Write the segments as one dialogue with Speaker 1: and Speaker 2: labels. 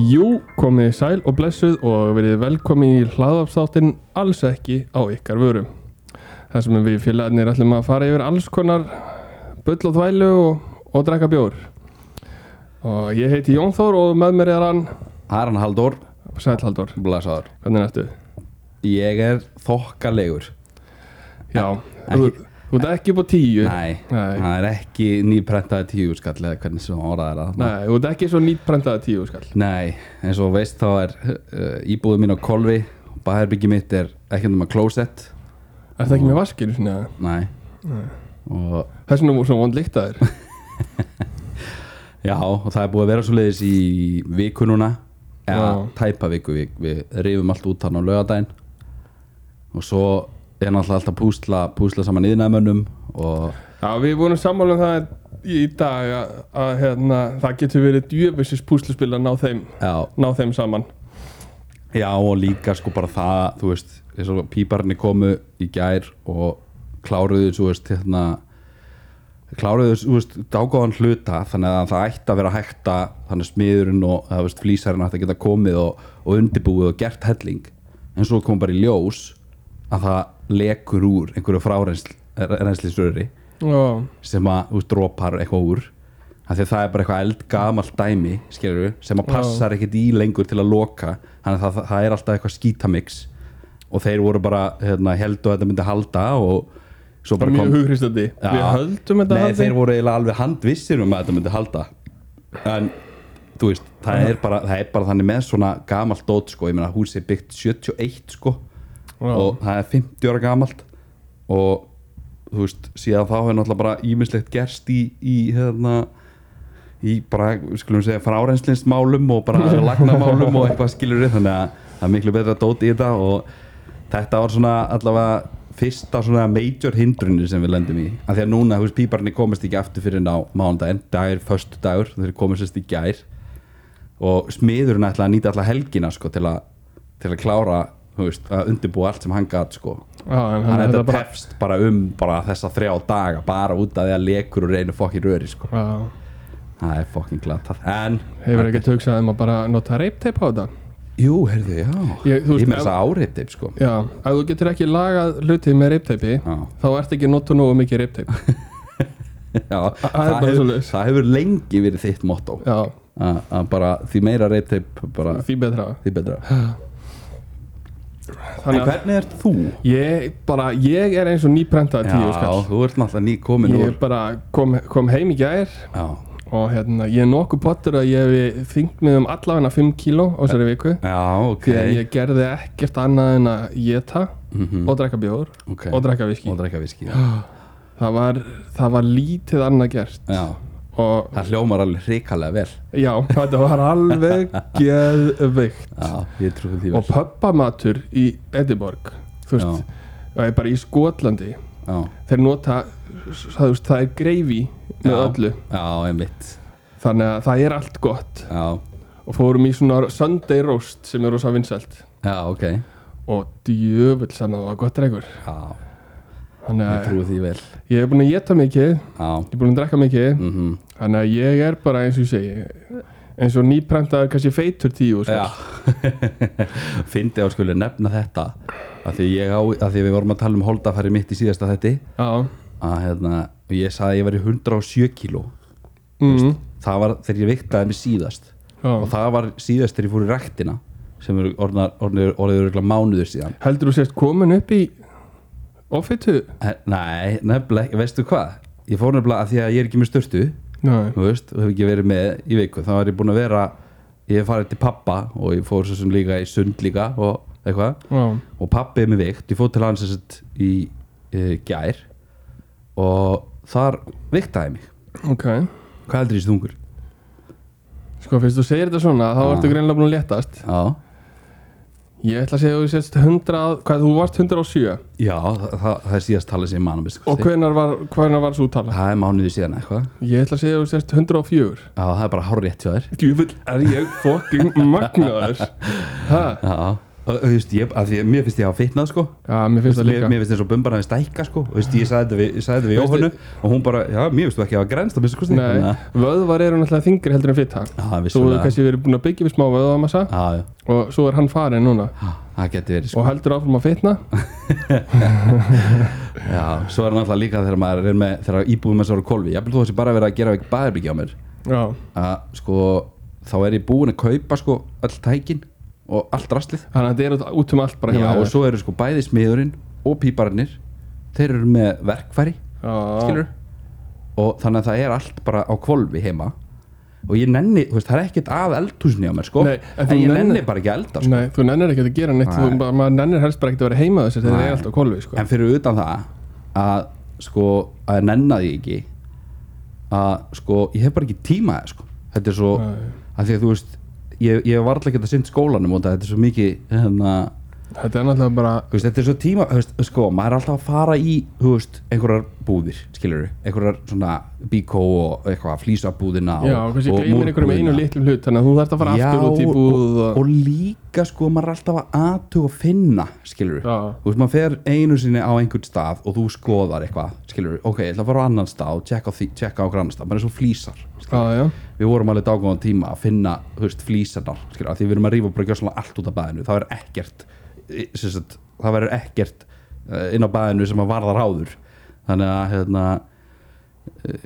Speaker 1: Jú, komið þið sæl og blessuð og verið velkomin í hlaðvarpsþáttinn alls ekki á ykkar vörum. Þar sem við félagarnir ætlum að fara yfir alls konar bull og þvælu og, og drekka bjór. Og ég heiti Jón Þór og með mér er hann
Speaker 2: Aran Halldór,
Speaker 1: Sæl Halldór.
Speaker 2: blæsaður
Speaker 1: Hvernig ertu?
Speaker 2: Ég er þokkalegur
Speaker 1: Já, þú,
Speaker 2: Ekki-
Speaker 1: þú ert ekki upp á tíu.
Speaker 2: Nei,
Speaker 1: Nei.
Speaker 2: það er ekki nýprentaði tíu skall eða hvernig sem orðað er það
Speaker 1: Nei, þú ert ekki svo nýtprentaða tíu skall.
Speaker 2: Nei, eins og þú veist þá er uh, íbúðu mín á kolvi Bæherbyggi mitt er ekki um að klósett
Speaker 1: Er það ekki með vaskinu sinni að
Speaker 2: Nei. Og
Speaker 1: þess vegna voru svona vond líkt að þér?
Speaker 2: já, og það er búið að vera svo leiðis í viku núna eða
Speaker 1: Já.
Speaker 2: tæpa viku, við, við rifum allt út hann á laugardaginn og svo er náttúrulega alltaf púsla, púsla saman yðnaðmönnum og
Speaker 1: Já, við vorum sammála um það í dag að, að hérna, það getur verið djöfisins púsluspil að ná þeim,
Speaker 2: já,
Speaker 1: ná þeim saman.
Speaker 2: Já og líka sko bara það þú veist, þess að píparni komu í gær og kláruðu þú veist, hérna kláruðu þú veist, dágóðan hluta þannig að það ætti að vera hægt að þannig að smiðurinn og það veist, flýsarinn ætti að geta komið og, og undirbúið og gert helling en svo kom bara í ljós að það lekur úr einhverju frárennslisröri
Speaker 1: Já,
Speaker 2: sem að þú veist, dropar eitthvað úr af því að það er bara eitthvað eldgamalt dæmi skilur sem að passar ekkert í lengur til að loka þannig að það, það er alltaf eitthvað skítamix og þeir voru bara hérna, heldu að þetta myndi halda og svo
Speaker 1: bara
Speaker 2: bara
Speaker 1: mjög
Speaker 2: kom
Speaker 1: hugristandi.
Speaker 2: Já.
Speaker 1: Við höldum þetta
Speaker 2: Nei,
Speaker 1: haldi.
Speaker 2: þeir voru eiginlega alveg handvissir um að þetta myndi halda en þú veist, það er bara, það er bara þannig með svona gamalt dót sko, ég meina húsið er byggt 71 sko
Speaker 1: Já.
Speaker 2: og það er 50 ára gamalt og þú veist, síðan þá hefur náttúrulega bara ímislegt gerst í, í hérna í bara, við skulum segja, frárennslinsmálum og bara lagnamálum og eitthvað skilur við þannig að það er miklu betra dót í þetta og þetta var svona allavega fyrsta svona major hindrunni sem við lendum í af því að núna, þú veist, píparni komist ekki aftur fyrir ná mánudaginn, dagur, föstu dagur þeir komist sérst í gær og smiðurinn ætlaði að nýta alla helgina sko, til, að, til að klára þú veist, að undirbúa allt sem hann gat sko.
Speaker 1: Já, en
Speaker 2: hann
Speaker 1: hann
Speaker 2: þetta
Speaker 1: þetta bara...
Speaker 2: tefst bara um bara þessa þrjá daga bara út af því að lekur og reynir fokkin röri sko.
Speaker 1: Já,
Speaker 2: það er fokkin glatað en,
Speaker 1: hefur ekkert hugsað um að bara nota reipteip á þetta.
Speaker 2: jú, heyrðu, já
Speaker 1: Ég-
Speaker 2: ég,
Speaker 1: þú veist,
Speaker 2: ég með
Speaker 1: ef-
Speaker 2: þess að áreiptip sko.
Speaker 1: Já, ef þú getur ekki lagað hlutið með reipteipi,
Speaker 2: Já.
Speaker 1: þá ert ekki að nota nógu mikið reipteip.
Speaker 2: já,
Speaker 1: það er bara
Speaker 2: hefur,
Speaker 1: svoleiðis.
Speaker 2: það hefur lengi verið þitt motto
Speaker 1: Já,
Speaker 2: að að bara því meira reiptip bara
Speaker 1: því betra.
Speaker 2: því betra en
Speaker 1: Þannig að
Speaker 2: hvernig ert þú?
Speaker 1: ég bara, ég er eins og nýprentaða tíu skall.
Speaker 2: þú ert náttúrulega nýkomin úr
Speaker 1: Ég bara kom, kom heim í gær
Speaker 2: já,
Speaker 1: og hérna, ég er nokkuð pottur að ég hef þyngt mig um allavegna 5 kíló á þessari viku
Speaker 2: já, ok Mm.
Speaker 1: því að ég gerði ekkert annað en að geta og drekka bjór
Speaker 2: Mhm, Ok.
Speaker 1: og drekka viski
Speaker 2: og drekka viski
Speaker 1: það var, það var lítið annað gert
Speaker 2: já,
Speaker 1: og
Speaker 2: það hljómar alveg hrikalega vel
Speaker 1: já, þetta var alveg geðveikt
Speaker 2: já, ég trúi því
Speaker 1: og
Speaker 2: vel
Speaker 1: pöppamatur í Ediborg þú veist, það er bara í Skotlandi
Speaker 2: já,
Speaker 1: þeir nota, það, þú veist, það er greifi með
Speaker 2: Já.
Speaker 1: öllu,
Speaker 2: já, einmitt
Speaker 1: þannig að það er allt gott
Speaker 2: já,
Speaker 1: og fórum í svona Sunday roast sem er rosa vinsælt
Speaker 2: já, ok
Speaker 1: og djöfull sem það var gott drengur
Speaker 2: já,
Speaker 1: þannig
Speaker 2: ég
Speaker 1: að
Speaker 2: trúi því vel
Speaker 1: ég er búin að geta mikið ég
Speaker 2: já,
Speaker 1: er búin að drekka mikið
Speaker 2: mhm
Speaker 1: þannig að ég er bara eins og ég segi eins og nýprentaður kannski feitur tíu sko.
Speaker 2: Já
Speaker 1: skall.
Speaker 2: Fyndi að skuli nefna þetta að því, ég á, að því við vorum að tala um holdafæri mitt í síðasta þetti
Speaker 1: já,
Speaker 2: að hérna, og ég sagði að ég væri 107 kíló
Speaker 1: mm,
Speaker 2: það var þegar ég viktaði mig síðast og
Speaker 1: já.
Speaker 2: það var síðast þegar ég fór í ræktina sem eru orðnar- orðnir- orðið örgulega mánuður síðan
Speaker 1: heldur þú sést komin upp í offitu
Speaker 2: Eh, Nei, nefnilega, ekki- veistu hvað ég fór nefnilega að því að ég er ekki með störtu
Speaker 1: Nei.
Speaker 2: þú veist, og hef ekki verið með í viku þá var ég búin að vera, ég hef farið til pappa og ég fór svo sem líka í sund líka og eitthvað
Speaker 1: já,
Speaker 2: og pappi er með veikt ég fór til hans þess að í e, gær og þar veiktaði mig
Speaker 1: ok
Speaker 2: hvað heldur ég stungur?
Speaker 1: sko fyrst þú segir þetta svona þá
Speaker 2: Já.
Speaker 1: ertu greinlega búin að léttast
Speaker 2: Já,
Speaker 1: ég ætla að segja að þú sést 100 hvað þú varst 107
Speaker 2: já það, það, það er síðast talað sem ég manum sko.
Speaker 1: og hvenar var, hvenar var svo tala
Speaker 2: það er mánuði síðan eitthvað
Speaker 1: ég ætla að segja að þú sést 104
Speaker 2: já, það er bara hár rétt hjá þér
Speaker 1: Djúfull er ég fucking magnaður ha,
Speaker 2: já, að, þú veist, ég, að því, að mér finnst ég að hafa fitnað sko
Speaker 1: Já, mér finnst það
Speaker 2: mér,
Speaker 1: líka
Speaker 2: mér finnst eins og bumbar hann stækka sko Þú veist, ég sagði þetta við, ég sagði þetta við
Speaker 1: Veistu-
Speaker 2: Jóhannu og hún bara, já, mér finnst þú ekki að hafa grenst að missa kosti
Speaker 1: Nei, vöðvar eru náttúrulega þingri heldur en fita
Speaker 2: það
Speaker 1: Þú hefur
Speaker 2: vissulega
Speaker 1: kannski verið búin að byggja við smá vöðvamassa
Speaker 2: Já, já.
Speaker 1: og svo er hann farinn núna
Speaker 2: Já, það geti verið sko
Speaker 1: og heldur áfram að fitna
Speaker 2: já, svo er náttúrulega líka þegar maður er með þegar íbúðum með svo eru kólfi, ég vil þú þessi bara verið að gera ekki baðherbyggi á mér
Speaker 1: Já,
Speaker 2: að sko, þá er ég búin að kaupa sko öll tækin og allt rastlið
Speaker 1: þannig að þetta er út- út um allt bara
Speaker 2: já,
Speaker 1: heima hjá
Speaker 2: og
Speaker 1: þér.
Speaker 2: svo eru sko bæði smiðurinn og píparinnir þeir eru með verkfæri
Speaker 1: Já.
Speaker 2: skilur og þannig að það er allt bara á kvolfi heima og ég nenni, þú veist, það er ekkert að eldhúsni á mér sko,
Speaker 1: Nei, en
Speaker 2: en,
Speaker 1: þú
Speaker 2: ég
Speaker 1: nennir-
Speaker 2: nenni bara ekki að elda sko.
Speaker 1: Nei, þú nennir ekki að gera neitt
Speaker 2: Nei.
Speaker 1: þú, bara- maður nennir helst bara ekki að vera heima þessi þegar það
Speaker 2: Nei.
Speaker 1: er allt á kolvi sko.
Speaker 2: en fyrir utan það að sko, að nenna því ekki að sko, ég hef bara ekki tíma í það, sko, þetta er svo
Speaker 1: Nei.
Speaker 2: að því að þú veist, ég, ég var alltaf ekki að sinnt skólanum og þetta er svo mikið hérna,
Speaker 1: Þetta er náttúrulega bara
Speaker 2: þú veist, þetta er svo tíma þú veist, sko, maður er alltaf að fara í þú veist, einhverjar búðir, skilur einhverjar svona bíkó og eitthvað flýsabúðina
Speaker 1: Já, og kannski gleymir einhverjum einu litlum hlut þannig að þú þarft að fara
Speaker 2: Já,
Speaker 1: aftur út í búð
Speaker 2: og,
Speaker 1: og,
Speaker 2: og líka sko maður er alltaf að aðtuga að finna skilur
Speaker 1: Já.
Speaker 2: þú veist maður fer einu sinni á einhvern stað og þú skoðar eitthvað skilur ok, ég ætla að fara á annan stað og tjekka á, því- tjekka á okkur annan stað maður er svo flýsar
Speaker 1: Já, já,
Speaker 2: við vorum alveg dágóðan tíma að finna þú veist, flýsarnar skilur, því við erum að rífa bara gjössalega allt út af baðinu það verður ekkert eh, sem sagt, það verður ekkert eh, inn á baðinu sem að varðar áður þannig að hérna, e,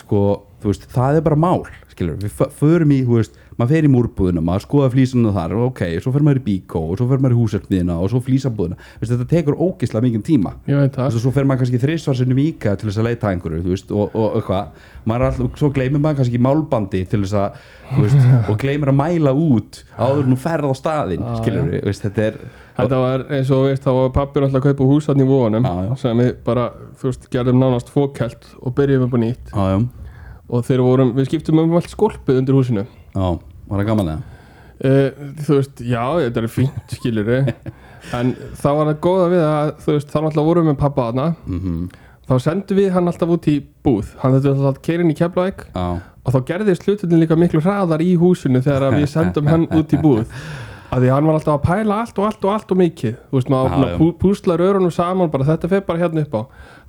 Speaker 2: sko, þú veist, það er bara mál skilur, við fö- förum í, þú veist maður fer í múrbúðina, maður skoða flýsarnar þar og ok, svo fer maður í bíkó og svo fer maður í húsartmiðina og svo flýsabúðina, Þú veist, þetta tekur ógislega mikið tíma
Speaker 1: ég veit það
Speaker 2: og svo fer maður kannski þrisvar sinnum í IKEA til þess að leita að einhverju, þú veist, og, og eitthvað maður er alltaf, svo gleymir maður kannski málbandi til þess að, þú veist, og gleymir að mæla út áður en þú ferð á staðinn
Speaker 1: Já,
Speaker 2: skilur við, veist, þetta er
Speaker 1: Þetta var eins og þú veist, þá var pappir alltaf að kaupa hús þarna í vonum
Speaker 2: Já, já.
Speaker 1: sem við bara, þú veist, gerðum nánast fókelt og byrjum upp á nýtt
Speaker 2: já, já,
Speaker 1: og þeir vorum, við skiptum um allt skolpið undir húsinu
Speaker 2: já, var það gaman eða
Speaker 1: Uh, þú veist, já, þetta er fínt skilur en það var að góða við að þú veist, þá náttúrulega vorum við með pappa hana
Speaker 2: Mhm.
Speaker 1: þá sendum við hann alltaf út í búð hann þetta alltaf að keira inn í Keflavík
Speaker 2: já,
Speaker 1: og þá gerðist hlutinni líka miklu hraðar í húsinu þegar að við sendum hann út í búð að því hann var alltaf að pæla allt og allt og allt og mikið þú veist, maður
Speaker 2: Já,
Speaker 1: svona
Speaker 2: já.
Speaker 1: pú, púsla rörunum saman bara þetta fer bara hérna upp á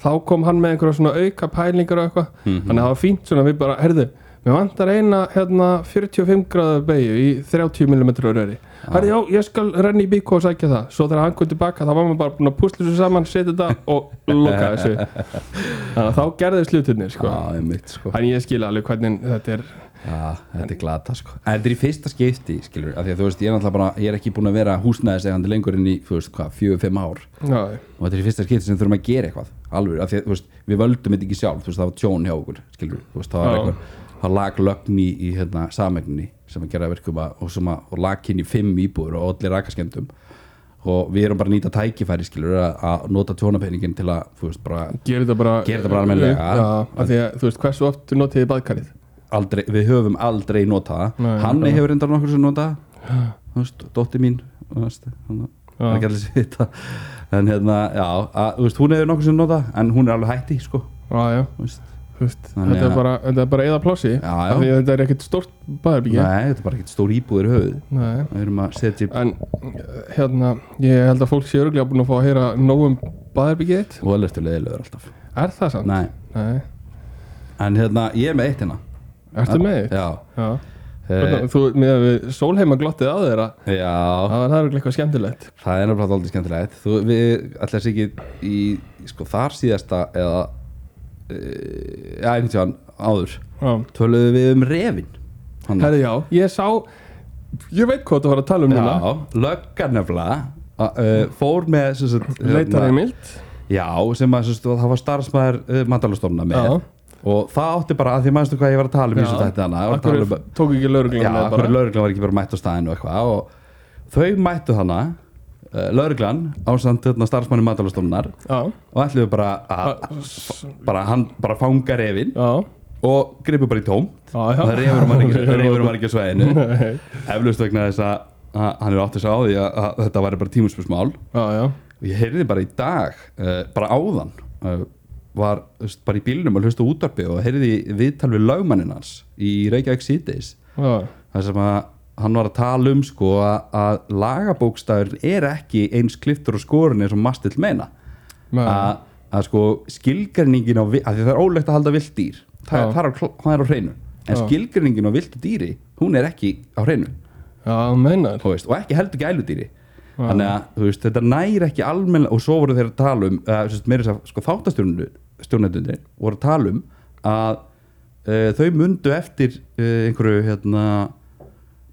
Speaker 1: þá kom hann með einhverja svona auka pælingar og eitthvað
Speaker 2: Mhm.
Speaker 1: þannig að það var fínt svona við bara, herðu við vantar eina hérna 45 gráðu beigju í 30 mm röri herðu, já, ég skal renni í bíkó og sækja það svo þegar hann kom tilbaka þá var maður bara búin að púsla þessu saman, setja þetta og loka þessu þannig að þá gerðist hlutinni sko.
Speaker 2: já, einmitt, sko
Speaker 1: þannig ég skil alveg hvernig þetta er
Speaker 2: Já, þetta er glata sko En þetta er í fyrsta skipti, skilur af Því að þú veist, ég er náttúrulega bara, ég er ekki búin að vera húsnæðisegandi lengur inn í, þú veist, hvað, fjögur, fimm ár
Speaker 1: Já,
Speaker 2: og þetta er í fyrsta skipti sem þurfum að gera eitthvað alveg, af því að þú veist, við völdum þetta ekki sjálf þú veist, það var tjón hjá okkur, skilur þú veist, það var
Speaker 1: Já.
Speaker 2: eitthvað, það lag lögn í, í hérna, samegninni sem að gera verkum að, og, sem að, og lag kynni fimm íbúður og allir rakaskemmtum og við erum bara að nýta tækifæri skilur að, að nota tjónapenningin til að þú veist, bara
Speaker 1: gera þetta bara
Speaker 2: Gera þetta bara almennilega.
Speaker 1: Já, af því að þú veist hversu oft notiði baðkarið
Speaker 2: aldrei, við höfum aldrei notað
Speaker 1: Nei,
Speaker 2: það Hanni
Speaker 1: nákvæmlega.
Speaker 2: hefur reyndar nokkur sem notað það. þú veist, dótti mín þú veist, hann það er ekki allir sér þetta en hérna, já, að, þú veist, hún hefur nokkur sem notað það, en hún er alveg hætti, sko
Speaker 1: Já, já,
Speaker 2: þú veist
Speaker 1: þú veist
Speaker 2: Þannig
Speaker 1: Þetta er
Speaker 2: að-
Speaker 1: bara, þetta er bara eða plássi
Speaker 2: Já, já.
Speaker 1: Af því að þetta er ekkert stórt baðherbyggja
Speaker 2: Nei, þetta er bara ekkert stór íbúður í höfuð
Speaker 1: Nei
Speaker 2: Við erum að setja upp
Speaker 1: En hérna, ég held að fólk sé örglega búin að fá að heyra nóg um baðherbyggið þitt
Speaker 2: og alveg leðilegur alltaf
Speaker 1: Er það samt?
Speaker 2: Nei,
Speaker 1: Nei.
Speaker 2: en hérna, ég er með eitt hérna
Speaker 1: Ertu með þitt?
Speaker 2: Já,
Speaker 1: Já
Speaker 2: eh,
Speaker 1: Hvernig, Þú, með að við sólheima glottið á þeirra
Speaker 2: já
Speaker 1: Það er það eitthvað skemmtilegt
Speaker 2: það er náttúrulega aldrei skemmtilegt Þú, Við ætlaðum sér ekki í sko, þar síðasta eða e, já, einhvern tíðan áður
Speaker 1: Já
Speaker 2: Töluðu við um refin Hann-
Speaker 1: Herri, já, ég sá Ég veit hvað þú var að tala um núna
Speaker 2: Já, löggan nefnilega uh, fór með sem sagt,
Speaker 1: Leitar
Speaker 2: hérna-
Speaker 1: heimild
Speaker 2: Já, sem að sem sagt, það var starfsmæður uh, mandalastofna með
Speaker 1: Já.
Speaker 2: og það átti bara að því mannstu hvað ég var að tala um í þessu þætti hana, ég var að
Speaker 1: Akkur
Speaker 2: tala um
Speaker 1: tók ekki
Speaker 2: Já,
Speaker 1: lögreglan með
Speaker 2: af
Speaker 1: bara
Speaker 2: hverju lauruglan var ekki bara mætt á staðinu og eitthvað og þau mættu hana uh, lauruglan ásand hérna, starfsmanni matalastofnunar
Speaker 1: Já,
Speaker 2: og ætluðu bara að bara, hann bara fanga refin
Speaker 1: já,
Speaker 2: og gripu bara í tóm
Speaker 1: Já, já.
Speaker 2: það refur maður ekki,
Speaker 1: Refur
Speaker 2: refur maður ekki á svæðinu
Speaker 1: Nei.
Speaker 2: eflaust vegna þess að að hann er átt að sá því að, að þetta væri bara tímuspursmál
Speaker 1: já, já
Speaker 2: og ég heyrði bara í dag uh, bara áðan uh, var þú veist, bara í bílnum að hlusta á útvarpi og heyrði í viðtal við lögmanninn hans í Reykjavík síðdeis
Speaker 1: Já,
Speaker 2: þar sem að hann var að tala um sko að, að lagabókstafur er ekki eins kliftur og skorin eins og mastill meina
Speaker 1: Nei.
Speaker 2: að, að sko skilgarningin á, vi- af því það er ólegt að halda vilt dýr það,
Speaker 1: Já.
Speaker 2: það, er, á kl- það er á hreinu en
Speaker 1: Já.
Speaker 2: skilgarningin á viltu dýri hún er ekki á hreinu
Speaker 1: Já, meinar
Speaker 2: þú veist, og ekki heldur gæludýri þannig að þú veist, þetta næri ekki almennilega og svo voru þeir að tala um uh, meira þess að sko, þáttastjórnendunni voru að tala um að uh, þau mundu eftir uh, einhverju hérna,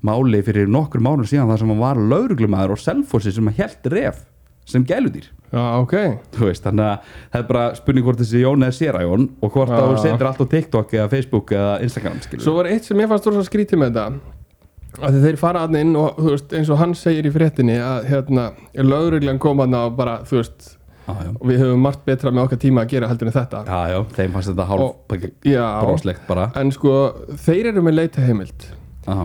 Speaker 2: máli fyrir nokkur mánu síðan þar sem hann var lauruglumæður og selfósi sem að held ref sem gæludýr
Speaker 1: Já, ok
Speaker 2: Þú veist, þannig að það er bara spurning hvort þessi Jón eða Sera Jón og hvort
Speaker 1: Já.
Speaker 2: það voru setur allt á TikTok eða Facebook eða Instagram skilur
Speaker 1: Svo var eitt sem ég fannst úr að skríti með þetta að þeir fara aðna inn og þú veist, eins og hann segir í fréttinni að hérna, lögreglan kom aðna og bara, þú veist
Speaker 2: já, já.
Speaker 1: við höfum margt betra með okkar tíma að gera heldur en þetta
Speaker 2: já, já, þeim fannst þetta hálf
Speaker 1: Já,
Speaker 2: broslegt bara
Speaker 1: en sko þeir eru með leitaheimild
Speaker 2: já.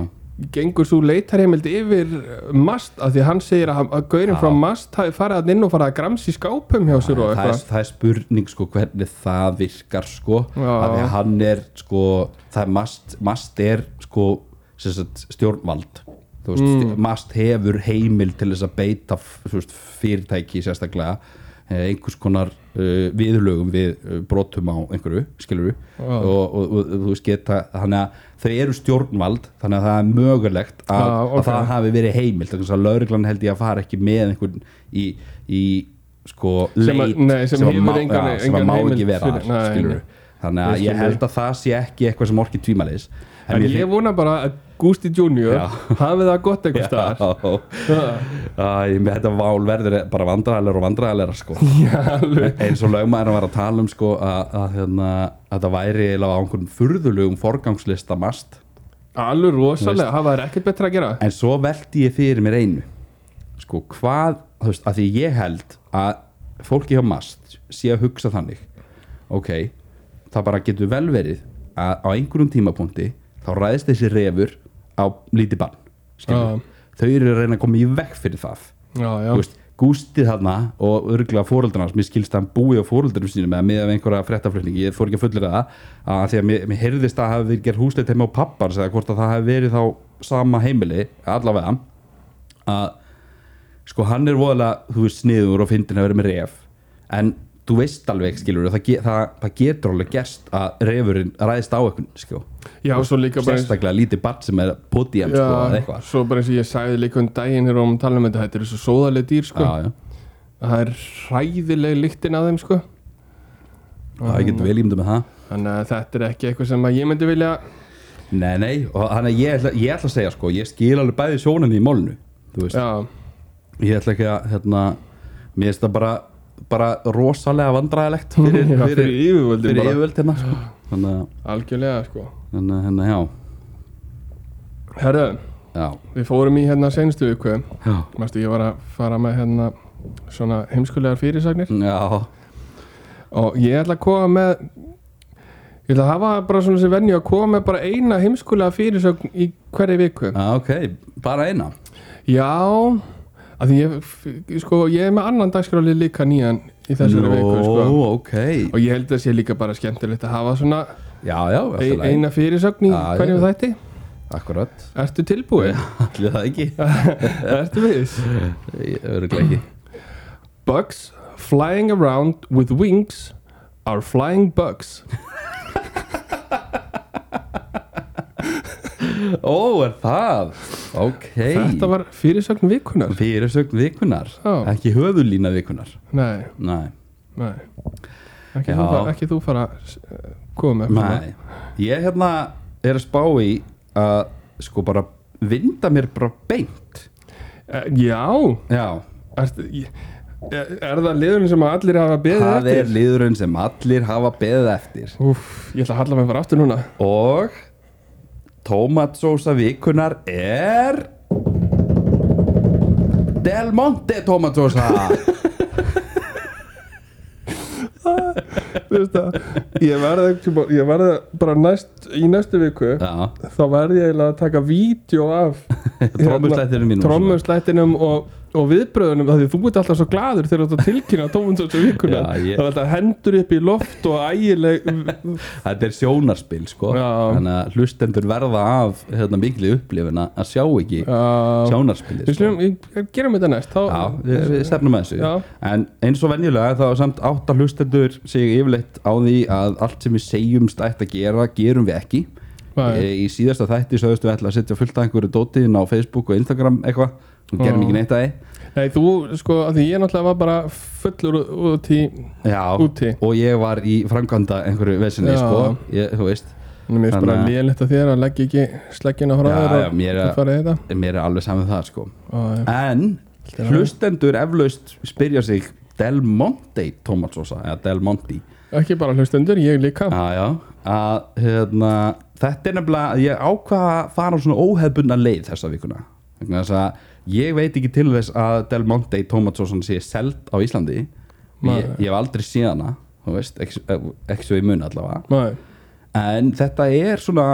Speaker 1: gengur svo leitarheimild yfir eh, mast að því hann segir að, að gaurinn
Speaker 2: Já.
Speaker 1: frá mast hafi farið að inn og farið að gramsi í skápum hjá sér og
Speaker 2: það er,
Speaker 1: eitthvað
Speaker 2: það er spurning sko hvernig það virkar sko
Speaker 1: Já.
Speaker 2: af því að hann er sko það er mast, mast er sko sem sagt, stjórnvald Þú veist, mm. mast hefur heimil til þess að beita f- þú veist, fyrirtæki sérstaklega eh, einhvers konar uh, viðlögum við uh, brotum á einhverju skilur við
Speaker 1: Já.
Speaker 2: og, og, og þú veist geta þannig að þau eru stjórnvald þannig að það er mögulegt að,
Speaker 1: Já, ok.
Speaker 2: að það hafi verið heimilt þannig að lauruglan held ég að fara ekki með einhvern í, í sko
Speaker 1: Sem að-
Speaker 2: leit
Speaker 1: nei, sem hefur
Speaker 2: má-
Speaker 1: engan-
Speaker 2: já, sem að
Speaker 1: engan
Speaker 2: má
Speaker 1: heimild
Speaker 2: ekki vera
Speaker 1: fyrir-
Speaker 2: þar,
Speaker 1: nei,
Speaker 2: skilurðu.
Speaker 1: nei.
Speaker 2: þannig
Speaker 1: Ég
Speaker 2: að
Speaker 1: skil
Speaker 2: ég held að það sé ekki eitthvað sem orkið tvímælis
Speaker 1: en, ég vona bara að Gusti Junior
Speaker 2: Já.
Speaker 1: hafi það gott eitthvað staðar Já,
Speaker 2: Æ, með þetta vál verður bara vandræðalega og vandræðalega sko.
Speaker 1: alveg.
Speaker 2: eins og lögmaður var að tala um sko, að, að, hérna, að það væri eiginlega á einhvern furðulegum forgangslista mast
Speaker 1: alveg rosalega, hafa þær ekkert betra að gera
Speaker 2: en svo veldi ég fyrir mér einu sko hvað, þú veist, að því ég held að fólki hjá mast sé að hugsa þannig ok, það bara getur vel verið að á einhverjum tímapunkti þá ræðist þessi refur á lítið bann
Speaker 1: Já.
Speaker 2: skilur, þau eru að reyna að koma í vekk fyrir það
Speaker 1: já, já,
Speaker 2: þú veist, gústið þarna og örgulega fóröldrarnas, mér skilst að hann búi á fóröldrarum sínum eða með einhverja frettaflutningi, ég fór ekki að fullera það að því að mér, mér heyrðist að það hafi verið gerð húsleit heima á pappans eða hvort að það hafi verið þá sama heimili, allavega að sko hann er voðalega, þú veist, sniður og fyndin að vera með ref, en þú veist alveg, skilur, það, ge það, það getur alveg gerst að refurinn ræðist á einhvern, sko,
Speaker 1: já, svo líka bara eins
Speaker 2: sérstaklega lítið barn sem er potið hann,
Speaker 1: já,
Speaker 2: sko, eða eitthvað
Speaker 1: svo bara eins og ég sagði líka um daginn hér um tala um þetta, þetta eru svo sóðaleg dýr sko.
Speaker 2: já, já.
Speaker 1: það er hræðileg lyktin að þeim sko. Um,
Speaker 2: Já, ég get vel ímynda með það
Speaker 1: þannig að þetta er ekki eitthvað sem að ég myndi vilja
Speaker 2: Nei, nei, og þannig að ég ætla, ég ætla að segja sko, ég skil alveg bæði sjónunni í málnu þú veist,
Speaker 1: já,
Speaker 2: ég ætla ekki að hérna, mér finnst það bara bara rosalega vandræðilegt fyrir,
Speaker 1: Já,
Speaker 2: fyrir,
Speaker 1: fyrir yfirvöldin
Speaker 2: fyrir
Speaker 1: bara.
Speaker 2: yfirvöld hérna sko. þannig að,
Speaker 1: algjörlega sko.
Speaker 2: þannig að, hérna, já
Speaker 1: herðu,
Speaker 2: já,
Speaker 1: Við fórum í hérna senstu viku
Speaker 2: já,
Speaker 1: Mastu, ég var að fara með hérna svona heimskulegar fyrirsagnir
Speaker 2: já,
Speaker 1: og ég ætla að koma með ég ætla að hafa bara svona sem venju að koma með bara eina heimskulega fyrirsögn í hverju viku
Speaker 2: já, ok bara eina,
Speaker 1: Já, að því ég f- sko, ég er með annan dagskráli líka nýjan í þessari viku sko.
Speaker 2: ok
Speaker 1: og ég held að sé líka bara skemmtilegt að hafa svona
Speaker 2: já, já,
Speaker 1: e
Speaker 2: eftir leið,
Speaker 1: eina fyrirsögn í
Speaker 2: Já,
Speaker 1: hverju
Speaker 2: já.
Speaker 1: þætti
Speaker 2: akkurat
Speaker 1: Ertu tilbúin?
Speaker 2: allir það ekki,
Speaker 1: Ertu viðs?
Speaker 2: ég öruglega ekki
Speaker 1: Bugs flying around with wings are flying bugs
Speaker 2: ó, er það, ok
Speaker 1: Þetta var fyrirsögn vikunar
Speaker 2: fyrirsögn vikunar
Speaker 1: Já.
Speaker 2: ekki höfðulína vikunar
Speaker 1: Nei,
Speaker 2: nei
Speaker 1: nei Ekki,
Speaker 2: Já.
Speaker 1: þú fara, ekki þú fara að s- koma með eitthvað.
Speaker 2: Nei, ég hérna er að spá í að sko bara vinda mér bara beint
Speaker 1: Eh, Já,
Speaker 2: Já,
Speaker 1: er, er, er það liðurinn sem að allir hafa beðið
Speaker 2: það
Speaker 1: eftir?
Speaker 2: er liðurinn sem allir hafa beðið eftir
Speaker 1: Úf, ég ætla að halla mig bara aftur núna
Speaker 2: og tómatsósa vikunar er Del Monte tómatsósa
Speaker 1: Þú veist að Ég verði, ég verði bara næst, í næstu viku
Speaker 2: Já,
Speaker 1: þá verði ég eiginlega að taka vídeo af
Speaker 2: Trommuslættinum mínum
Speaker 1: trommuslættinum og og viðbröðunum af því þú ert alltaf svo gladur þegar þú ert að tilkynna tómundsvölds og vikuna
Speaker 2: Já,
Speaker 1: það
Speaker 2: ég-
Speaker 1: var alltaf hendur upp í loft og ægileg
Speaker 2: þetta er sjónarspil sko
Speaker 1: Já.
Speaker 2: þannig að hlustendur verða af hérna, miklu upplifin að sjá ekki sko.
Speaker 1: já,
Speaker 2: sjónarspili
Speaker 1: við slum, gerum þetta næst þá,
Speaker 2: Já, við, við stefnum að þessu
Speaker 1: Já.
Speaker 2: En eins og venjulega þá er samt átta hlustendur sig yfirleitt á því að allt sem við segjum stætt að gera, gerum við ekki
Speaker 1: Nei.
Speaker 2: e, Í síðasta þætti sögðust við ætla að setja fullt að einhverju dótiðin á Facebook og Instagram eitthvað og gerum
Speaker 1: Já.
Speaker 2: ekki neitt að þið
Speaker 1: nei þú sko af því ég náttúrulega var bara fullur ú- út í
Speaker 2: Já,
Speaker 1: Úti.
Speaker 2: og ég var í framkvæmda einhverju vesinni
Speaker 1: Já.
Speaker 2: sko, ég, þú veist
Speaker 1: mér er bara
Speaker 2: Þannig að-
Speaker 1: lélitt að þér að leggja ekki sleggina frá
Speaker 2: Já,
Speaker 1: þér
Speaker 2: já, mér
Speaker 1: að
Speaker 2: er-
Speaker 1: fara í þetta
Speaker 2: Mér er alveg saman það sko
Speaker 1: Já, já.
Speaker 2: En
Speaker 1: er alveg.
Speaker 2: hlustendur eflaust spyrja sig Del Monte Tomatsosa eða Del Monte
Speaker 1: ekki bara hlustendur, ég líka
Speaker 2: Já, já, að hérna, þetta er nefnilega, ég ákvað að fara á svona óhefbunna leið þessa vikuna vegna þess að ég veit ekki til þess að Del Monte Tomatsosan sé seld á Íslandi ég,
Speaker 1: Nei.
Speaker 2: ég hef aldrei séð hana, þú veist, ekki, ekki svo í mun allavega
Speaker 1: Nei.
Speaker 2: en þetta er svona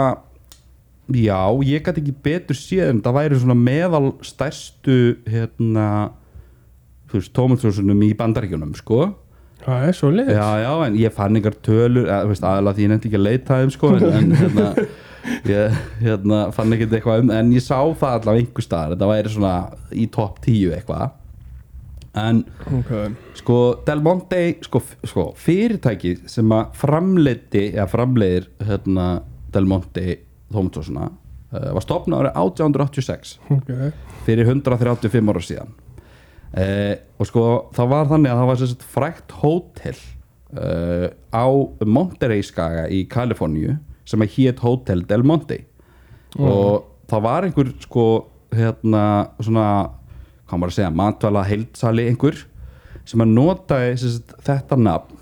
Speaker 2: já, ég gæti ekki betur séð en það væri svona meðal stærstu hérna þú veist, Tomatsosunum í bandaríkjunum, sko
Speaker 1: það er svo leið
Speaker 2: Já, já, en ég fann einhver tölur að, veist, aðalega því ég nefndi ekki að leita þeim sko, en, en hérna, ég hérna, fann ekkert eitthvað um en ég sá það allavega einhver staðar þetta væri svona í topp 10 eitthvað en
Speaker 1: okay.
Speaker 2: sko Del Monte sko, f- sko fyrirtækið sem að framleiti eða framleiðir hérna, Del Monte Tómatosuna uh, var stopnað árið 1886
Speaker 1: Okay.
Speaker 2: fyrir 135 ára síðan eh, og sko það var þannig að það var sérst frækt hótel eh, á Monterey skaga í Kaliforníu sem að hét Hotel Del Monte og það var einhver sko hérna svona hvað á maður að segja, matvæla heildsali einhver sem að notaði sérst, þetta nafn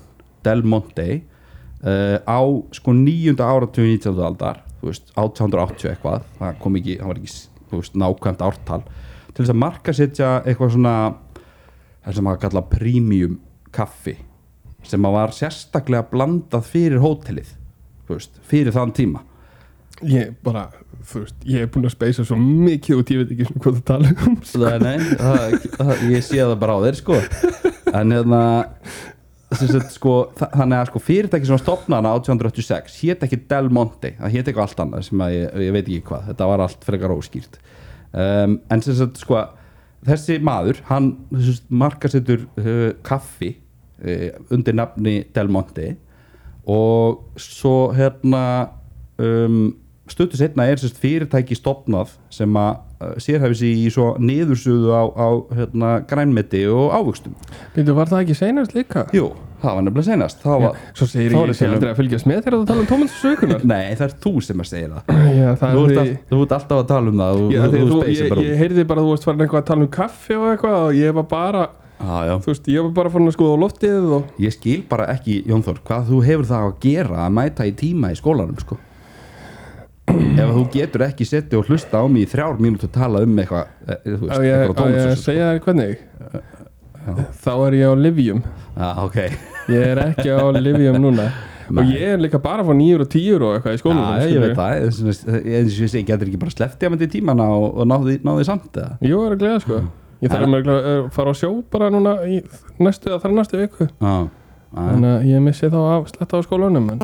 Speaker 2: Del Monte uh, á sko nýjunda áratugin 19. aldar þú veist, 1880 eitthvað það kom ekki, það var ekki þú veist, nákvæmt ártal til þess að marka setja eitthvað svona það sem að kalla premium kaffi sem að var sérstaklega blandað fyrir hótelið þú veist, fyrir þann tíma
Speaker 1: ég bara, þú veist, ég er búin að speysa svo mikið út, ég veit ekki svona hvað það tala um
Speaker 2: Nei, nei, það, það, ég sé það bara á þér sko En hérna sem sagt, sko, þa- Þannig að sko, fyrirtæki sem var stopnaðan 1886 hét ekki Del Monte Það hét eitthvað allt annað sem að ég, ég veit ekki hvað Þetta var allt frekar óskýrt um, En sem sagt sko Þessi maður, hann markasettur uh, kaffi uh, undir nafni Del Monte og svo hérna um, stuttu setna er sérst fyrirtæki stopnað sem að uh, sérhæfi sig í svo niðursuðu á, á hérna, grænmeti og ávöxtum
Speaker 1: Býtu, var það ekki senast líka?
Speaker 2: Jú, það var nefnilega senast það var,
Speaker 1: Svo segir
Speaker 2: Þá
Speaker 1: ég,
Speaker 2: er
Speaker 1: ég sé
Speaker 2: þetta-
Speaker 1: aldrei að fylgjast með þegar þú tala um Tómas Sökunar
Speaker 2: Nei, það er þú sem að segja það
Speaker 1: Já, það er
Speaker 2: Þú ert,
Speaker 1: því
Speaker 2: all, þú ert alltaf að tala um það
Speaker 1: Já,
Speaker 2: þú,
Speaker 1: því
Speaker 2: þú,
Speaker 1: þú,
Speaker 2: þú
Speaker 1: ég,
Speaker 2: ég,
Speaker 1: ég heyrði bara að þú varst farin eitthvað að tala um kaffi og eitthvað og ég var bara,
Speaker 2: Já, já.
Speaker 1: þú veist, ég var bara farin að skoða á loftið og
Speaker 2: ég skil bara ekki, Jónþór hvað þú hefur það að gera að mæta í tíma í skólanum sko. ef þú getur ekki setið og hlusta á mig í þrjár mínútu að tala um eitthvað eh, þú veist,
Speaker 1: á ég,
Speaker 2: eitthvað
Speaker 1: á
Speaker 2: sko.
Speaker 1: ég að
Speaker 2: dómsös
Speaker 1: segja þér hvernig þá er ég á Livium
Speaker 2: Já, ok
Speaker 1: ég er ekki á Livium núna og ég er líka bara frá nýjur og tíur og eitthvað í skólanum
Speaker 2: Já, ég
Speaker 1: skilurðu.
Speaker 2: veit það, eins og þess- eins og ég segi, getur ekki bara sleftið að myndi tímana og, og náði, náði samt eða?
Speaker 1: Jú, er að gleða sko Ég þarf að að eh, fara á sjó bara núna í næstu eða þar næstu viku
Speaker 2: Já, en,
Speaker 1: Þannig að ég missi þá að sletta á skólanum en,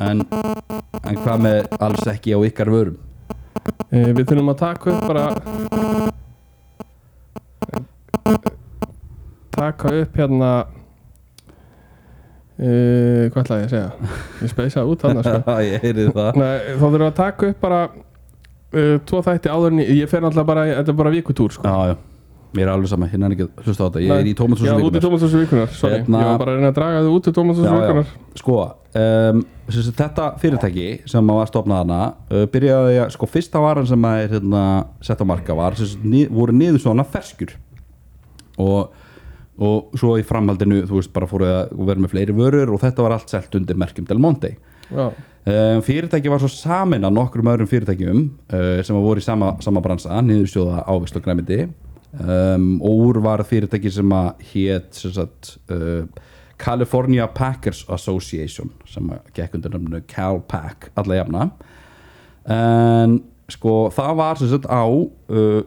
Speaker 2: en, en hvað með alls ekki á ykkar vörum?
Speaker 1: e, Við þurfum að taka upp bara Taka upp hérna e, Hvað ætlaði ég að segja? Ég speysaði út þarna sko
Speaker 2: ég heyri það
Speaker 1: Nei, Þá þurfum við að taka upp bara e, Tvo þætti áður en ég, ég fer náttúrulega bara Þetta er bara vikutúr sko
Speaker 2: Já, já, mér er alveg sama, hérna er ekki að hlusta á þetta, ég
Speaker 1: Nei.
Speaker 2: er í Tómas
Speaker 1: Já, út í Tómasúsu vikunar, sorry
Speaker 2: Hérna-
Speaker 1: Ég var bara að reyna að draga þau út í Tómasúsu
Speaker 2: Já, já.
Speaker 1: vikunar
Speaker 2: Sko, um, sem sagt, þetta fyrirtæki sem var stofnað hana uh, byrjaði að, sko, fyrsta varan sem að er hérna, sett á marka var sem sagt, ni, voru niður svona ferskjur og, og svo í framhaldinu þú veist, bara fóruð að vera með fleiri vörur og þetta var allt selt undir merkjum Del Monte
Speaker 1: Já,
Speaker 2: um, Fyrirtæki var svo samin að nokkrum öðrum fyrirtækjum uh, sem að voru í sama, sama bransa, niður sjóða ávist og græmiti um, og úr var fyrirtæki sem að hét sem sagt, uh, California Packers Association sem að gekk undir nafnu CalPack alla jafna en sko það var sem sagt á uh,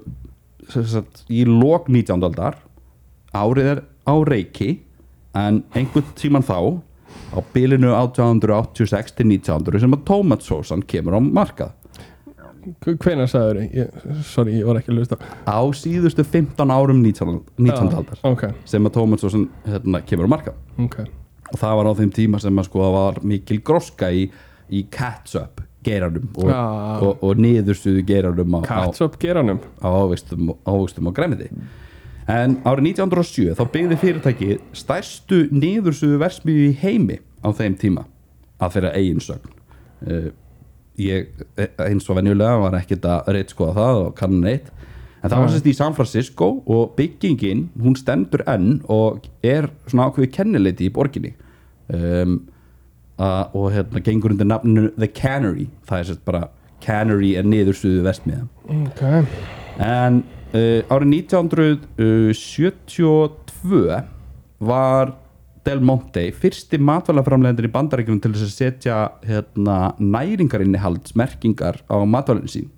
Speaker 2: sem sagt, í lok 19. aldar árið er á reiki en einhvern tíman þá á bilinu 1886 til 1900 sem að tómatsósan kemur á markað
Speaker 1: Hvenær sagður ég? Sorry, ég var ekki að lusta
Speaker 2: á síðustu 15 árum 19. 19. aldar
Speaker 1: Ok,
Speaker 2: sem að tómatsósan hérna, kemur á markað
Speaker 1: ok
Speaker 2: og það var á þeim tíma sem að sko það var mikil groska í, í catch-up geranum og,
Speaker 1: Já.
Speaker 2: og, og niðurstuðu geranum á, á,
Speaker 1: Catsup geranum
Speaker 2: á ávöxtum, ávöxtum og grænmiti en árið 1907 þá byggði fyrirtæki stærstu niðursuðu versmiði í heimi á þeim tíma að þeirra eigin sögn uh, ég eh, eins og venjulega var ekkert að reitskoða það og kannan neitt en það var sérst í San Francisco og byggingin hún stendur enn og er svona ákveði kennileiti í borginni um, að, og hérna gengur undir nafninu The Cannery það er sérst bara Cannery er niðursuðu versmiða
Speaker 1: Ok,
Speaker 2: En uh, árið eh, 1972 var Del Monte fyrsti matvælaframlegendur í bandarækjum til þess að setja hérna, næringarinnihaldsmerkingar á matvælinn sín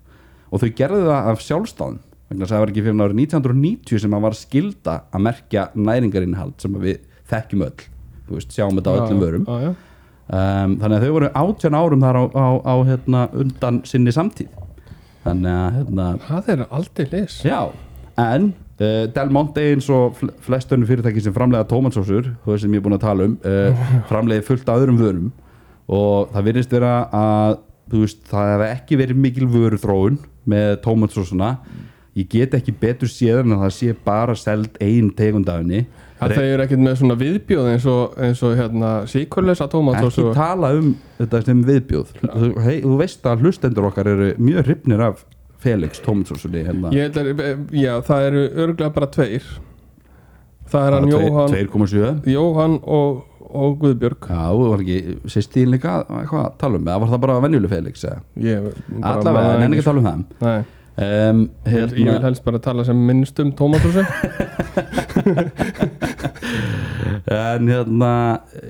Speaker 2: og þau gerðu það af sjálfstáðum vegna þess að það var ekki fyrir en árið 1990 sem að var skilda að merkja næringarinnihald sem að við þekkjum öll þú veist, sjáum þetta á
Speaker 1: Já,
Speaker 2: öllum vörum
Speaker 1: já, já.
Speaker 2: um, þannig að þau voru 18 árum þar á, á, á hérna, undan sinni samtíð þannig að hérna,
Speaker 1: Það er aldrei lis
Speaker 2: Já, en uh, Del Monte eins og fl flestunum fyrirtæki sem framleiða tómatsósur, þú veist sem ég er búin að tala um uh, framleiði fullt af öðrum vörum og það virðist vera að þú veist, það hefði ekki verið mikil vöruþróun með tómatsósuna ég get ekki betur séð en að það sé bara seld ein tegundafinni
Speaker 1: Það þeir eru ekkert með svona viðbjóð eins og, eins og hérna síkurlösa tómat og
Speaker 2: ekki
Speaker 1: svo
Speaker 2: tala um þetta sem viðbjóð þú, hei, þú veist að hlustendur okkar eru mjög hrifnir af Felix tómatsósunni hérna.
Speaker 1: Ég held að, já, það eru örglega bara tveir Það er hann
Speaker 2: Bara
Speaker 1: Jóhann,
Speaker 2: tveir- 2,7
Speaker 1: Jóhann og, og Guðbjörg
Speaker 2: Já, þú var ekki sýstíðin líka eitthvað að tala um, eða var það bara venjuleg Felix eða?
Speaker 1: Ég, bara
Speaker 2: Allavega,
Speaker 1: maður
Speaker 2: en enn ekki að tala um það
Speaker 1: Nei,
Speaker 2: um,
Speaker 1: ég, ég vil
Speaker 2: hérna,
Speaker 1: helst bara tala sem minnst um tómatrúsi um
Speaker 2: En hérna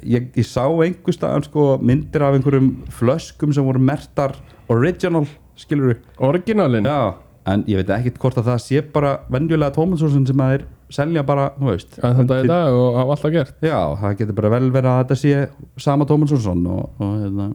Speaker 2: ég, ég sá einhver staðan sko myndir af einhverjum flöskum sem voru mertar original, skilur við
Speaker 1: Orginalinn
Speaker 2: Já, en ég veit ekkert hvort að það sé bara venjulega tómansósun sem að þeir selja bara, þú veist
Speaker 1: að þann dag í dag og hafa alltaf gert
Speaker 2: Já, það getur bara vel verið að þetta sé sama Tómansson og, og hérna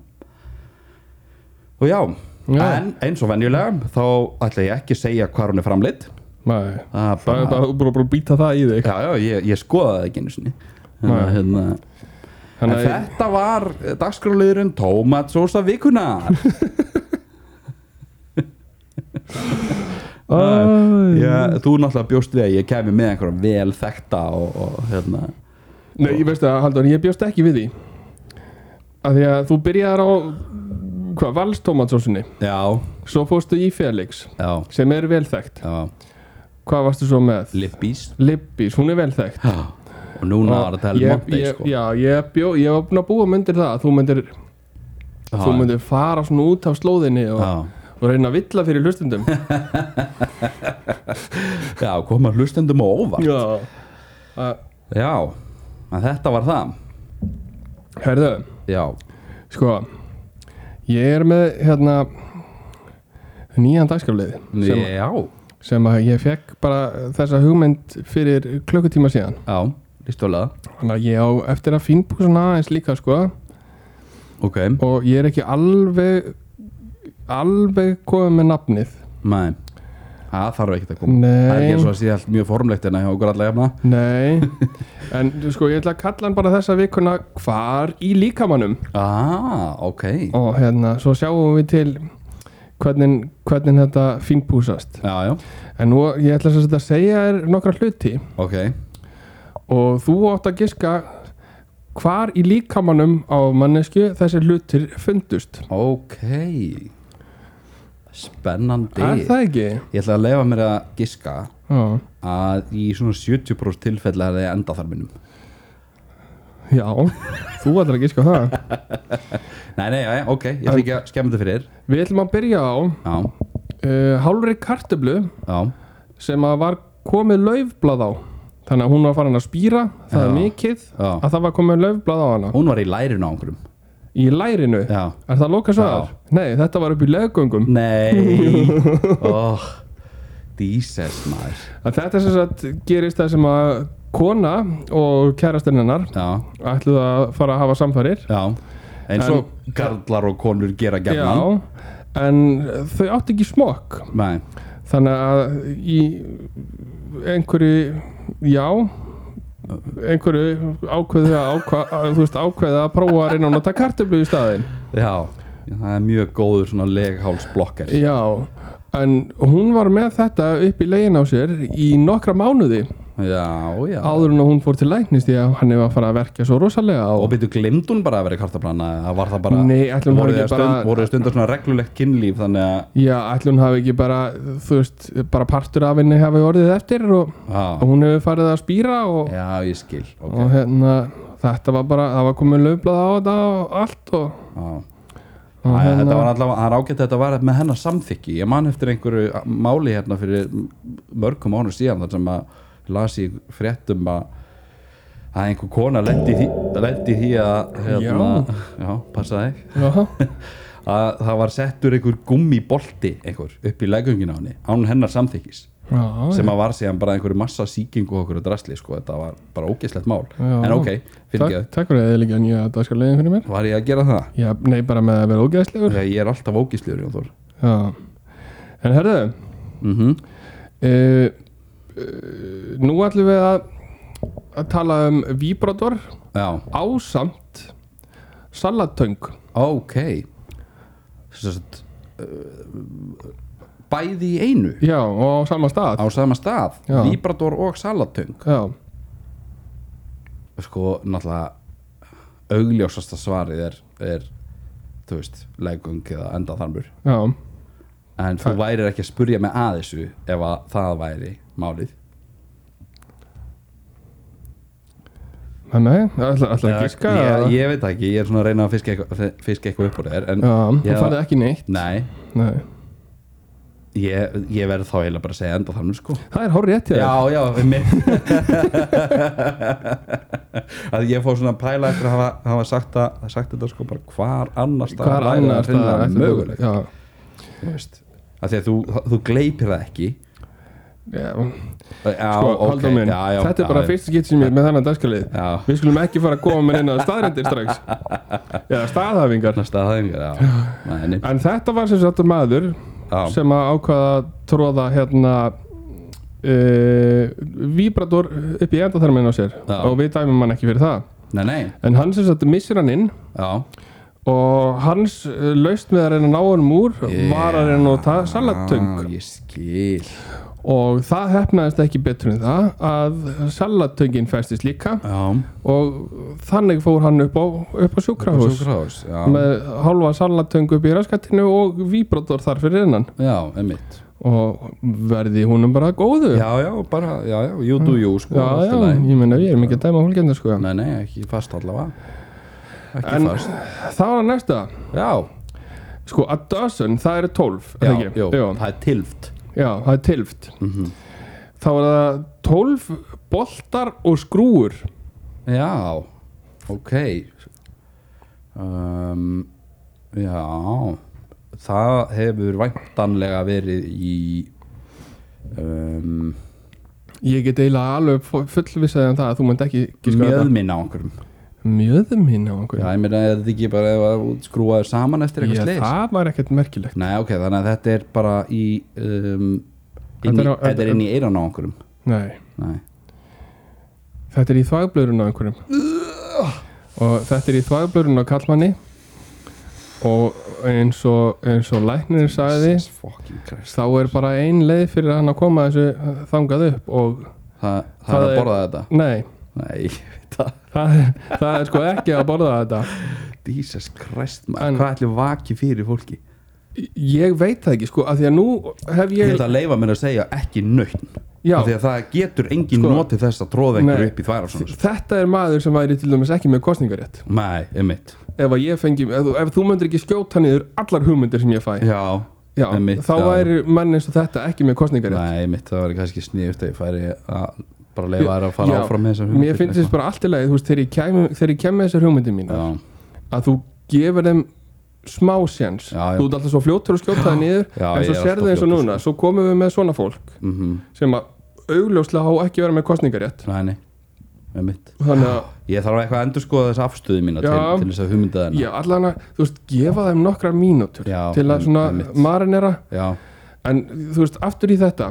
Speaker 2: Og já,
Speaker 1: Já.
Speaker 2: en eins og venjulega þá ætla ég ekki að segja hvað hún er framleitt
Speaker 1: Nei,
Speaker 2: Það er
Speaker 1: það er
Speaker 2: bara
Speaker 1: bara búin að býta það í þig
Speaker 2: Já, já, ég, ég skoðaði það ekki einu sinni hérna,
Speaker 1: Nei.
Speaker 2: hérna. En
Speaker 1: Þannig að
Speaker 2: þetta var dagskráliðurinn Tómatsósa vikunar
Speaker 1: Æ.
Speaker 2: ég, Þú náttúrulega bjóst við að ég kemi með einhverja vel þekta og, og hérna
Speaker 1: Nei, ég veist að Haldur, ég bjóst ekki við því að Því að þú byrjaðar á hvað, valstómatsósunni
Speaker 2: Já,
Speaker 1: Svo fórstu í Felix
Speaker 2: já,
Speaker 1: sem er vel þekkt
Speaker 2: já,
Speaker 1: Hvað varstu svo með?
Speaker 2: lippís
Speaker 1: Lippis, hún er vel þekkt
Speaker 2: Já, og núna var þetta
Speaker 1: Ég-
Speaker 2: heldur monti
Speaker 1: ég-
Speaker 2: sko
Speaker 1: Já, ég, bjó, ég var búin að búa myndir það að þú myndir,
Speaker 2: Já,
Speaker 1: þú myndir fara svona út af slóðinni og,
Speaker 2: já.
Speaker 1: og reyna að villa fyrir hlustundum
Speaker 2: já, koma hlustendum og óvart
Speaker 1: Já uh,
Speaker 2: Já, en þetta var það
Speaker 1: Herðu,
Speaker 2: Já,
Speaker 1: sko Ég er með hérna nýjan dagskaflið sem,
Speaker 2: já,
Speaker 1: sem að ég fekk bara þessa hugmynd fyrir klukkutíma síðan
Speaker 2: já, lístulega
Speaker 1: Þannig að ég á eftir að fínbúk svona aðeins líka sko
Speaker 2: Ok,
Speaker 1: og ég er ekki alveg alveg komið með nafnið
Speaker 2: nei Það þarf ekkert að koma Það er ekki eins og
Speaker 1: Nei,
Speaker 2: að sé allt mjög formlegt en að hjá okkur allega jafna
Speaker 1: nei En sko ég ætla að kalla hann bara þessa vikuna hvar í líkamannum
Speaker 2: Ah, ok
Speaker 1: og hérna svo sjáum við til hvernig, hvernig þetta fínbúsast
Speaker 2: Já, já,
Speaker 1: En nú ég ætla sem sagt að segja þér nokkra hluti
Speaker 2: ok
Speaker 1: og þú átt að giska hvar í líkamanum á mannesku þessi hlutir fundust.
Speaker 2: Ok
Speaker 1: Er
Speaker 2: Spennandi
Speaker 1: það ekki?
Speaker 2: Ég ætla að leifa mér að giska
Speaker 1: Já,
Speaker 2: að í svona 70% tilfelli að það er endaþarminum
Speaker 1: já þú ætlar að giska á það.
Speaker 2: Nei, nei, nei, ok, ég ætla ekki að skemmu þetta fyrir þér.
Speaker 1: Við ætlum að byrja á
Speaker 2: Já,
Speaker 1: uh, hálfri kartöflu
Speaker 2: já,
Speaker 1: sem að var komið laufblad á. Þannig að hún var farin að spýra, það er
Speaker 2: Já.
Speaker 1: mikið,
Speaker 2: já
Speaker 1: að það var komið laufblad á hana.
Speaker 2: Hún var í lærinu á einhverjum
Speaker 1: Í lærinu,
Speaker 2: Já
Speaker 1: er það lokasvar? Nei, þetta var upp í leggöngum.
Speaker 2: Nei oh. Jesus maður
Speaker 1: Að þetta sem sagt gerist það sem að kona og kærastinn hennar
Speaker 2: já,
Speaker 1: ætluðu að fara að hafa samfarir
Speaker 2: já eins og
Speaker 1: En-
Speaker 2: garlar og konur gera gerna
Speaker 1: Já, en þau áttu ekki smokk
Speaker 2: nei,
Speaker 1: þannig að í einhverju já einhverju ákveðu að, ákva, að þú veist ákveðu að prófa að reyna að nota kartöflu í staðinn
Speaker 2: já það er mjög góður svona leghálsblokkar
Speaker 1: já, en hún var með þetta upp í legin á sér í nokkra mánuði
Speaker 2: já, já
Speaker 1: áður en að hún fór til læknist því að hann hefur að fara að verkja svo rosalega
Speaker 2: og
Speaker 1: og
Speaker 2: byrju glemd hún bara að vera kartabranna eða var það bara
Speaker 1: Nei, ætli hún hafi
Speaker 2: voru þið
Speaker 1: ekki bara-
Speaker 2: stund, voru þið stundar svona reglulegt kynlíf þannig að
Speaker 1: já, ætli hún hafi ekki bara þú veist, bara partur af henni hafi orðið eftir og, og
Speaker 2: já,
Speaker 1: hún hefur farið að spýra og,
Speaker 2: já, ég skil okay.
Speaker 1: og hérna þetta var bara, það var komið löfblað á þetta og allt og
Speaker 2: já.
Speaker 1: Og
Speaker 2: Æ,
Speaker 1: hérna-
Speaker 2: þetta var allavega, það er ágætt að þetta var með hennar samþykki ég man eftir einhverju máli hérna fyrir mörgum ánum síðan þar sem að ég las í fréttum að að einhver kona lendi því, lendi því að hérna, já, passaði
Speaker 1: Já,
Speaker 2: að það var settur einhver gummibolti einhver upp í leggöngin á henni án hennar samþykkis
Speaker 1: já,
Speaker 2: sem að var síðan bara einhverju massa sýkingu og okkur að drasli sko, þetta var bara ógeðslegt mál
Speaker 1: Já.
Speaker 2: en ok, fyrir
Speaker 1: takk, takk fyrir að þið líka nýja dagskarlegin fyrir mér
Speaker 2: var ég að gera það?
Speaker 1: Já, nei, bara með að vera ógeðslegur
Speaker 2: Ég er alltaf ógeðslegur, Jón Þór
Speaker 1: Já, en herðu
Speaker 2: mm
Speaker 1: uh, Nú ætlum við að að tala um víbrator
Speaker 2: Já,
Speaker 1: ásamt salattöng
Speaker 2: Ok Sest, eh, Bæði í einu
Speaker 1: Já, og á sama stað
Speaker 2: á sama stað
Speaker 1: Já.
Speaker 2: Vibrator og salatöng
Speaker 1: Já,
Speaker 2: Sko, náttúrulega augljósasta svarið er, er þú veist, legung eða endaþarmur
Speaker 1: já,
Speaker 2: en þú værir ekki að spurja mig að þessu ef að það væri málið
Speaker 1: nei, Ah, nei, ætla, ætla að gíska
Speaker 2: ég,
Speaker 1: eða?
Speaker 2: ég veit það ekki, ég er svona að reyna að fiska eitthvað, fiska eitthvað upp úr þér en
Speaker 1: Já, þú
Speaker 2: ég,
Speaker 1: fann ekki neitt
Speaker 2: Nei,
Speaker 1: Nei.
Speaker 2: ég, ég verð þá eiginlega bara að segja endaþarmur sko
Speaker 1: Það er hár rétt hjá þér.
Speaker 2: Já, já, við minn Að ég fór svona að pæla eftir að hafa, hafa sagt, að, sagt þetta sko bara hvar annars staðar
Speaker 1: Hvar
Speaker 2: væri
Speaker 1: annars
Speaker 2: það
Speaker 1: staðar
Speaker 2: hreinlega
Speaker 1: ætti
Speaker 2: mögulegt
Speaker 1: Já,
Speaker 2: Þú veist Af því að þú, þú gleipir það ekki
Speaker 1: já
Speaker 2: Já,
Speaker 1: sko,
Speaker 2: ok,
Speaker 1: okay, minn,
Speaker 2: já, já,
Speaker 1: þetta er
Speaker 2: já,
Speaker 1: bara
Speaker 2: já.
Speaker 1: fyrst skitt sem ég er með þannig dagskalið
Speaker 2: Já.
Speaker 1: við skulum ekki fara að koma með inn á staðrindir strax eða staðhafingar
Speaker 2: Næsta aðeins, já, Nei, nei.
Speaker 1: en þetta var sem sagt maður
Speaker 2: já,
Speaker 1: sem að ákvaða að tróða hérna uh, vibrator upp í endaþarminn á sér
Speaker 2: Já.
Speaker 1: og við dæmum hann ekki fyrir það
Speaker 2: nei, nei,
Speaker 1: en hann sem sagt missir hann inn
Speaker 2: já
Speaker 1: og hans uh, laust með að reyna að ná hann úr var að reyna að nota salattöng
Speaker 2: Já, Ég skil
Speaker 1: og það hefnaðist ekki betur en það að salattöngin festist líka
Speaker 2: Já,
Speaker 1: og þannig fór hann upp á, upp á sjúkrahús
Speaker 2: sjúkrahús Já,
Speaker 1: með hálfa salatöng upp í raskattinu og víbrator þar fyrir innan
Speaker 2: já, emmitt
Speaker 1: og verði húnum bara góðu
Speaker 2: Já, já, bara, já, já, you do you sko
Speaker 1: já,
Speaker 2: allt í
Speaker 1: já,
Speaker 2: lagi.
Speaker 1: ég meina við erum ekki að dæma fólkendur sko
Speaker 2: Nei, nei, ekki fast allavega Ekki
Speaker 1: En-
Speaker 2: fast
Speaker 1: það var að næsta,
Speaker 2: Já,
Speaker 1: sko a dozen það eru 12, er
Speaker 2: já,
Speaker 1: það ekki? Mhm.
Speaker 2: jú,
Speaker 1: já,
Speaker 2: það er tilft
Speaker 1: já, það er tilft þá var það 12 boltar og skrúur
Speaker 2: Já, ok um, Já Það hefur væntanlega verið í um,
Speaker 1: ég get eiginlega alveg fullvisaði um það að þú mynd ekki giska á þetta.
Speaker 2: mjöðminn á einhverjum
Speaker 1: mjöðum hinn á einhverju
Speaker 2: Já, ég meina að þetta ekki bara ef að skrúaður saman eftir
Speaker 1: Ég-
Speaker 2: eitthvað slis
Speaker 1: það var ekkert merkilegt
Speaker 2: Nei, ok, þannig að þetta er bara í um, inn
Speaker 1: Þetta
Speaker 2: í,
Speaker 1: er á-
Speaker 2: Þetta er inn í eiran á einhverjum
Speaker 1: nei
Speaker 2: Nei,
Speaker 1: Þetta er í þvægblörun á einhverjum og þetta er í þvægblörun á kallmanni og eins og, eins og læknir sagði
Speaker 2: Jesus fucking Christ
Speaker 1: þá er bara ein leið fyrir hann að koma þessu þangað upp og
Speaker 2: Það, það,
Speaker 1: Það
Speaker 2: er að
Speaker 1: er-
Speaker 2: borða þetta
Speaker 1: nei,
Speaker 2: Nei, ég veit það
Speaker 1: það, það er sko ekki að borða þetta
Speaker 2: Jesus Christ
Speaker 1: En-
Speaker 2: maður, hvað ætlum vaki fyrir fólki
Speaker 1: Ég veit það ekki sko, af því að nú hef
Speaker 2: Ég
Speaker 1: ég
Speaker 2: ætla að leifa mér að segja ekki nautn
Speaker 1: Já.
Speaker 2: Af Því að það getur engin
Speaker 1: Sko.
Speaker 2: notið þess að tróða einhverju
Speaker 1: Nei.
Speaker 2: upp í þværa svona
Speaker 1: Þetta er maður sem væri til dæmis ekki með kostningarétt
Speaker 2: Nei, emitt
Speaker 1: ef, að ég fengi, ef, þú- ef þú myndir ekki skjóta niður allar hugmyndir sem ég fæ
Speaker 2: Já,
Speaker 1: Já,
Speaker 2: einmitt,
Speaker 1: þá væri menn eins og þetta ekki með kostningarétt
Speaker 2: Nei, emitt, það var kannski sniðust að ég færi að bara leifa þær að fara
Speaker 1: Já,
Speaker 2: áfram með þessar
Speaker 1: Mér finnst þess bara allt í lagi, þú veist, þegar ég kem, þegar ég kem með þessar hugmyndir mína
Speaker 2: Já,
Speaker 1: að þú gefur þeim smá séns
Speaker 2: Já, já.
Speaker 1: þú ert alltaf svo fljótur að skjóta það niður
Speaker 2: Já,
Speaker 1: en
Speaker 2: ég
Speaker 1: svo
Speaker 2: er
Speaker 1: sérðu
Speaker 2: alltaf
Speaker 1: eins og
Speaker 2: fljótur, sko.
Speaker 1: núna, svo komum við með svona fólk
Speaker 2: Mhm.
Speaker 1: sem að augljóslega á ekki að vera með kostningarétt
Speaker 2: Nei, nei, með mitt
Speaker 1: þannig að,
Speaker 2: Ég þarf eitthvað að endur skoða þess afstöðu mína til,
Speaker 1: Já.
Speaker 2: til þess að hugmynda þennan
Speaker 1: já, allan að þú veist, gefa þeim nokkra mínútur
Speaker 2: Já,
Speaker 1: til að svona
Speaker 2: einmitt.
Speaker 1: marinera
Speaker 2: Já,
Speaker 1: en þú veist, aftur í þetta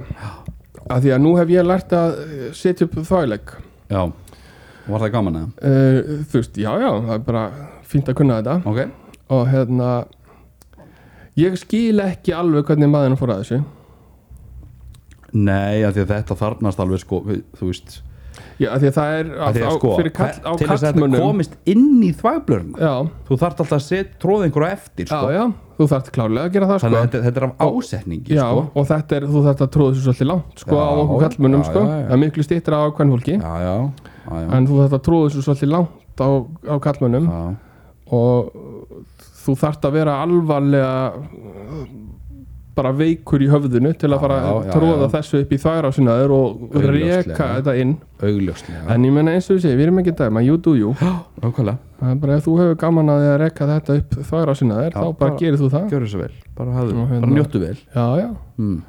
Speaker 1: að því að nú hef ég lært að eh, setja upp þvæleg
Speaker 2: já Var það gaman eða?
Speaker 1: uh, þú veist, já, já, það er bara fínt að kunna þetta
Speaker 2: Ok,
Speaker 1: og hérna ég skil ekki alveg hvernig maðurinn fór að þessu
Speaker 2: nei, af því að þetta þarnast alveg sko, við- þú veist
Speaker 1: já, af því að það er
Speaker 2: af því
Speaker 1: á,
Speaker 2: að sko,
Speaker 1: fyrir kall, á
Speaker 2: hver- til þess að þetta
Speaker 1: kallmönnum
Speaker 2: komist inn í þvæblurna
Speaker 1: já,
Speaker 2: þú þarft alltaf að setja tróð einhverja eftir
Speaker 1: já,
Speaker 2: sko.
Speaker 1: já, þú þarft klárlega að gera það sko.
Speaker 2: þannig að þetta, þetta er af ásetningi
Speaker 1: já,
Speaker 2: sko.
Speaker 1: og þetta er, þú þarft að tróða þessu svolítið langt sko,
Speaker 2: Já,
Speaker 1: á okkur kallmönnum,
Speaker 2: já,
Speaker 1: sko,
Speaker 2: já, já.
Speaker 1: það er miklu stýttir á hvern fólki,
Speaker 2: já, já, já, já,
Speaker 1: en þú þarft að tróða þessu svolítið langt á, á kallmönnum
Speaker 2: já.
Speaker 1: og þú þarft að vera alvarlega uh, bara veikur í höfðinu til að fara
Speaker 2: Já,
Speaker 1: að
Speaker 2: já,
Speaker 1: tróða
Speaker 2: já.
Speaker 1: þessu upp í þær á sinnaður og
Speaker 2: Augljóslega.
Speaker 1: reka þetta inn
Speaker 2: augljóslega
Speaker 1: En ég menna eins og við segjum, við erum ekki að dæma, you do you
Speaker 2: ákvæmlega,
Speaker 1: Það er bara ef þú hefur gaman að því að rekka þetta upp þværa sinna þér,
Speaker 2: Já,
Speaker 1: þá bara
Speaker 2: bara-
Speaker 1: gerir þú það
Speaker 2: gjör þessu vel bara, hafðu,
Speaker 1: Og hérna-
Speaker 2: bara njóttu vel
Speaker 1: Já, já,
Speaker 2: mm.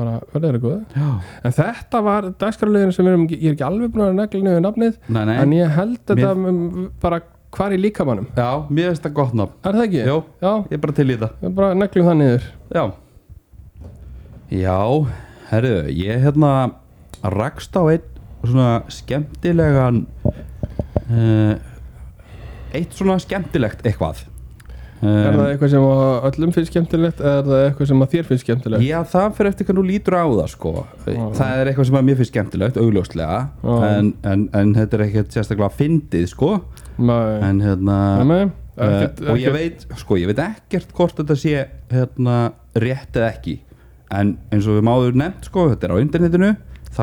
Speaker 1: bara verður það góð
Speaker 2: já,
Speaker 1: En þetta var dagskralegin sem við erum, ég er ekki alveg búin að negla niður nafnið
Speaker 2: nei, nei
Speaker 1: En ég held
Speaker 2: Mér-
Speaker 1: þetta um, bara hvar í líkamannum
Speaker 2: já, mér finnst það gott nafn
Speaker 1: Er það ekki?
Speaker 2: Jó.
Speaker 1: Já,
Speaker 2: ég er bara til í þetta
Speaker 1: við bara neglum það niður
Speaker 2: já já, herru, ég hérna rakst á einn svona skemmtilegan uh, eitt svona skemmtilegt eitthvað
Speaker 1: Er
Speaker 2: um,
Speaker 1: það eitthvað sem að öllum finnst skemmtilegt eða er það eitthvað sem að þér finnst skemmtilegt?
Speaker 2: Já, það fyrir eftir hvernig þú lítur á það sko. Það er eitthvað sem að mér finnst skemmtilegt augljóslega,
Speaker 1: Já.
Speaker 2: en, en, en þetta er ekkert sérstaklega fyndið sko.
Speaker 1: Nei,
Speaker 2: en, hérna,
Speaker 1: nei,
Speaker 2: uh,
Speaker 1: ekkert-
Speaker 2: og ég
Speaker 1: ekkert-
Speaker 2: veit, sko, ég veit ekkert hvort þetta sé hérna, rétt eða ekki en eins og við máður nefnt sko, þetta er á internetinu þá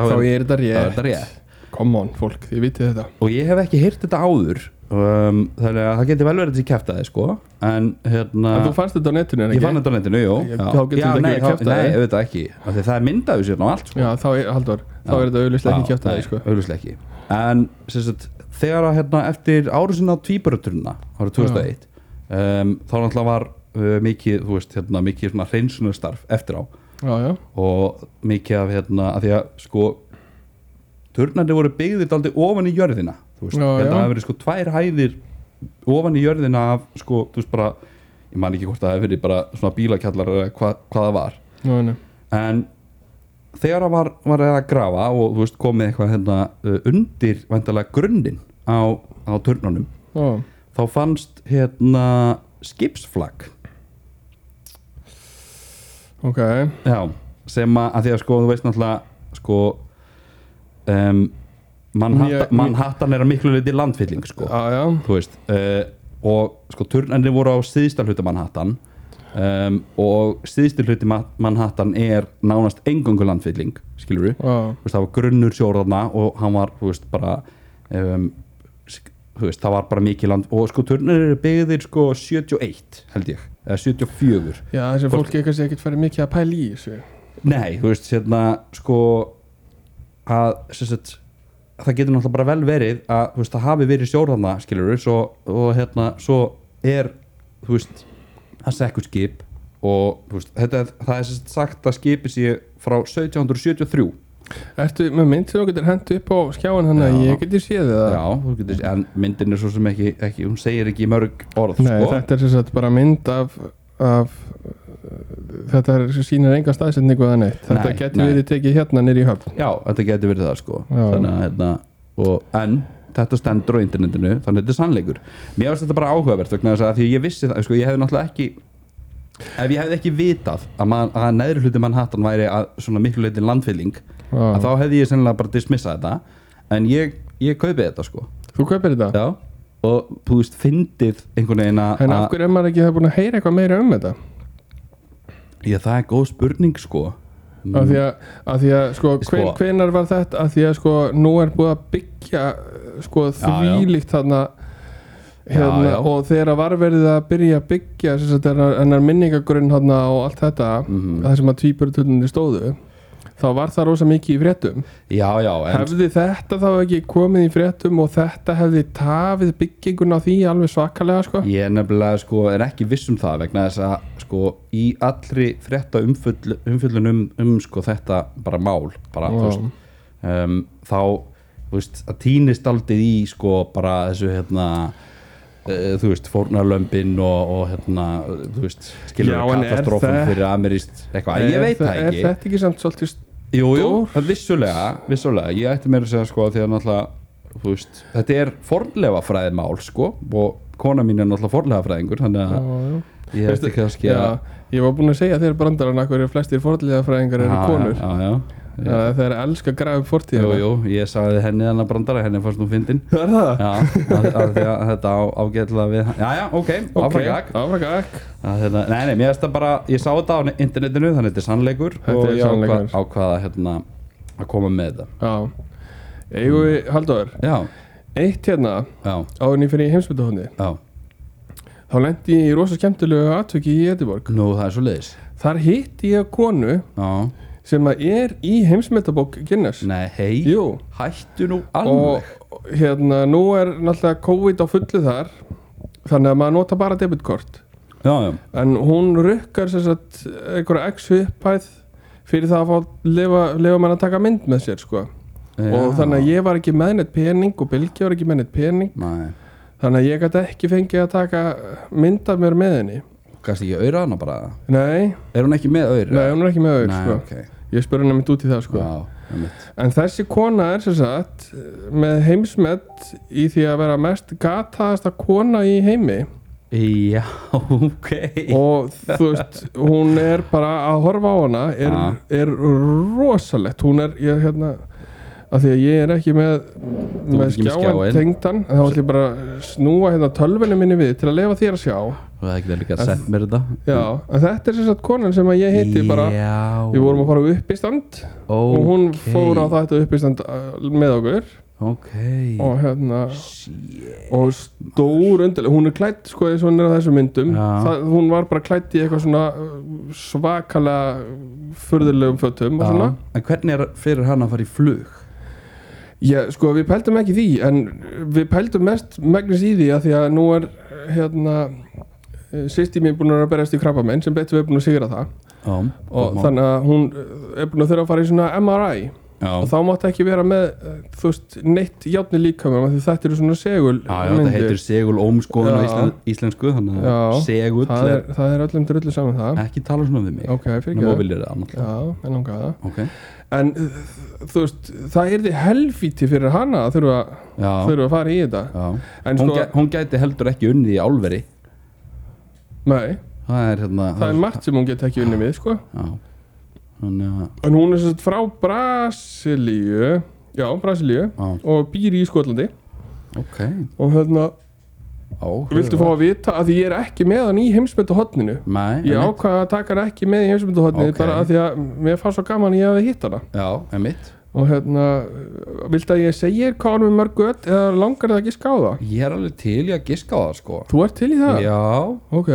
Speaker 1: Þá
Speaker 2: er,
Speaker 1: er þetta
Speaker 2: þá er
Speaker 1: rétt
Speaker 2: þetta rétt
Speaker 1: Come on, fólk, þið vitið þetta
Speaker 2: og ég hef ekki heyrt þetta áður um, þannig að það geti vel verið þessi kæftaði sko. en hérna
Speaker 1: En þú fannst þetta á netinu, en
Speaker 2: Ég
Speaker 1: ekki?
Speaker 2: fann þetta á netinu, jú
Speaker 1: Ég- þá getur þetta ekki
Speaker 2: nei,
Speaker 1: verið
Speaker 2: þá-
Speaker 1: kjaftæði.
Speaker 2: Nei, auðvitað ekki Af því Það er myndaðu sér á allt sko.
Speaker 1: Já, þá er, Halldór, þá
Speaker 2: Já.
Speaker 1: er þetta auðvitað ekki kjátt að
Speaker 2: Já,
Speaker 1: þið, sko.
Speaker 2: nei, augljóslega ekki En sem sagt, þegar að hérna eftir árusin á tvíbaraturna árið 2001 um, þá náttúrulega var uh, mikið, þú veist, hérna mikið svona hreinsunarstarf eftir á
Speaker 1: Já, já,
Speaker 2: og mikið af hérna, að því að sko turnandi voru byggðir daldi ofan í jörðina þú veist,
Speaker 1: Já,
Speaker 2: hérna
Speaker 1: já.
Speaker 2: það verið sko tvær hæðir ofan í jörðina af sko, þú veist bara, ég man ekki hvort það hefur verið bara svona bílakjallar eða hva, hvað það var
Speaker 1: já, já.
Speaker 2: en þegar hann var, var að grafa og þú veist, komið eitthvað hérna, uh, undir vandalega grunninn á, á turnunum
Speaker 1: Já,
Speaker 2: þá fannst hérna skipsflag
Speaker 1: ok,
Speaker 2: Já, sem að, að því að sko þú veist náttúrulega sko um,
Speaker 1: Mjög-
Speaker 2: mannhatta, mannhattan er að miklu leiti landfylling sko,
Speaker 1: já, já,
Speaker 2: þú veist uh, og sko turnandi voru á síðsta hluta mannhattan um, og síðsti hluti ma- mannhattan er nánast engungu landfylling skilur við,
Speaker 1: já,
Speaker 2: veist, það var grunnur sjóraðna og hann var, þú veist, bara um, sk- þú veist, það var bara mikið land og sko turnir eru byggðir sko 71 held ég, eða 74
Speaker 1: já, þessi fólk er kannski ekkert farið mikið að pæla í þessu.
Speaker 2: Nei, þú veist, hérna, sko að, sem sagt það getur náttúrulega bara vel verið að, þú veist, það hafi verið sjóraðna, skilur við, svo og hérna, svo er þú veist, það sekkur skip og, þú veist, þetta, er- það er sem sagt sagt að skipi sé frá 1773
Speaker 1: Ertu með mynd sem þú getur hendu upp á skjáin hann að
Speaker 2: Já.
Speaker 1: ég geti séð það?
Speaker 2: Já, þú getur, en myndin er svo sem ekki, ekki hún segir ekki mörg orð
Speaker 1: Nei,
Speaker 2: sko.
Speaker 1: þetta er sem sagt bara mynd af, af uh, þetta er, sýnir enga staðsetningu eða neitt. Þetta
Speaker 2: Nei,
Speaker 1: getur
Speaker 2: nei.
Speaker 1: við tekið hérna nýri í höfn.
Speaker 2: Já, þetta getur verið það sko.
Speaker 1: Já.
Speaker 2: þannig að hérna og, en þetta stendur á internetinu þannig að þetta er sannleikur mér finnst þetta bara áhugavert vegna þess að því að ég vissi það sko, ég hefði náttúrulega ekki ef ég hefði ekki vitað að, man, að neðri hluti mann hattan væri að svona miklu leitin landfylling að
Speaker 1: Já.
Speaker 2: þá hefði ég sennilega bara dismissað þetta en ég, ég kaupið þetta sko
Speaker 1: Þú kaupir þetta?
Speaker 2: Já. og þú veist, fyndið einhvern veginn að
Speaker 1: En af hverju er maður ekki það búin að heyra eitthvað meira um þetta?
Speaker 2: ég, það er góð spurning sko
Speaker 1: af því að, af því að sko,
Speaker 2: Sko-
Speaker 1: sko hvenar var þetta af því að sko nú er búið að byggja sko
Speaker 2: Já, já.
Speaker 1: þvílíkt þarna hérna,
Speaker 2: já.
Speaker 1: og þegar var verið að byrja að byggja þess að hennar minningagrunn þarna og allt þetta
Speaker 2: Mhm.
Speaker 1: það sem að tvíburuturnir stóðu þá var það rosa mikið í fréttum
Speaker 2: já, já, en
Speaker 1: hefði þetta þá ekki komið í fréttum og þetta hefði tafið byggingun á því alveg svakalega sko
Speaker 2: Ég er nefnilega sko, er ekki viss um það vegna þess að sko í allri frétta umfyll, umfyllun um, um sko þetta bara mál bara, þú veist, um, þá þú veist, að týnist aldrei í sko bara þessu hérna uh, þú veist, fórnarlömbin og, og hérna, uh, þú veist skilur
Speaker 1: Já, en er
Speaker 2: katastrófum
Speaker 1: það-
Speaker 2: fyrir amirist eitthvað, ég veit það
Speaker 1: er
Speaker 2: ekki
Speaker 1: þetta ekki samt svolítið st-
Speaker 2: Jú, jú,
Speaker 1: Dór?
Speaker 2: það vissulega, vissulega ég ætti meira að segja sko því að náttúrulega þú veist, þetta er fornlefa fræðmál sko og kona mín er náttúrulega fornlefa fræðingur þannig
Speaker 1: Já,
Speaker 2: að
Speaker 1: já.
Speaker 2: ég
Speaker 1: Ah. Veistu-
Speaker 2: ætti kannski
Speaker 1: Já,
Speaker 2: að
Speaker 1: ég var búin að segja þér brandarann að hverju flestir forðliðafræðingar eru
Speaker 2: Já,
Speaker 1: konur
Speaker 2: já, já, já.
Speaker 1: Það er að elska að grafa upp
Speaker 2: Jú,
Speaker 1: fortíðina
Speaker 2: jú, ég sagði henni þannig brandara henni fannst nú fyndin
Speaker 1: Það er það?
Speaker 2: Já, af af því að þetta á, ágætla við Já, já, ok, okay.
Speaker 1: Ok,
Speaker 2: áfragak
Speaker 1: Afrakak
Speaker 2: hérna, Nei, nei, mér veist það bara, ég sá þetta á internetinu þannig þetta er sannleikur
Speaker 1: Þetta
Speaker 2: og
Speaker 1: er
Speaker 2: ég ákvað,
Speaker 1: sannleikur.
Speaker 2: ákvaða hérna að koma með þetta
Speaker 1: Já Eigum við, Halldóður
Speaker 2: Já,
Speaker 1: Eitt hérna,
Speaker 2: já,
Speaker 1: áður en ég fyrir í heimsbytahóndi
Speaker 2: já,
Speaker 1: Þá lendi ég í rosa skemmtilegu atvöki í Ediborg
Speaker 2: nú það er svo leiðis
Speaker 1: Þar hitti ég konu
Speaker 2: Já,
Speaker 1: sem að er í heimsmetabók Guinness
Speaker 2: nei, hei
Speaker 1: Jú
Speaker 2: Hættu nú
Speaker 1: og
Speaker 2: alveg
Speaker 1: hérna, nú er náttúrulega COVID á fullu þar Þannig að maður nota bara debitkort
Speaker 2: Já, já,
Speaker 1: en hún rukkar sem sagt einhverja x upphæð fyrir það að fá lifa, lifa menn að taka mynd með sér sko. og þannig að ég var ekki með neitt pening og Bilgi var ekki með neitt pening
Speaker 2: Nei,
Speaker 1: þannig að ég gæti ekki fengið að taka mynd af mér með henni
Speaker 2: kannski ekki auðra hana bara
Speaker 1: nei,
Speaker 2: Er hún ekki með auðra?
Speaker 1: nei hún er ekki með auður
Speaker 2: Nei,
Speaker 1: sko.
Speaker 2: ok
Speaker 1: ég spurði henni mitt út í það sko.
Speaker 2: Já, einmitt.
Speaker 1: en þessi kona er sem sagt með heimsmet í því að vera mest gataðasta kona í heimi
Speaker 2: Já, ok
Speaker 1: og þú veist, hún er bara að horfa á hana er,
Speaker 2: Ah.
Speaker 1: er rosalegt hún er, ég hérna að því að ég er ekki með, með
Speaker 2: ekki með
Speaker 1: skjáan
Speaker 2: skjáinn.
Speaker 1: tengdan þá ætlum ég bara að snúa hérna tölvunni minni við til að leifa þér að sjá
Speaker 2: Og það er ekki líka
Speaker 1: En-
Speaker 2: að senda mér þetta
Speaker 1: já, en þetta er sem sagt konan sem að ég hitti bara
Speaker 2: Mm. Já
Speaker 1: við vorum að fara á uppistand og hún fór á þetta uppistand uh, með okkur
Speaker 2: Ok
Speaker 1: og hérna
Speaker 2: Shit.
Speaker 1: og stór undirlega, hún er klætt sko eins og hún er á þessum myndum
Speaker 2: Já.
Speaker 1: það, hún var bara klætt í eitthvað svona uh, svakalega furðulegum fötum og svona
Speaker 2: Já. En hvernig er fyrir hann að fara í flug?
Speaker 1: Já, sko við pældum ekki í því en við pældum mest megnis í því að því að nú er hérna sýsti mín búin að vera að berjast í krabba minn sem betur við er búin að sigra það
Speaker 2: Já
Speaker 1: og þannig að hún uh, er búin að þurfa að fara í svona MRI
Speaker 2: Já
Speaker 1: og þá máttu ekki vera með uh, þú veist, neitt játni líkamum af því þetta eru svona segul
Speaker 2: Já, já, þetta heitir segul ómskoðun á
Speaker 1: Já.
Speaker 2: íslen, íslensku Þannig að
Speaker 1: Já.
Speaker 2: segul
Speaker 1: það
Speaker 2: er
Speaker 1: er, það er öllum drullu saman það
Speaker 2: Ekki tala svona við mig
Speaker 1: Ok, fyrir
Speaker 2: Nú
Speaker 1: ekki
Speaker 2: viljir það annars
Speaker 1: Já, en langaði það
Speaker 2: Ok
Speaker 1: En uh, þú veist, það er því helfíti fyrir hana að þurfa,
Speaker 2: Já,
Speaker 1: þurfa að fara í þetta
Speaker 2: já
Speaker 1: En
Speaker 2: hún,
Speaker 1: sko,
Speaker 2: gæ, hún gæti heldur ekki unnið í álveri
Speaker 1: nei,
Speaker 2: Það er hérna
Speaker 1: það er margt sem hún get ekki unni við sko.
Speaker 2: Já Þannig að
Speaker 1: En hún er sérst frá Brasilíu Já, Brasilíu
Speaker 2: Já,
Speaker 1: Og býr í Skotlandi
Speaker 2: ok
Speaker 1: Og hérna,
Speaker 2: Áhuga.
Speaker 1: viltu fá að vita að ég er ekki með hann í heimsmyndu hotninu
Speaker 2: Nei,
Speaker 1: Ég
Speaker 2: einmitt.
Speaker 1: ákvaða að taka hann ekki með í heimsmyndu hotninu
Speaker 2: Ok.
Speaker 1: Bara að því að mér fannst svo gaman að ég hefði hitt hana
Speaker 2: Já, emitt
Speaker 1: Og hérna, viltu að ég segja þér hvað hann með mörg gött Eða langar það ekki skáða?
Speaker 2: Ég er alveg til í að giska á það sko
Speaker 1: Þú ert til í það?
Speaker 2: Já,
Speaker 1: Ok,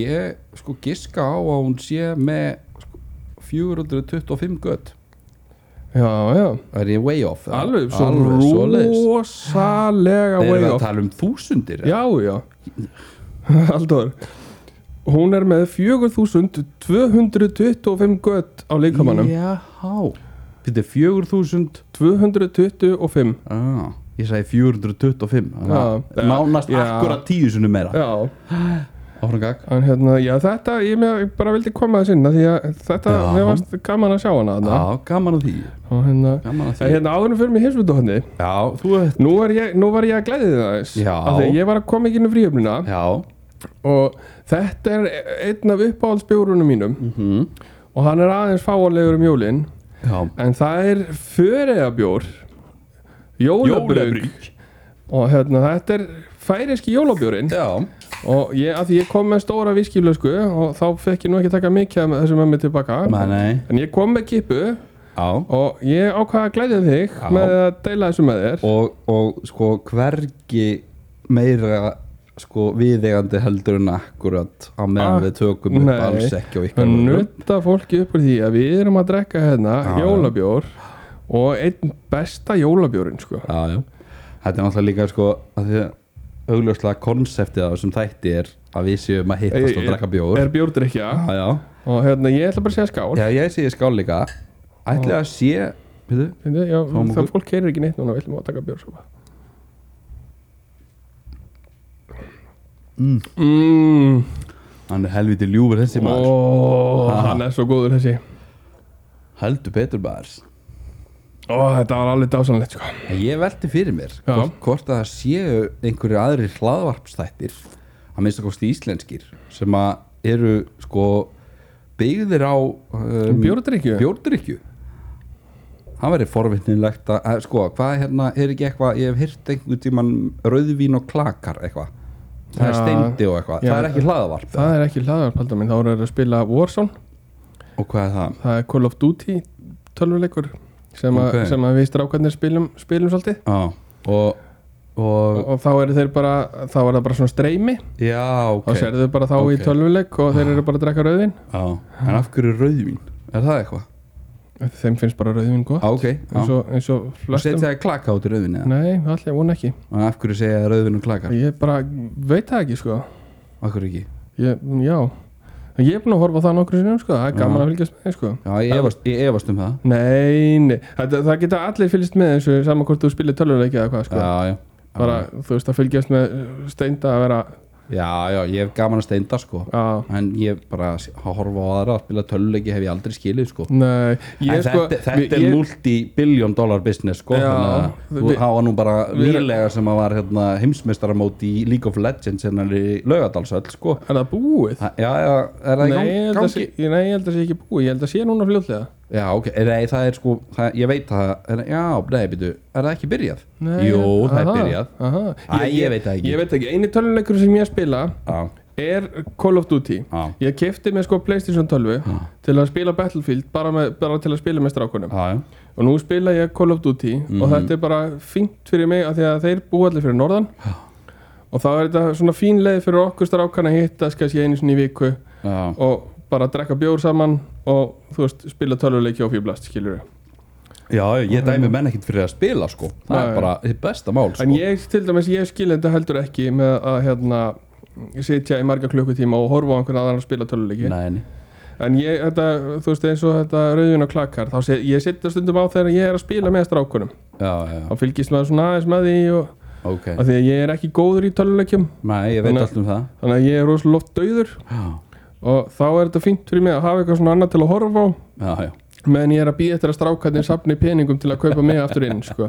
Speaker 2: ég sko giska á að hún sé með sko, 425 gött
Speaker 1: já, já
Speaker 2: Það er ég way off eða?
Speaker 1: Alveg, svo
Speaker 2: Alveg svoleiðis.
Speaker 1: rosalega
Speaker 2: Erum
Speaker 1: way
Speaker 2: við að
Speaker 1: off
Speaker 2: tala um þúsundir eða?
Speaker 1: Já, já Halldór Hún er með 4225 gött á líkamannum
Speaker 2: Já, Þetta er 4000
Speaker 1: 225
Speaker 2: ah, Ég sagði 425
Speaker 1: Já.
Speaker 2: þannig að Nánast
Speaker 1: Já.
Speaker 2: akkúrat tíu sunnum meira
Speaker 1: Já,
Speaker 2: Áfram gag
Speaker 1: en hérna, já þetta ég með, ég bara vildi koma þess inn af Því að þetta,
Speaker 2: Já.
Speaker 1: mér varst gaman að sjá hana þarna.
Speaker 2: Já, gaman að því
Speaker 1: Og hérna
Speaker 2: Gaman að
Speaker 1: En
Speaker 2: því
Speaker 1: hérna áðurum fyrir mig hinsvöldu honni
Speaker 2: Já, þú veit
Speaker 1: nú, er ég- nú var ég að glæði það aðeins
Speaker 2: Já.
Speaker 1: Af því að ég var að koma ekki inn í fríöfnina
Speaker 2: Já
Speaker 1: og þetta er einn af uppáhaldsbjórunum mínum
Speaker 2: mhm.
Speaker 1: og hann er aðeins fáanlegur um jólin
Speaker 2: Já
Speaker 1: en það er föreðabjór jólabrug
Speaker 2: Jólabrygg.
Speaker 1: og hérna, þetta er færiski jólabjórin
Speaker 2: Já
Speaker 1: og ég, að því ég kom með stóra viskilösku og þá fekk ég nú ekki taka mikið af þessu með mig tilbaka
Speaker 2: Nei, nei
Speaker 1: en ég kom með kipu
Speaker 2: Já
Speaker 1: og ég ákvaða að glæðja þig
Speaker 2: Já.
Speaker 1: með að deila þessu með þér
Speaker 2: og, og sko hvergi meira sko viðegandi heldur en akkurat á meðan
Speaker 1: Ah,
Speaker 2: við tökum upp
Speaker 1: nei.
Speaker 2: alls ekki á ykkar
Speaker 1: að
Speaker 2: vörum.
Speaker 1: nutta fólki upp úr því að við erum að drekka hérna
Speaker 2: Já, já.
Speaker 1: jólabjór og einn besta jólabjórin sko.
Speaker 2: Já, já. Þetta er náttúrulega líka sko að því að augljóslega konseptið af þessum þætti er að við séum að hittast og drekka bjór.
Speaker 1: er bjórdrykja
Speaker 2: Já, já.
Speaker 1: og hérna ég ætla bara að segja skál
Speaker 2: Já, ég sé ég skál líka. Ætli að sé, veitu,
Speaker 1: Fyndi, já,
Speaker 2: Fáum
Speaker 1: það
Speaker 2: okkur.
Speaker 1: fólk keirir ekki neitt núna við ætlum að taka bjór sko.
Speaker 2: Mm.
Speaker 1: Mm.
Speaker 2: hann er helviti ljúfur þessi maður.
Speaker 1: Ó,
Speaker 2: Ha.
Speaker 1: hann er svo góður þessi
Speaker 2: Heldur betur maður.
Speaker 1: Ó, þetta var alveg dásanlegt sko.
Speaker 2: En Ég velti fyrir mér
Speaker 1: Já.
Speaker 2: hvort, hvort að það séu einhverju aðrir hlaðvarpstættir að minnst að kosti íslenskir sem að eru sko byggðir á um,
Speaker 1: Bjórdrykju?
Speaker 2: bjórdrykkju. Það væri forvitnilegt að, að sko, hvað hérna, er ekki eitthvað ég hef hýrt einhvern tíman rauðvín og klakar eitthvað það er
Speaker 1: Já.
Speaker 2: steindi og eitthvað,
Speaker 1: Já.
Speaker 2: það er ekki hlaðvarp
Speaker 1: það er ekki hlaðvarp heldur minn þá eru þeir að spila Warzone
Speaker 2: og hvað er það?
Speaker 1: það er Call of Duty tölvuleikur sem, okay.
Speaker 2: Ok.
Speaker 1: sem að við strákarnir spilum, spilum svolítið
Speaker 2: Á, og,
Speaker 1: og,
Speaker 2: og,
Speaker 1: og þá eru þeir bara þá er það bara svona streymi
Speaker 2: já, ok
Speaker 1: þá serðu þau bara þá
Speaker 2: Ok.
Speaker 1: í tölvuleik og þeir eru bara að drekka rauðin
Speaker 2: á, en af hverju rauðvín? Er það eitthvað?
Speaker 1: þeim finnst bara rauðin gott
Speaker 2: Á, ok, á.
Speaker 1: eins, og, eins og
Speaker 2: Og setja
Speaker 1: flestum
Speaker 2: það klaka út í rauðvinni eða?
Speaker 1: nei, allir hún ekki
Speaker 2: Og af hverju segja það rauðvinni klaka?
Speaker 1: ég bara veit það ekki sko
Speaker 2: Af hverju ekki?
Speaker 1: ég, já, En ég er búin að horfa á það nokkru sinnum sko það er gaman
Speaker 2: Já.
Speaker 1: að fylgjast með sko
Speaker 2: Já, ég efast, ég efast um það
Speaker 1: nei, nei, það, það geta allir fylgst með eins og saman hvort þú spilir tölvuleik eða hvað sko
Speaker 2: Já, já
Speaker 1: bara, þú veist, að fylgjast með steinda að vera
Speaker 2: Já, já, ég hef gaman að steinda sko
Speaker 1: að,
Speaker 2: En ég bara s- að horfa á aðra að spila töluleiki hef ég aldrei skilið sko
Speaker 1: nei, ég
Speaker 2: En
Speaker 1: sko
Speaker 2: þetta, þetta er
Speaker 1: ég,
Speaker 2: multi-billion dollar business sko
Speaker 1: Já,
Speaker 2: Þannig
Speaker 1: við-
Speaker 2: að hafa nú bara
Speaker 1: við-
Speaker 2: nýlega sem að var hérna, heimsmeistaramóti í League of Legends hérna í laugadalsöll sko
Speaker 1: er það búið?
Speaker 2: Það- Já, já, er það
Speaker 1: Nei, ég
Speaker 2: í gang-
Speaker 1: held að
Speaker 2: gangi?
Speaker 1: sé, ég- nei, ég held að sé ekki búið, ég held að sé núna fljótlega
Speaker 2: Já, ok, nei, það er sko, það, ég veit það, er, já, nei, byrju, er það ekki byrjað?
Speaker 1: Nei,
Speaker 2: Jú, það er
Speaker 1: aha,
Speaker 2: byrjað.
Speaker 1: aha.
Speaker 2: Æ, ég veit það ekki.
Speaker 1: Ég veit ekki, eini töluleikur sem ég spila
Speaker 2: Já,
Speaker 1: er Call of Duty
Speaker 2: já,
Speaker 1: Ég kefti með sko Playstation 12 til að spila Battlefield bara, með, bara til að spila með strákunum
Speaker 2: já, já,
Speaker 1: og nú spila ég Call of Duty
Speaker 2: Mhm.
Speaker 1: og þetta er bara fínt fyrir mig að því að þeir búa allir fyrir norðan og þá er þetta svona fín leið fyrir okkur strákan að hittast kannski einu sinni í viku
Speaker 2: já,
Speaker 1: og bara drekka bjór saman og þú veist, spila tölvuleiki og fýblast, skilur við
Speaker 2: já, ég dæmi menn ekkit fyrir að spila, sko, það
Speaker 1: Nei.
Speaker 2: er bara þitt besta mál, sko.
Speaker 1: en ég til dæmis, ég skil þetta heldur ekki með að hérna sitja í marga klukkutíma og horfa á einhvern aðan að spila tölvuleiki
Speaker 2: Nei, nei,
Speaker 1: en ég, þetta, þú veist, eins og þetta rauðin og klakkar, þá sé, ég sitja stundum á þegar ég er að spila með strákunum
Speaker 2: já, já,
Speaker 1: þá fylgist maður svona aðeins með því og,
Speaker 2: ok,
Speaker 1: að því að ég er ekki góður í tölvuleikjum
Speaker 2: nei, ég veit
Speaker 1: Þannig-
Speaker 2: allt um það,
Speaker 1: þannig að ég er rosalega oft dauður
Speaker 2: já,
Speaker 1: og þá er þetta fínt fyrir mig að hafa eitthvað svona annað til að horfa á
Speaker 2: já, já,
Speaker 1: meðan ég er að býja eftir að strákarnir safni peningum til að kaupa mig aftur inn sko.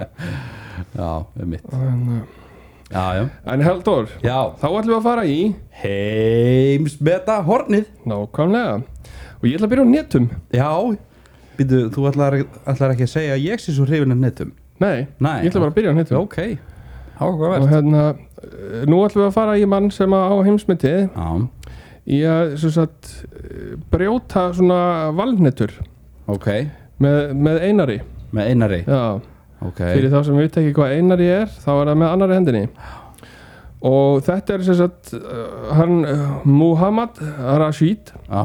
Speaker 2: já, er mitt,
Speaker 1: en, uh,
Speaker 2: já, já,
Speaker 1: en Heldur,
Speaker 2: já,
Speaker 1: þá ætlum við að fara í
Speaker 2: heimsmeta hornið,
Speaker 1: nákvæmlega og ég ætla að byrja á netum
Speaker 2: já, byrju, þú ætlar, ætlar ekki að segja að ég sé svo hrifin af netum,
Speaker 1: Nei,
Speaker 2: Nei.
Speaker 1: ég ætla bara að byrja á netum
Speaker 2: ok, ákvæmvert,
Speaker 1: og hérna, uh, nú ætlum við að fara í mann sem á heimsmyndið
Speaker 2: já,
Speaker 1: í að sem sagt, uh, brjóta svona valnetur
Speaker 2: ok,
Speaker 1: með, með einari
Speaker 2: með einari,
Speaker 1: Já
Speaker 2: ok,
Speaker 1: fyrir þá sem við veit ekki hvað einari er þá er það með annari hendinni og þetta er sem sagt uh, hann uh, Muhammad Rashid
Speaker 2: já,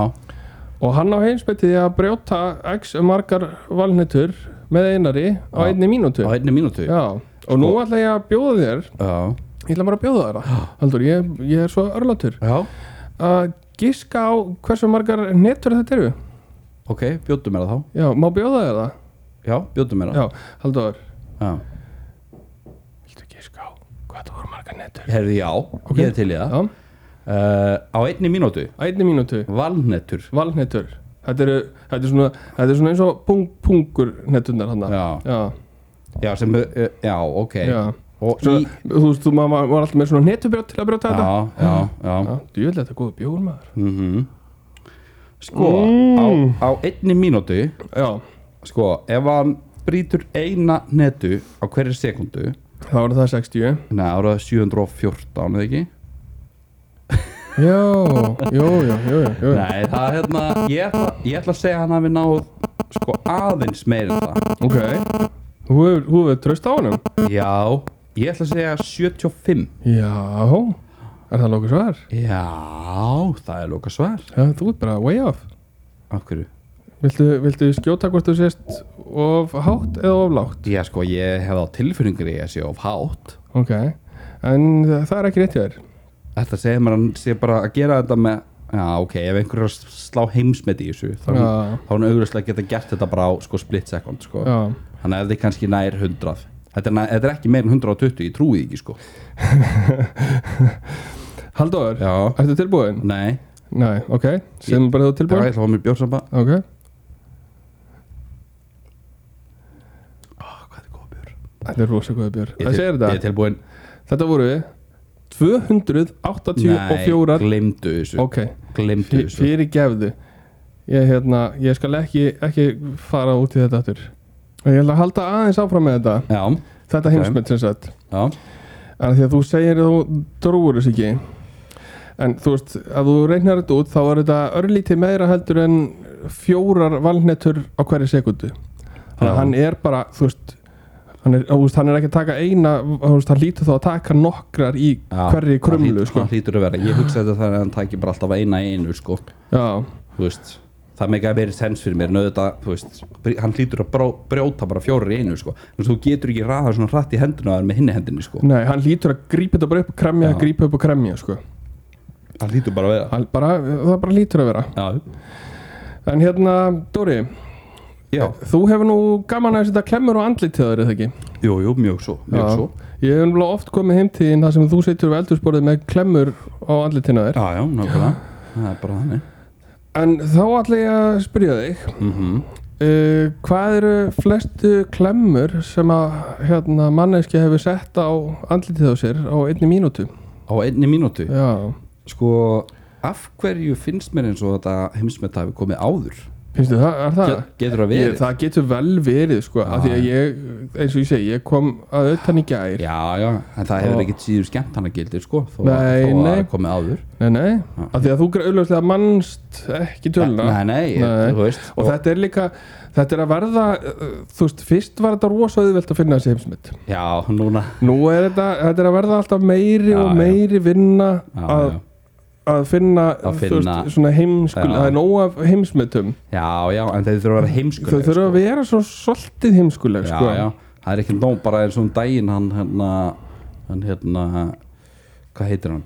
Speaker 1: og hann á heimsbyttið að brjóta x margar valnetur með einari á
Speaker 2: Já.
Speaker 1: einni mínútu
Speaker 2: á einni Sko- mínútu
Speaker 1: Já, og nú ætla ég að bjóða þér
Speaker 2: já,
Speaker 1: ég ætla bara að bjóða þér það. Haldur, ég, ég er svo örlátur
Speaker 2: já.
Speaker 1: að giska á hversu margar netur þetta eru
Speaker 2: ok, bjóttu mér það þá
Speaker 1: Já, má bjóða þér það?
Speaker 2: já, bjóttu mér það
Speaker 1: Já, Haldur,
Speaker 2: já.
Speaker 1: viltu giska á hvað það voru margar netur?
Speaker 2: herði já,
Speaker 1: Ok.
Speaker 2: ég er til í það
Speaker 1: Já,
Speaker 2: uh, á einni mínútu,
Speaker 1: á einni mínútu
Speaker 2: valnetur
Speaker 1: valnetur þetta, eru, þetta, er svona, þetta er svona eins og pung, pungur netunar hann
Speaker 2: já,
Speaker 1: já,
Speaker 2: já, sem, uh, já ok
Speaker 1: já.
Speaker 2: og
Speaker 1: Svo,
Speaker 2: í
Speaker 1: þú veist, þú maður var alltaf með svona netubrjótt til að brjóta
Speaker 2: já, já, já
Speaker 1: þetta já, djúvel þetta er góð bjór maður
Speaker 2: mhm sko,
Speaker 1: Mm.
Speaker 2: á, á einni mínútu
Speaker 1: já,
Speaker 2: sko, ef hann brýtur eina netu á hverju sekundu
Speaker 1: þá var það 60
Speaker 2: þannig að áraða 714, eða ekki
Speaker 1: já, jú, jú, jú, jú.
Speaker 2: nei, það er hérna ég ætla, ég ætla að segja hann að við náð sko aðeins meir en það
Speaker 1: ok þú hefur- þú hefur tröst á honum
Speaker 2: Já, ég ætla að segja 75
Speaker 1: já, Er það lóku svar?
Speaker 2: Já, það er loka svar
Speaker 1: Já, þú ert bara way off
Speaker 2: Af hverju?
Speaker 1: Viltu, viltu skjóta hvort þú sést of hátt eða of lágt?
Speaker 2: Já, sko, ég hef á tilfinningur í að sé of hátt
Speaker 1: Ok, en það það er ekki rétt hjá þér
Speaker 2: Þetta segir maður hann sé bara að gera þetta með Já, ok, ef einhver er að slá heimsmet í þessu þá
Speaker 1: Já,
Speaker 2: þá er hann auðvitað geta gert þetta bara á sko, split second sko.
Speaker 1: já
Speaker 2: Þannig að þetta er kannski nær 100 Þetta er, nær, þetta er ekki meir en 120, ég trúi því ekki sko.
Speaker 1: Halldóður,
Speaker 2: Já,
Speaker 1: ertu tilbúin?
Speaker 2: nei
Speaker 1: Nei, ok, sem bara þú ert
Speaker 2: Já, ég
Speaker 1: tilbúin
Speaker 2: ætla að fá mér bjórsamba
Speaker 1: Ok,
Speaker 2: Hvað er góð bjór?
Speaker 1: þetta er rosa góða björ Það
Speaker 2: Ég til-
Speaker 1: segir
Speaker 2: Ég er
Speaker 1: þetta,
Speaker 2: tilbúin
Speaker 1: þetta voru við 284
Speaker 2: glimdu þessu
Speaker 1: Ok,
Speaker 2: Glimdu þessu
Speaker 1: fyrir gefðu Ég, hérna, ég skal ekki, ekki fara út í þetta aftur Ég ætla að halda aðeins áfram með þetta
Speaker 2: Já,
Speaker 1: Þetta
Speaker 2: Ok.
Speaker 1: heimsmynd sem sagt
Speaker 2: já,
Speaker 1: En því að þú segir að þú trúur þessu ekki En þú veist, að þú reynar þetta út þá er þetta örlítið meira heldur en fjórar valnetur á hverju sekundu Þannig
Speaker 2: Já.
Speaker 1: að hann er bara, þú veist hann er, þú veist, hann er ekki að taka eina þú veist, hann lítur þá að taka nokkrar í
Speaker 2: já
Speaker 1: hverju
Speaker 2: Það
Speaker 1: krumlu
Speaker 2: hlýtur-
Speaker 1: sko.
Speaker 2: það hlýtur að vera Ég hugsa þetta þannig að hann tækir bara alltaf eina í einu sko.
Speaker 1: Já,
Speaker 2: Þú veist Það meika meiri sens fyrir mér nöðvitað, þú veist, br- Hann hlýtur að bró- brjóta bara fjórir í einu sko. En þú getur ekki raða svona hratt í hendina á þér með hinni hendinni sko.
Speaker 1: nei, hann lítur að grípa þetta bara upp og kremja,
Speaker 2: Já.
Speaker 1: grípa upp og kremja sko.
Speaker 2: Það hlýtur bara að vera
Speaker 1: Hann bara, það bara lítur að vera
Speaker 2: Já,
Speaker 1: En hérna, Dóri,
Speaker 2: já,
Speaker 1: þú hefur nú gaman að setja klemmur og andlit til þeir, eða ekki?
Speaker 2: jú, jú, mjög svo, mjög
Speaker 1: Já.
Speaker 2: svo
Speaker 1: Ég hef umlá oft komið heim til þín þar sem þú situr við eldursporið með klemmur á andlitina þér.
Speaker 2: Já, já, nákvæmlega Það er bara þannig
Speaker 1: En þá ætla ég að spyrja þig,
Speaker 2: mm
Speaker 1: uh, hvað eru flestu klemmur sem að hérna, manneski hefur sett á andlitið á sér á einni mínútu?
Speaker 2: Á einni mínútu
Speaker 1: Já,
Speaker 2: Sko, af hverju finnst mér eins og þetta heimsmeta hafi komið áður?
Speaker 1: finnst þið það? Er það?
Speaker 2: Get, getur það
Speaker 1: Ég,
Speaker 2: verið? Ah.
Speaker 1: það getur vel verið sko, af því að ég, eins og ég segi, ég kom að auðvitaðn í gær.
Speaker 2: Já, já, en það hefur
Speaker 1: Og-
Speaker 2: ekkert síður skemmt hann að gildi sko, þó,
Speaker 1: Nei,
Speaker 2: þó að það
Speaker 1: nei.
Speaker 2: hafi komið áður
Speaker 1: Nei, nei, af því að þú auðvitað mannst ekki tölna.
Speaker 2: Ah. Nei, nei,
Speaker 1: Nei.
Speaker 2: þú veist
Speaker 1: og þetta er líka þetta er að verða, uh, þú veist, fyrst var þetta rosa auðvelt að finna þessi heimsmynd
Speaker 2: Já, núna
Speaker 1: nú er þetta, þetta er að verða alltaf meiri
Speaker 2: Já,
Speaker 1: og
Speaker 2: já.
Speaker 1: meiri vinna
Speaker 2: Já,
Speaker 1: að,
Speaker 2: já.
Speaker 1: að finna,
Speaker 2: Að
Speaker 1: þú
Speaker 2: finna-
Speaker 1: veist, svona heimskul
Speaker 2: Já.
Speaker 1: það er nóg af heimsmyndum
Speaker 2: já, já, en þeir þurfa að vera
Speaker 1: þau
Speaker 2: heimskulega
Speaker 1: þurfa að vera svo svolítið heimskuleg
Speaker 2: sko. Já,
Speaker 1: sko.
Speaker 2: já, það er ekki nóg bara eins og um daginn hann hérna, hann hérna hvað heitir hann,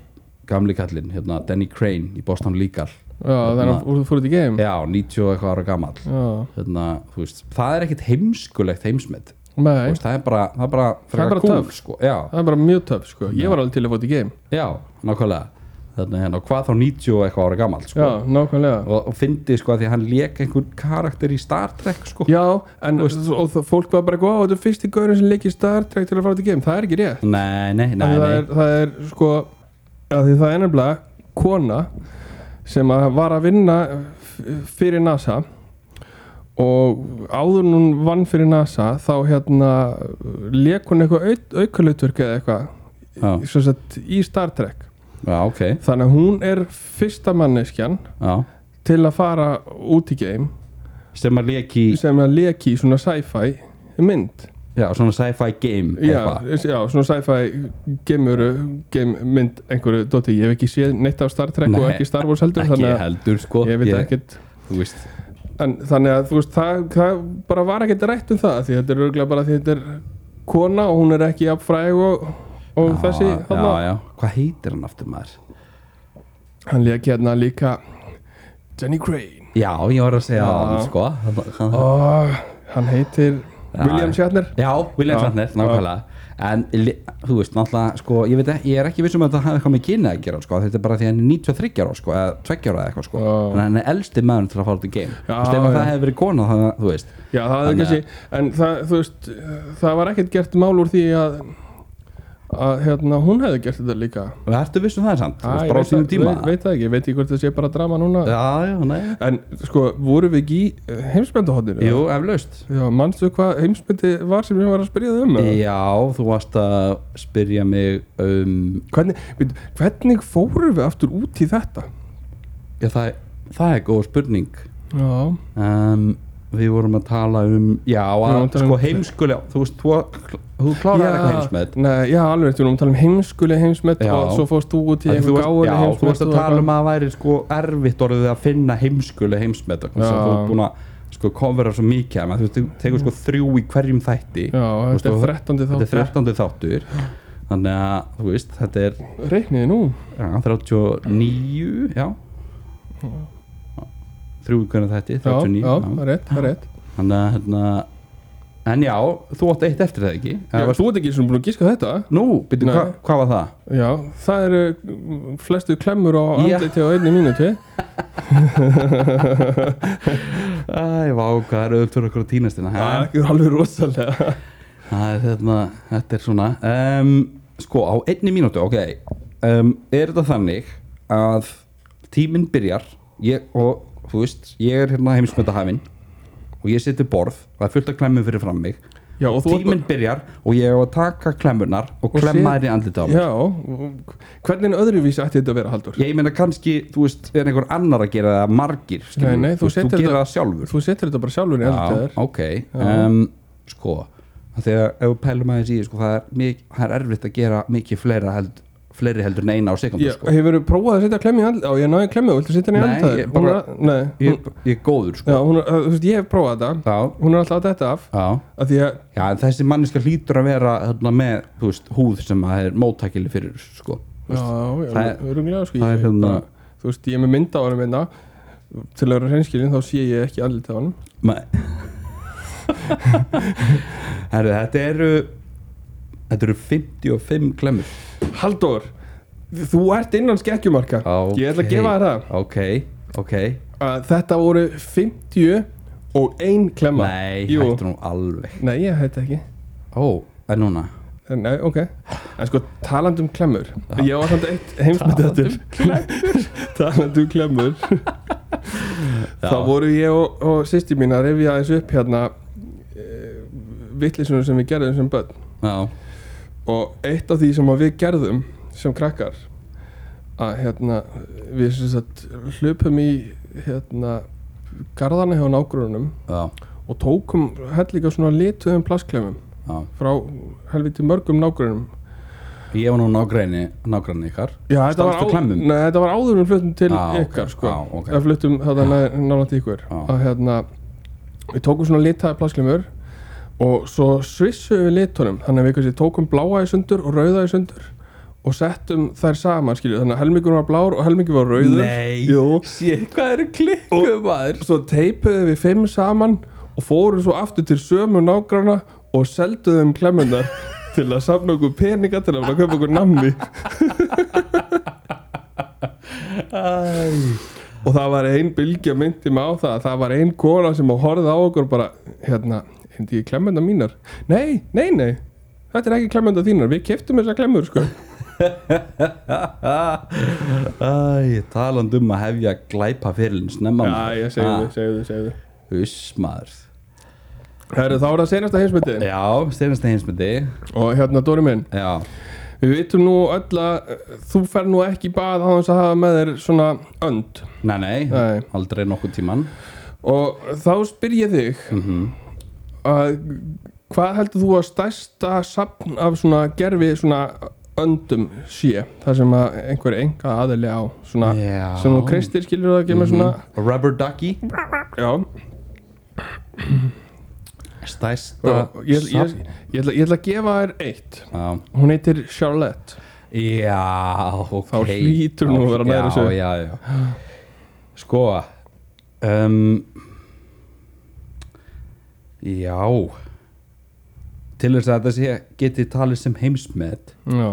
Speaker 2: gamli kallinn hérna, Danny Crane í Boston Legal
Speaker 1: já það er að fór út í game
Speaker 2: Hérna. já, 90 og eitthvað ára gamall
Speaker 1: já,
Speaker 2: hérna, þú veist, það er ekkit heimskulegt heimsmet,
Speaker 1: nei,
Speaker 2: þú veist, það er bara það er bara,
Speaker 1: Það er bara
Speaker 2: frekar
Speaker 1: töff.
Speaker 2: sko, já,
Speaker 1: það er bara mjög töf sko. ég var alveg til að fór út í game
Speaker 2: já, nákvæmlega hérna, hérna, og hvað þá 90 og eitthvað ára gamall sko,
Speaker 1: já, nákvæmlega
Speaker 2: og, og fyndi sko að því að hann lék einhvern karakter í Star Trek sko,
Speaker 1: já, en og það, fólk var bara góð, þetta er fyrsti gaurin sem leik í Star Trek til að fara út í game, það er ekki rétt
Speaker 2: nei, nei, nei,
Speaker 1: Af því
Speaker 2: nei.
Speaker 1: það, er, það er sko að því það er nefnilega kona sem að var að vinna f- fyrir NASA og áður en hún vann fyrir NASA þá hérna leik hún eitthvað aukulutverk eða eitthvað
Speaker 2: Já,
Speaker 1: sem sagt, í Star Trek
Speaker 2: já, ok
Speaker 1: þannig að hún er fyrsta manneskjan
Speaker 2: já.
Speaker 1: til að fara út í game
Speaker 2: sem að lék í
Speaker 1: sem að leki í svona sci-fi mynd
Speaker 2: Já, svona sci-fi game
Speaker 1: Já,
Speaker 2: eitthvað.
Speaker 1: já, svona sci-fi gemuru, game mynd einhverju dóti, ég hef ekki séð neitt af Star Trek og
Speaker 2: Nei,
Speaker 1: ekki Star Wars heldur,
Speaker 2: Ekki
Speaker 1: þannig
Speaker 2: heldur sko
Speaker 1: að ég veit ekkert
Speaker 2: Þú veist
Speaker 1: en þannig að þú veist, það, það bara var ekkert rætt um það, því þetta er örgulega bara því þetta er kona og hún er ekki jafn fræg og, og
Speaker 2: Já,
Speaker 1: þessi
Speaker 2: Já,
Speaker 1: þarna.
Speaker 2: já Hvað heitir hann aftur maður?
Speaker 1: hann leik hérna líka Jenny Crane
Speaker 2: Já, ég var að segja
Speaker 1: Já.
Speaker 2: hann sko Hann- hann-
Speaker 1: og hann heitir
Speaker 2: Já.
Speaker 1: William Shatner
Speaker 2: Já, William
Speaker 1: Já,
Speaker 2: Shatner,
Speaker 1: já.
Speaker 2: nákvæmlega En, li- þú veist, náttúrulega, sko, ég veit ekki, ég er ekki viss um að það hafi eitthvað með kynið að gera, sko, þetta er bara því að hann er 93 ára, sko, eða 20 ára eða eitthvað, sko,
Speaker 1: Já.
Speaker 2: þannig að hann er elsti maður til að fara út í game,
Speaker 1: Já,
Speaker 2: þú veist, ef að
Speaker 1: já.
Speaker 2: það hefði verið kona, það, þú veist,
Speaker 1: Já, það hefði
Speaker 2: Þannig að-
Speaker 1: kannski, en það, þú veist, það var ekkert gert mál úr því að, að hérna, hún hefði gert þetta líka.
Speaker 2: og ertu viss um það samt, þú
Speaker 1: Æ,
Speaker 2: veist,
Speaker 1: ég
Speaker 2: bara á
Speaker 1: veit
Speaker 2: sínum
Speaker 1: það-
Speaker 2: tíma,
Speaker 1: Veit, veit það ekki, ég veit ekki hvort það sé bara drama núna.
Speaker 2: já, já, nei,
Speaker 1: En sko, vorum við ekki í heimsmyndahotninu?
Speaker 2: jú, eflaust,
Speaker 1: Já, manstu hvað heimsmyndi var sem ég var að spyrja þau um? eða?
Speaker 2: Já, þú varst að spyrja mig um
Speaker 1: Hvernig, veit, hvernig fórum við aftur út í þetta?
Speaker 2: já, það, það er góð spurning
Speaker 1: Já,
Speaker 2: um, Við vorum að tala um Já,
Speaker 1: vorum
Speaker 2: að,
Speaker 1: að tala
Speaker 2: sko
Speaker 1: um-
Speaker 2: heimskulega Þú veist, þú þú klárar eitthvað heimsmet
Speaker 1: Nei, já, alveg, rétt, við erum að tala um heimskuleg heimsmet
Speaker 2: Já.
Speaker 1: og svo fórst þú út í
Speaker 2: Þú
Speaker 1: eitthvað
Speaker 2: varst-
Speaker 1: gáðuleg
Speaker 2: já,
Speaker 1: heimsmet
Speaker 2: þú varst að tala um að það væri sko erfitt orðið að finna heimskuleg heimsmet og
Speaker 1: Já.
Speaker 2: þú ert búin að sko covera svo mikið af þeim, að þú veist, þú tekur sko þrjú í hverjum þætti
Speaker 1: Já, þetta er
Speaker 2: Þú-
Speaker 1: 13.
Speaker 2: þetta er
Speaker 1: þáttur
Speaker 2: 13. þáttur þannig að þú veist, þetta er
Speaker 1: Reikniði nú
Speaker 2: já, 39 já þrjú í hverjum þætti,
Speaker 1: Já, já,
Speaker 2: 39
Speaker 1: það er rétt, það er rétt
Speaker 2: Þannig að hérna En já, þú átt eitt eftir það ekki
Speaker 1: Já,
Speaker 2: já, varst,
Speaker 1: Þú ert ekki svona búin að gíska þetta
Speaker 2: Nú, byrju,
Speaker 1: Nei.
Speaker 2: hva, hvað var það?
Speaker 1: Já, það eru mm, flestu klemmur á
Speaker 2: Já.
Speaker 1: andliti á einni mínúti
Speaker 2: Æ, vá, hvað er auðvitað fyrir okkur að týnast hérna ha?
Speaker 1: Það er alveg rosalega
Speaker 2: Það er hérna, þetta er svona um, Sko, á einni mínútu, ok um, Er þetta þannig að tíminn byrjar ég, og þú veist, ég er hérna heimsmynda hafinn og ég seti borð og það er fullt af klemmur fyrir fram mig
Speaker 1: Já, og þú ert
Speaker 2: tíminn byrjar og ég hef að taka klemmunar og
Speaker 1: Og
Speaker 2: klemma
Speaker 1: sé-
Speaker 2: þær í andlita á mig
Speaker 1: Já, og hvernig öðruvísi ætti þetta að vera, Haldur?
Speaker 2: Ég meina kannski, þú veist, er einhver annar að gera það margir, skilur
Speaker 1: Nei, nei,
Speaker 2: við?
Speaker 1: þú
Speaker 2: veist,
Speaker 1: setur
Speaker 2: þú gerir
Speaker 1: þetta-
Speaker 2: það sjálfur
Speaker 1: Þú setur þetta bara sjálfur í andlitið þér
Speaker 2: ok um, Sko, af því að ef við pælum aðeins í, því, sko, það er, mik, það er erfitt að gera mikið fleira held, fleiri heldur en eina á sekundu,
Speaker 1: Ég
Speaker 2: sko
Speaker 1: hefur prófað að setja klemmi í andlitið Já, ég náði klemmi, viltu setja henni í
Speaker 2: Nei,
Speaker 1: andlitið
Speaker 2: ég
Speaker 1: þér?
Speaker 2: bara-
Speaker 1: Hún er að- Nei,
Speaker 2: Ég, ég er góður,
Speaker 1: Já,
Speaker 2: sko
Speaker 1: hún, er- þú veist, ég hef prófað þetta
Speaker 2: Já,
Speaker 1: Hún er alltaf að detta af
Speaker 2: já
Speaker 1: að Því að,
Speaker 2: Já, en þessi manneska hlýtur að vera hérna, með, þú veist, húð sem að er móttækileg fyrir, sko
Speaker 1: já,
Speaker 2: það
Speaker 1: já,
Speaker 2: er-
Speaker 1: öruglega sko,
Speaker 2: það er
Speaker 1: ég,
Speaker 2: hérna-
Speaker 1: bara- Þú veist, ég er með mynd á honum einna Til að vera hreinskilin, þá sé ég ekki allir til honum
Speaker 2: Nei Herru, þetta eru Þetta eru 55 klemmur
Speaker 1: Halldór, þú ert innan skekkjumarka Ég ætla að gefa þér það
Speaker 2: Ok, ok
Speaker 1: að Þetta voru 50 og ein klemma
Speaker 2: Nei,
Speaker 1: Jú.
Speaker 2: hættu nú alveg
Speaker 1: Nei, ég hætti ekki
Speaker 2: Ó, en núna
Speaker 1: Nei, ok En sko, taland um klemmur Ég var samt eitt heimsmyndið
Speaker 2: um
Speaker 1: þetta Taland um klemmur Þá voru ég og, og sýsti mín að rifja þessu upp hérna e, Vittlisunum sem við gerðum sem börn
Speaker 2: Já,
Speaker 1: Og eitt af því sem að við gerðum sem krakkar Að hérna, við sem sagt hlupum í hérna Garðana hjá nágrunum
Speaker 2: já,
Speaker 1: Og tókum hellíka svona lituðum plasklemmum
Speaker 2: já
Speaker 1: Frá helviti mörgum nágrunum
Speaker 2: Ég var nú nágræni, nágræni ykkar
Speaker 1: Já, þetta var,
Speaker 2: Stakkstu klemmum?
Speaker 1: nei, þetta var áður en við fluttum til
Speaker 2: Á, ok,
Speaker 1: ykkar sko.
Speaker 2: á, ok. Ah.
Speaker 1: Eða fluttum þarna nálægt í ykkur
Speaker 2: Á.
Speaker 1: að hérna við tókum svona litaði plasklimur og svo svissum við litunum þannig að við kannski tókum bláa í sundur og rauða í sundur og settum þær saman skilju, þannig að helmingur var blár og helmingur var rauður Jú.
Speaker 2: sé, hvað eru klikkuð maður
Speaker 1: svo teipuðum við fimm saman og fórum svo aftur til sömu nágrana og selduðum klemmunar til að safna okkur peninga til að fara að kaupa okkur namni og það var ein bylgja myndi mig á það að það var ein kona sem horfði á okkur bara hérna, hindi ég klemmenda mínar nei, nei, nei, þetta er ekki klemmenda þínar við keftum þessa klemmur sko
Speaker 2: Æ, talandi um að hefja glæpa fyrirlin snemma
Speaker 1: já, ég segi þið, segi þið, segi þið
Speaker 2: þið Uss, maður
Speaker 1: Heru, þá er það senasta heimsmyndin
Speaker 2: Já, steinast heimsmyndi
Speaker 1: og hérna Dóri minn
Speaker 2: Já,
Speaker 1: Við vitum nú öll að eh, þú fer nú ekki í bað á þess að hafa með þér svona önd
Speaker 2: nei, nei,
Speaker 1: Nei.
Speaker 2: aldrei nokkuð tíman
Speaker 1: og þá spyr ég þig
Speaker 2: Mhm.
Speaker 1: að hvað heldur þú að stærsta sapn af svona gerfi svona öndum sé þar sem að einhver enga aðili á svona
Speaker 2: Já. Mhm.
Speaker 1: sem þú kristir skilur það ekki með svona
Speaker 2: Rubber Ducky
Speaker 1: já
Speaker 2: Stæsta
Speaker 1: og ég, ég, ég, ég, ætla, ég ætla að gefa þér eitt
Speaker 2: Já,
Speaker 1: hún heitir Charlotte
Speaker 2: já ok
Speaker 1: Þá hlýtur nú að vera nær þessu.
Speaker 2: Já, já, já Sko um, Já Til þess að þetta sé geti talið sem heimsmet
Speaker 1: já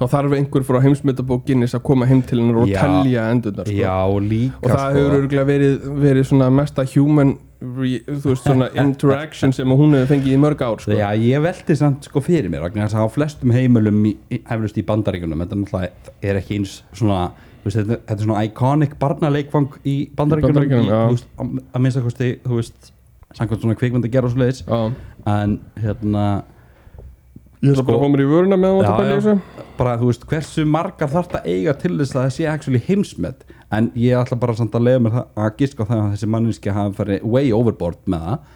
Speaker 1: þá þarf einhver frá heimsmyndabókinnis að koma heim til hennar og
Speaker 2: Já.
Speaker 1: telja endurnar sko.
Speaker 2: Já, líka sko.
Speaker 1: og það hefur örgulega verið, verið svona mesta human re, þú veist svona interaction sem hún hefur fengið í mörg ár sko.
Speaker 2: Já, ég velti samt sko fyrir mér vegna þess að á flestum heimilum í- í- eflaust í bandaríkunum þetta náttúrulega er ekki eins svona þú veist, þetta, þetta er svona iconic barnaleikfang í bandaríkunum,
Speaker 1: Bandaríkjunum, já.
Speaker 2: þú veist, að, að minnsta kosti þú veist, samkvæmt svona kvikmynd að gera og svoleiðis
Speaker 1: Já.
Speaker 2: en hérna
Speaker 1: ég ætla bara að fá mér í vöruna með hún
Speaker 2: sko- Já,
Speaker 1: að pæla í
Speaker 2: já.
Speaker 1: þessu
Speaker 2: bara þú veist hversu margar þarf þetta eiga til þess að það sé actually heimsmet en ég ætla bara samt að leiða mér það, að giska á það að þessi manninski hafi farið way overboard með það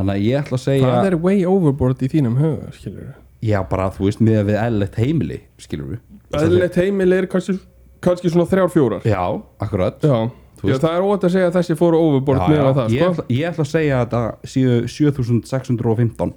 Speaker 2: þannig að ég ætla að segja
Speaker 1: Það er way overboard í þínum höfu, skilur við.
Speaker 2: já bara þú veist með við eðlilegt heimili skilur við
Speaker 1: Eðlilegt heimil er kannski, kannski svona þrjár fjórar.
Speaker 2: já, akkurat
Speaker 1: Já,
Speaker 2: Þú
Speaker 1: já
Speaker 2: veist-
Speaker 1: það er ótt að segja að þessi fóru overboard með að það,
Speaker 2: ég,
Speaker 1: sko.
Speaker 2: ætla, ég ætla að segja að það séu 7615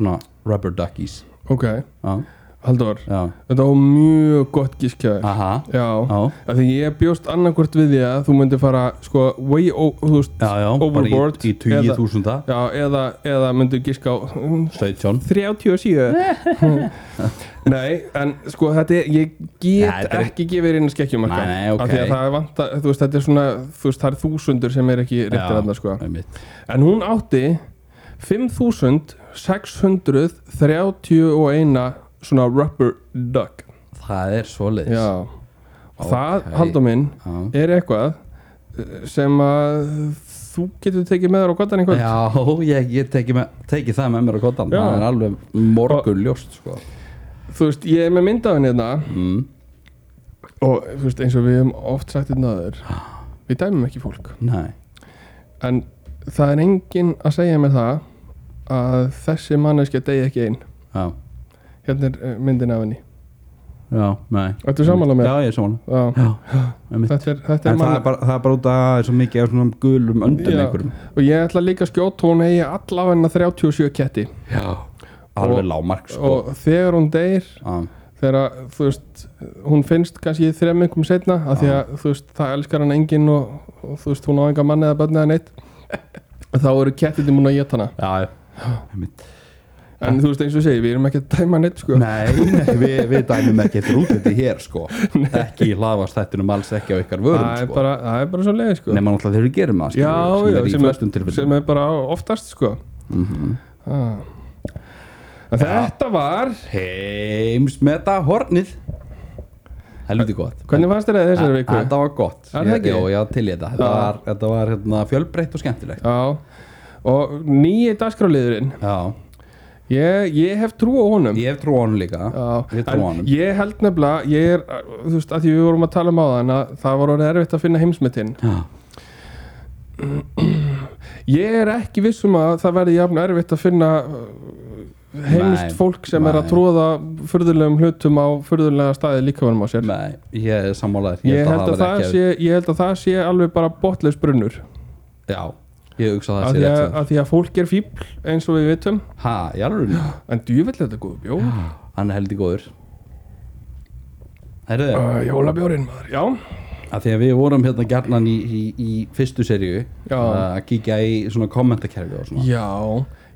Speaker 2: svona rubber duckies
Speaker 1: Ok,
Speaker 2: já,
Speaker 1: Halldór,
Speaker 2: já,
Speaker 1: þetta var mjög gott gískjaður.
Speaker 2: aha
Speaker 1: Já,
Speaker 2: já,
Speaker 1: af því ég bjóst annarkvort við því að þú myndi fara, sko, way o- þú veist,
Speaker 2: já, já
Speaker 1: Overboard
Speaker 2: bara í, í 20.000
Speaker 1: já, eða, eða myndi gíska á mm,
Speaker 2: 17
Speaker 1: 37 Nei, en sko þetta er, ég get
Speaker 2: Nei, þetta er-
Speaker 1: ekki gefið inn skekkjumarka
Speaker 2: Nei, nei, ok.
Speaker 1: af því að það er vant að, þú veist, þetta er svona þú veist, það er þúsundur sem er ekki réttir
Speaker 2: Já.
Speaker 1: þarna sko.
Speaker 2: einmitt
Speaker 1: en hún átti 5631 svona rubber duck
Speaker 2: það er svoleiðis
Speaker 1: Já, og það,
Speaker 2: Ok.
Speaker 1: Haldur minn
Speaker 2: já.
Speaker 1: er eitthvað eh, sem að þú getur tekið með þér á gottan einhvern
Speaker 2: Já, ég, ég teki, með, teki það með mér á kottan
Speaker 1: Já.
Speaker 2: Það er alveg morgun ljóst sko.
Speaker 1: þú veist, ég er með myndaðin hérna
Speaker 2: mm.
Speaker 1: og þú veist, eins og við hefum oft sagt þetta aður við dæmum ekki fólk
Speaker 2: Nei,
Speaker 1: en það er enginn að segja mér það að þessi manneskja degi ekki einn
Speaker 2: já,
Speaker 1: hérna er eh, myndin af henni
Speaker 2: já, nei
Speaker 1: Ertu sammála mér?
Speaker 2: Já, ég er sammála
Speaker 1: Já,
Speaker 2: já, einmitt.
Speaker 1: þetta er, þetta
Speaker 2: En
Speaker 1: er
Speaker 2: það er,
Speaker 1: mann
Speaker 2: bara, það er bara út að það er svo mikið af svona gulum öndum
Speaker 1: Já.
Speaker 2: einhverjum
Speaker 1: og ég ætla líka að skjóta hún eigi allavegna 37 ketti
Speaker 2: Já, alveg lámark sko.
Speaker 1: og þegar hún deyr
Speaker 2: Já,
Speaker 1: þegar að, þú veist hún finnst kannski þrem einhverjum setna af því að þú veist það elskar hann enginn og, og þú veist hún á enga manni eða bönni eða neitt þá eru kettinni múin að geta hana
Speaker 2: já, já einmitt.
Speaker 1: En þú veist eins og ég segi, við erum ekki að dæma neitt sko
Speaker 2: Ah. Nei, nei við, við dæmum ekki eftir útliti hér sko. Ekki hlaðast þettunum alls ekki á ykkar vörum
Speaker 1: það, er
Speaker 2: sko.
Speaker 1: bara, það er bara svo leið sko
Speaker 2: Nei, maður náttúrulega þegar við gerum það
Speaker 1: Já,
Speaker 2: skilur við,
Speaker 1: já,
Speaker 2: sem er í
Speaker 1: sem er,
Speaker 2: flestum tilfellum Mhm.
Speaker 1: sem er bara oftast sko ah. En Þetta var
Speaker 2: Heimsmeta hornið Helviti gott
Speaker 1: Hvernig fannst þér það þessari
Speaker 2: Þa-
Speaker 1: viku?
Speaker 2: Þetta var gott
Speaker 1: Er það
Speaker 2: Ég-
Speaker 1: ekki?
Speaker 2: Jó, já, til í þetta Þetta
Speaker 1: Já.
Speaker 2: var, þetta var hérna, fjölbreytt og skemmtilegt
Speaker 1: Já Og nýji dagskráliðurinn
Speaker 2: Já,
Speaker 1: ég, ég hef trú á honum
Speaker 2: ég hef trú á honum líka
Speaker 1: Já,
Speaker 2: Ég hef trú á
Speaker 1: en
Speaker 2: honum
Speaker 1: ég held nefnilega ég er, þú veist, að því við vorum að tala um á það en að það var orðið erfitt að finna heimsmetinn
Speaker 2: Já,
Speaker 1: ég er ekki viss um að það verði jafn erfitt að finna uh, heimst
Speaker 2: Nei,
Speaker 1: fólk sem er að
Speaker 2: nei.
Speaker 1: tróða furðulegum hlutum á furðulega staði líkamanum á sér
Speaker 2: Nei, ég er sammálaður
Speaker 1: ég held, að það
Speaker 2: verði
Speaker 1: sé, ég held að það sé alveg bara botlaus brunnur
Speaker 2: Já, ég hugsa að
Speaker 1: af
Speaker 2: það
Speaker 1: því
Speaker 2: sé
Speaker 1: að,
Speaker 2: rétt sem
Speaker 1: að því að fólk er fíbl eins og við vitum
Speaker 2: Ha, í alveg
Speaker 1: en djúvill þetta er góð bjór
Speaker 2: Hann er heldig góður Herðu,
Speaker 1: uh, jólabjórin maður, já
Speaker 2: að því að við vorum hérna gjarnan í, í, í fyrstu seríu
Speaker 1: Já.
Speaker 2: að kíkja í svona kommentakerfi og svona
Speaker 1: já,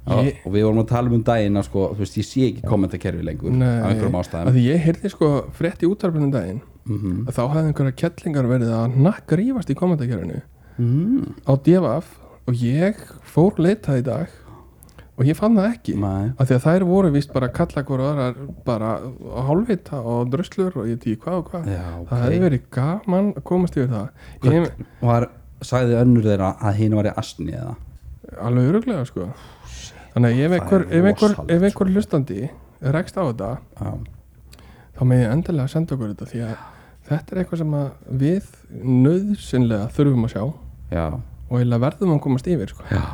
Speaker 2: Já,
Speaker 1: ég,
Speaker 2: og við vorum að tala um daginn að sko, þú veist, ég sé ekki kommentakerfi lengur
Speaker 1: Nei,
Speaker 2: af einhverjum
Speaker 1: af
Speaker 2: ástæðum
Speaker 1: því ég heyrði sko frétt í útarpunum daginn
Speaker 2: Mhm.
Speaker 1: að þá hafði einhverja kettlingar verið að nakka rífast í komandakjörinu
Speaker 2: mm.
Speaker 1: á DFF og ég fór leitað í dag og ég fann það ekki
Speaker 2: Nei,
Speaker 1: af því að þær voru víst bara að kalla hvora aðrar bara hálfvita og dröslur og ég tíu hvað og hvað
Speaker 2: já, ok
Speaker 1: það hefði verið gaman að komast yfir það ég,
Speaker 2: Var, sagði önnur þeirra að hinn var í astni eða
Speaker 1: alveg öruglega sko þannig að ef
Speaker 2: Oh, Það
Speaker 1: einhver,
Speaker 2: er
Speaker 1: ef einhver,
Speaker 2: rosalegt,
Speaker 1: ef einhver hlustandi rekst á þetta
Speaker 2: Já,
Speaker 1: þá með ég endilega senda okkur þetta því að þetta er eitthvað sem að við nöðsynlega þurfum að sjá og
Speaker 2: já,
Speaker 1: eiginlega verðum að komast yfir sko.
Speaker 2: já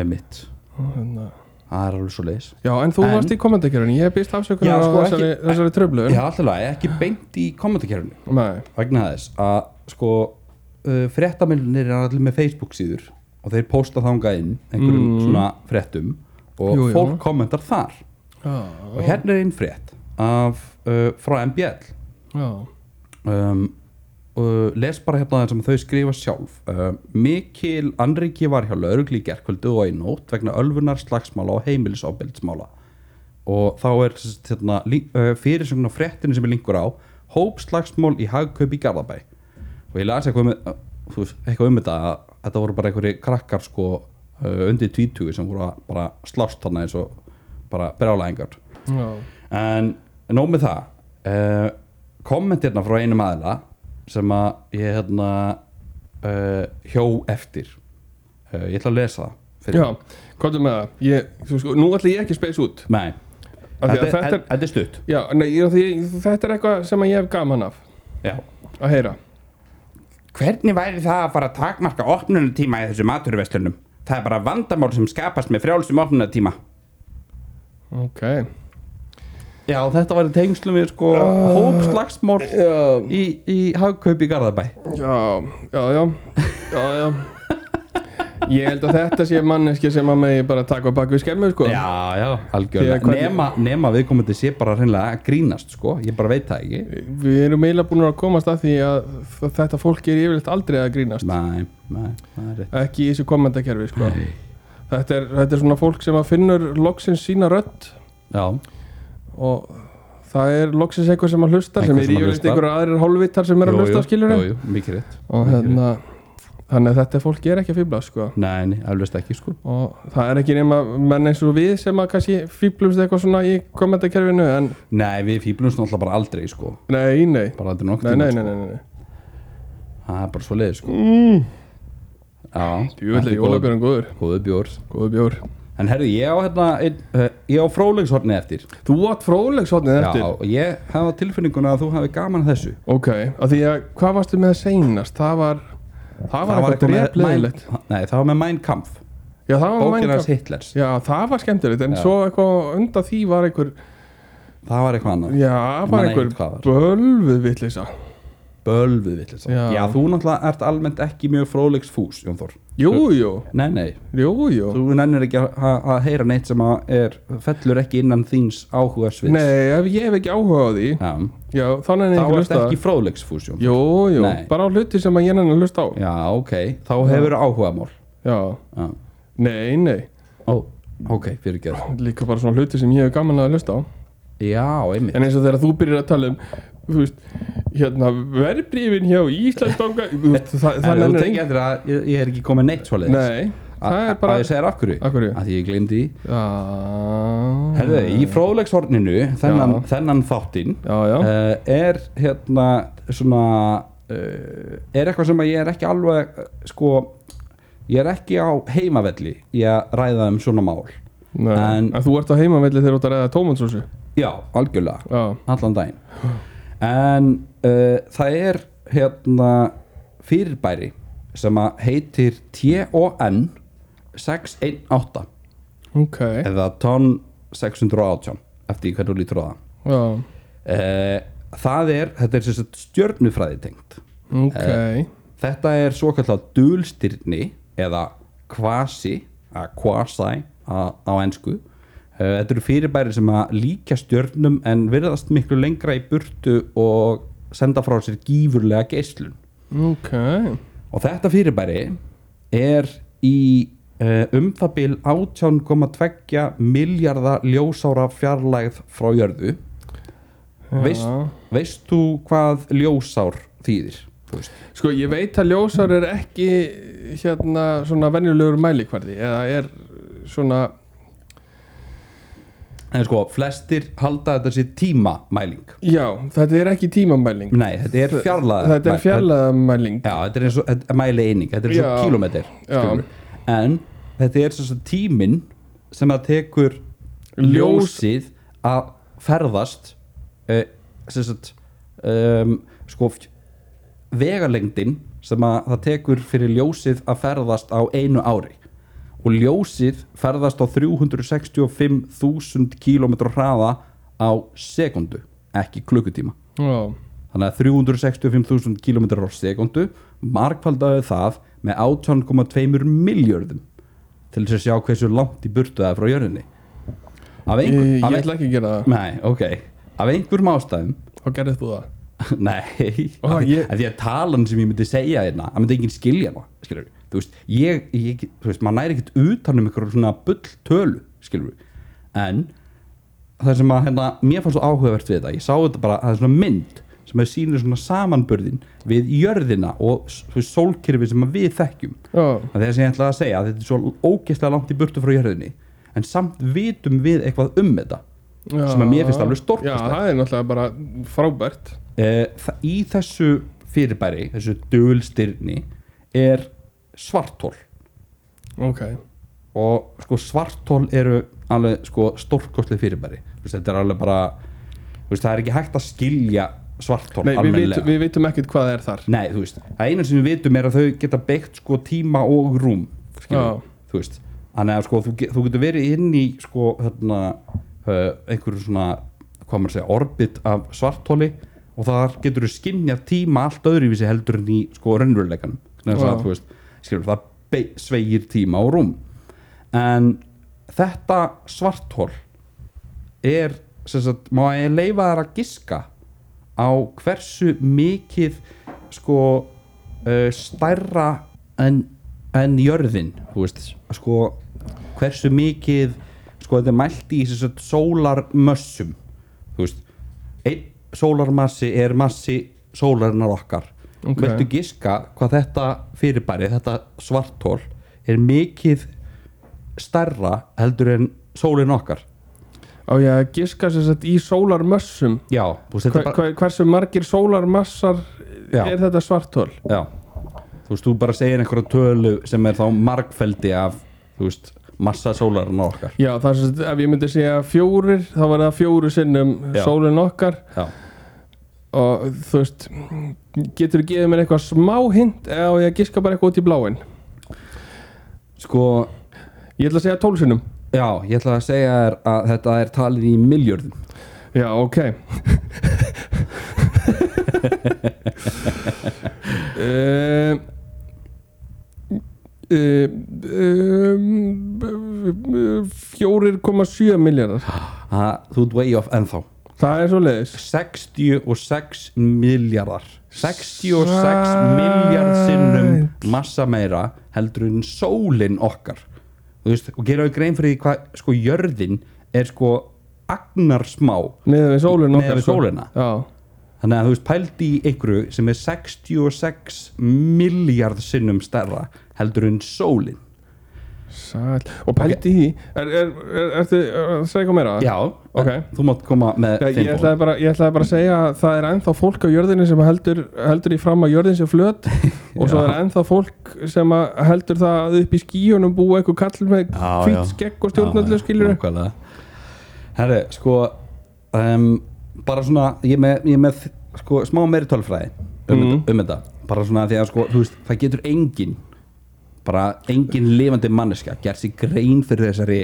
Speaker 2: einmitt
Speaker 1: Og hérna-
Speaker 2: Það er alveg svo leis
Speaker 1: Já, en þú
Speaker 2: En-
Speaker 1: varst í kommentarkerfinu, ég býst afsökunar
Speaker 2: Já,
Speaker 1: á
Speaker 2: sko,
Speaker 1: þessari, þessari tröflun
Speaker 2: Já, alltaf lagi, ekki beint í kommentakerfinu
Speaker 1: Nei,
Speaker 2: vegna þess að sko uh, fréttamilunir er allir með Facebook síður og þeir posta þangað inn einhverjum
Speaker 1: Mm.
Speaker 2: svona fréttum og
Speaker 1: Jú, jú.
Speaker 2: fólk kommentar þar
Speaker 1: já,
Speaker 2: og hérna er einn frétt af, uh, frá MBL
Speaker 1: já,
Speaker 2: um, og les bara hérna það sem þau skrifa sjálf uh, Mikil Andriki var hjá laurugli í gerkvöldu og í nótt vegna ölfunar slagsmála og heimilisofbeldsmála og þá er sem sagt, hérna, lí- uh, fyrirsögn á fréttinu sem er linkur á hóp slagsmál í hagkaup í Garðabæ og ég las eitthvað um, uh, þú veist, eitthvað um þetta að þetta voru bara einhverju krakkar sko uh, undir 20 sem voru að bara slást þarna eins og bara brjálæðingar
Speaker 1: já,
Speaker 2: en nóg með það uh, kommentirna frá einum aðila sem að ég hérna uh, hjó eftir uh, ég ætla að lesa það fyrir
Speaker 1: já, komdu með það ég, þú sko, Nú ætla ég ekki að space út
Speaker 2: Nei,
Speaker 1: af því að
Speaker 2: þetta,
Speaker 1: þetta,
Speaker 2: þetta, þetta er stutt
Speaker 1: Já, nei, af því, þetta er eitthvað sem að ég hef gaman af
Speaker 2: Já.
Speaker 1: að heyra
Speaker 2: Hvernig væri það að fara að takmarka opnunutíma í þessu maturverslunum?
Speaker 3: það er bara vandamál sem skapast með frjálsum opnunatíma
Speaker 1: ok
Speaker 2: Já, þetta var í tengslum við sko
Speaker 3: Ah.
Speaker 2: uh, hópslagsmál
Speaker 1: já,
Speaker 2: í, í hagkaup í Garðabæ
Speaker 1: já, já, já, já, já. Ég held að þetta sé manneski sem að megi bara taka á bak við skemmu sko
Speaker 2: Já,
Speaker 1: Því
Speaker 2: já,
Speaker 1: að
Speaker 2: algjörlega
Speaker 1: hvernig-
Speaker 2: nema, nema viðkomandi sé bara hreinlega að grínast sko, ég bara veit það ekki
Speaker 1: Við erum eiginlega búin að komast að því að þetta fólk er yfirleitt aldrei að grínast
Speaker 2: Nei, nei, það er rétt
Speaker 1: ekki í þessu kommentakerfi sko. þetta, er, þetta er svona fólk sem að finnur loksins sína rödd
Speaker 2: Já,
Speaker 1: og það er loksins eitthvað sem að hlusta sem
Speaker 2: Einhver
Speaker 1: er
Speaker 2: sem að
Speaker 1: yfirleitt
Speaker 2: hlustar.
Speaker 1: einhver aðrir hálfvitar sem er að hlusta skiljur
Speaker 2: jú, mikið rétt
Speaker 1: og hérna þannig að þetta fólk er ekki að fýbla sko.
Speaker 2: Nei, nei, eflaust ekki sko
Speaker 1: og það er ekki nema menn eins og við sem að kannski fýblumst eitthvað svona í kommentakerfinu en
Speaker 2: Nei, við fýblumst náttúrulega bara aldrei sko
Speaker 1: nei, nei,
Speaker 2: bara aldrei nokkuð
Speaker 1: nei, nei, nei, nei, nei.
Speaker 2: Það er bara svo leiði sko Já,
Speaker 1: Júlega, jólabjörn góður,
Speaker 2: Góðu bjór
Speaker 1: góður bjór
Speaker 2: En herri, ég á hérna ein, uh, ég á frólegshorni eftir
Speaker 1: Þú átt fróðlegshotnið eftir
Speaker 2: Já, og ég hef á tilfinninguna að þú hafi gaman að þessu
Speaker 1: Ok, af því að hvað varstu með að seinast? Það var, það var eitthvað
Speaker 2: eitthvað með-
Speaker 1: drefleðilegt
Speaker 2: Nei, það var með Mein Kampf
Speaker 1: Já, það var
Speaker 2: Bókinas
Speaker 1: mænga
Speaker 2: Hitlers
Speaker 1: Já, það var skemmtilegt en
Speaker 2: Já.
Speaker 1: svo eitthvað undan því var einhver
Speaker 2: Það var eitthvað annað
Speaker 1: Já, var
Speaker 2: man
Speaker 1: einhver
Speaker 2: ekkert hvað var.
Speaker 1: bölvuð vittlisa
Speaker 2: Bölvuð vill
Speaker 1: Já.
Speaker 2: Já, þú náttúrulega ert almennt ekki mjög frólegsfús, Jón Þór
Speaker 1: Jú, jú,
Speaker 2: Nei, nei,
Speaker 1: jú, jú
Speaker 2: þú nennir ekki að- að að heyra neitt sem að er, fellur ekki innan þíns áhuga svils
Speaker 1: Nei, ef ég hef ekki áhuga á því
Speaker 2: Já,
Speaker 1: Já, þannig
Speaker 2: þá
Speaker 1: er ekki
Speaker 2: ert
Speaker 1: hlusta
Speaker 2: ekki frólegsfús, Jón
Speaker 1: Jú, jú,
Speaker 2: Nei.
Speaker 1: bara á hluti sem að ég nenni að hlusta á
Speaker 2: Já, ok, þá hefur áhuga mál
Speaker 1: Já,
Speaker 2: Já,
Speaker 1: nei, nei
Speaker 2: ó, ok, fyrir gerð
Speaker 1: Líka bara svona hluti sem ég hef gaman að hlusta á
Speaker 2: Já, einmitt
Speaker 1: En eins og þegar þú byrjar að tala um þú veist, hérna, verbrifin hjá Íslandsbanka þú veist, það, það
Speaker 2: En þú
Speaker 1: nennir
Speaker 2: tekið eftir að ég, ég er ekki komið neitt svoleiðis
Speaker 1: Nei, það er bara
Speaker 2: Að ég segir af hverju
Speaker 1: Af hverju? Ah.
Speaker 2: Að því ég glemdi því
Speaker 1: Já
Speaker 2: Herðu, í fróðlegshorninu Þennan, þennan þáttinn
Speaker 1: Já, já,
Speaker 2: uh, Er hérna svona uh, Er eitthvað sem að ég er ekki alveg eh, Sko Ég er ekki á heimavelli Í að ræða um svona mál
Speaker 1: Nei, en,
Speaker 2: en-
Speaker 1: þú ert á heimavelli þegar þú ert að ræða tómatsósu
Speaker 2: Já, algjörlega
Speaker 1: Já,
Speaker 2: allan daginn en uh, það er hérna fyrirbæri sem að heitir TON 618
Speaker 1: ok
Speaker 2: eða TON 618 eftir hvernig þú lítur á það
Speaker 1: Já,
Speaker 2: uh, það er, þetta er sem sagt stjörnufræði tengt
Speaker 1: ok
Speaker 2: þetta er svo kallar dulstyrni eða kvasi að kvasæ á á ensku Eh, þetta eru fyrirbæri sem að líka stjörnum en virðast miklu lengra í burtu og senda frá sér gífurlega geislun
Speaker 1: Ok
Speaker 2: og þetta fyrirbæri er í eh, um það bil 18,2 miljardar ljósára fjarlægð frá jörðu veist, veist þú hvað ljósár þýðir? Þú veist
Speaker 1: Sko, ég veit að ljósar er ekki hérna svona venjulegur mælikvarði eða er svona
Speaker 2: En sko, flestir halda þetta sér tímamæling
Speaker 1: Já, þetta er ekki tímamæling
Speaker 2: Nei, þetta er fjarlæða
Speaker 1: Þetta er fjarlæðamæling
Speaker 2: Já, þetta er eins og þetta er mæli eining Þetta er eins og
Speaker 1: Já.
Speaker 2: kílómetir
Speaker 1: Já.
Speaker 2: skilurðu. En þetta er svo tíminn sem að tekur
Speaker 1: Ljós-
Speaker 2: ljósið að ferðast uh, sem sagt um, sko fj- vegalengdin sem að það tekur fyrir ljósið að ferðast á einu ári og ljósið ferðast á 365.000 km hraða á sekundu ekki klukkutíma
Speaker 1: Já,
Speaker 2: þannig að 365.000 km á sekundu markfaldaði það með 18,2 miljörðum til þess að sjá hversu langt í burtu það er frá jörðinni af
Speaker 1: ég,
Speaker 2: einhver,
Speaker 1: Eh, ég
Speaker 2: af
Speaker 1: ætla ekki að gera það
Speaker 2: nei, ok af einhverjum ástæðum
Speaker 1: Hvað gerðið þú það?
Speaker 2: nei,
Speaker 1: Ó,
Speaker 2: af,
Speaker 1: ég-
Speaker 2: ég... af því að talan sem ég myndi segja hérna það myndi enginn skilja hana, skilur við þú veist, ég, ég, þú veist, maður næri ekkert utan um einhverjum svona bull tölu, skilur við en það sem að hérna, mér fannst svo áhugavert við þetta ég sá þetta bara, það er svona mynd sem að sýnir svona samanburðin við jörðina og s- þú veist, sólkerfi sem að við þekkjum
Speaker 1: Já,
Speaker 2: það er sem ég ætlaði að segja að þetta er svo ógeðslega langt í burtu frá jörðinni en samt vitum við eitthvað um þetta
Speaker 1: já.
Speaker 2: Sem að mér finnst alveg stórkostlegt.
Speaker 1: Já, það er náttúrulega bara frábært
Speaker 2: Eh, það, í þessu fyrirbæri þessu dulstyrni er svartól
Speaker 1: Ok,
Speaker 2: og sko svartól eru alveg sko stórkostlega fyrirbæri Þú veist, þetta er alveg bara þú veist, það er ekki hægt að skilja svartól
Speaker 1: Nei, við,
Speaker 2: almennilega.
Speaker 1: vit, við vitum ekkert hvað er þar
Speaker 2: Nei, þú veist, það eina sem við vitum er að þau geta beikt sko tíma og rúm skilur
Speaker 1: Já.
Speaker 2: við. þú veist þannig að sko, þú, ge- þú getur verið inn í sko, hérna, uh, einhverju svona hvað maður segja, orbit af svartóli og þar getur þú skynjað tíma allt öðruvísi heldur en í sko raunveruleikanum þannig
Speaker 1: Já.
Speaker 2: að þú veist, skilur, það be- sveigir tíma og rúm en þetta svartól er sem sagt, má ég leifa þær að giska á hversu mikið sko uh, stærra en, en jörðin þú veist, sko hversu mikið, sko þetta er mælt í sem sagt sólarmössum þú veist, einn sólarmassi er massi sólarinnar okkar
Speaker 1: Ok.
Speaker 2: Viltu giska hvað þetta fyrirbæri, þetta svartól er mikið stærra heldur en sólin okkar
Speaker 1: á ég að giska sér sett í sólarmössum
Speaker 2: Já, þú veist, þetta
Speaker 1: hver,
Speaker 2: er bara
Speaker 1: hver, hversu margir sólarmassar
Speaker 2: Já.
Speaker 1: er þetta svartól
Speaker 2: Já, þú veist, þú bara segir einhverja tölu sem er þá margfeldi af, þú veist, massa sólarinn okkar
Speaker 1: já það er sett, ef ég myndi segja fjórir þá var það fjóru sinnum
Speaker 2: Já.
Speaker 1: sólin okkar
Speaker 2: Já,
Speaker 1: og þú veist getur þú gefið mér eitthvað smá hint eða á ég að giska bara eitthvað út í bláin
Speaker 2: sko,
Speaker 1: ég ætla að segja tól sinnum
Speaker 2: já, ég ætla að segja þér að þetta er talið í miljörðum
Speaker 1: já ok Eh, um, eh, um, um, 4,7 miljardar
Speaker 2: að þú ert way off ennþá
Speaker 1: það er svo leiðis
Speaker 2: 66 miljardar 66
Speaker 1: Sæt.
Speaker 2: miljard sinnum massa meira heldur en sólin okkar þú veist, og gera við grein fyrir því hvað, sko, jörðin er sko agnarsmá
Speaker 1: Neðan við sólina
Speaker 2: Miðað við
Speaker 1: sko.
Speaker 2: sólina.
Speaker 1: Já,
Speaker 2: Þannig að þú veist pældi í einhverju sem er 66 miljard sinnum stærra heldur en sólin
Speaker 1: sæl Og pælti í Er, er, er, er, er, er segja eitthvað meira?
Speaker 2: Já,
Speaker 1: Ok.
Speaker 2: en þú mátt koma með
Speaker 1: Ég,
Speaker 2: þinn
Speaker 1: ég,
Speaker 2: ból.
Speaker 1: ætlaði bara, ég ætlaði bara að segja að það er ennþá fólk á jörðinni sem heldur, heldur í fram að jörðin sé flöt og svo er ennþá fólk sem að heldur það að upp í skíunum búa eitthvað kall með
Speaker 2: Já, já.
Speaker 1: hvít skegg og stjórnallu skilur
Speaker 2: Nákvæmlega. Herri, sko um, bara svona, ég er með, ég er með sko, smá meiri tölfræði um,
Speaker 1: Mhm.
Speaker 2: þetta, um þetta, bara svona því að sko, þú veist það getur engin bara engin lifandi manneska gert sér grein fyrir þessari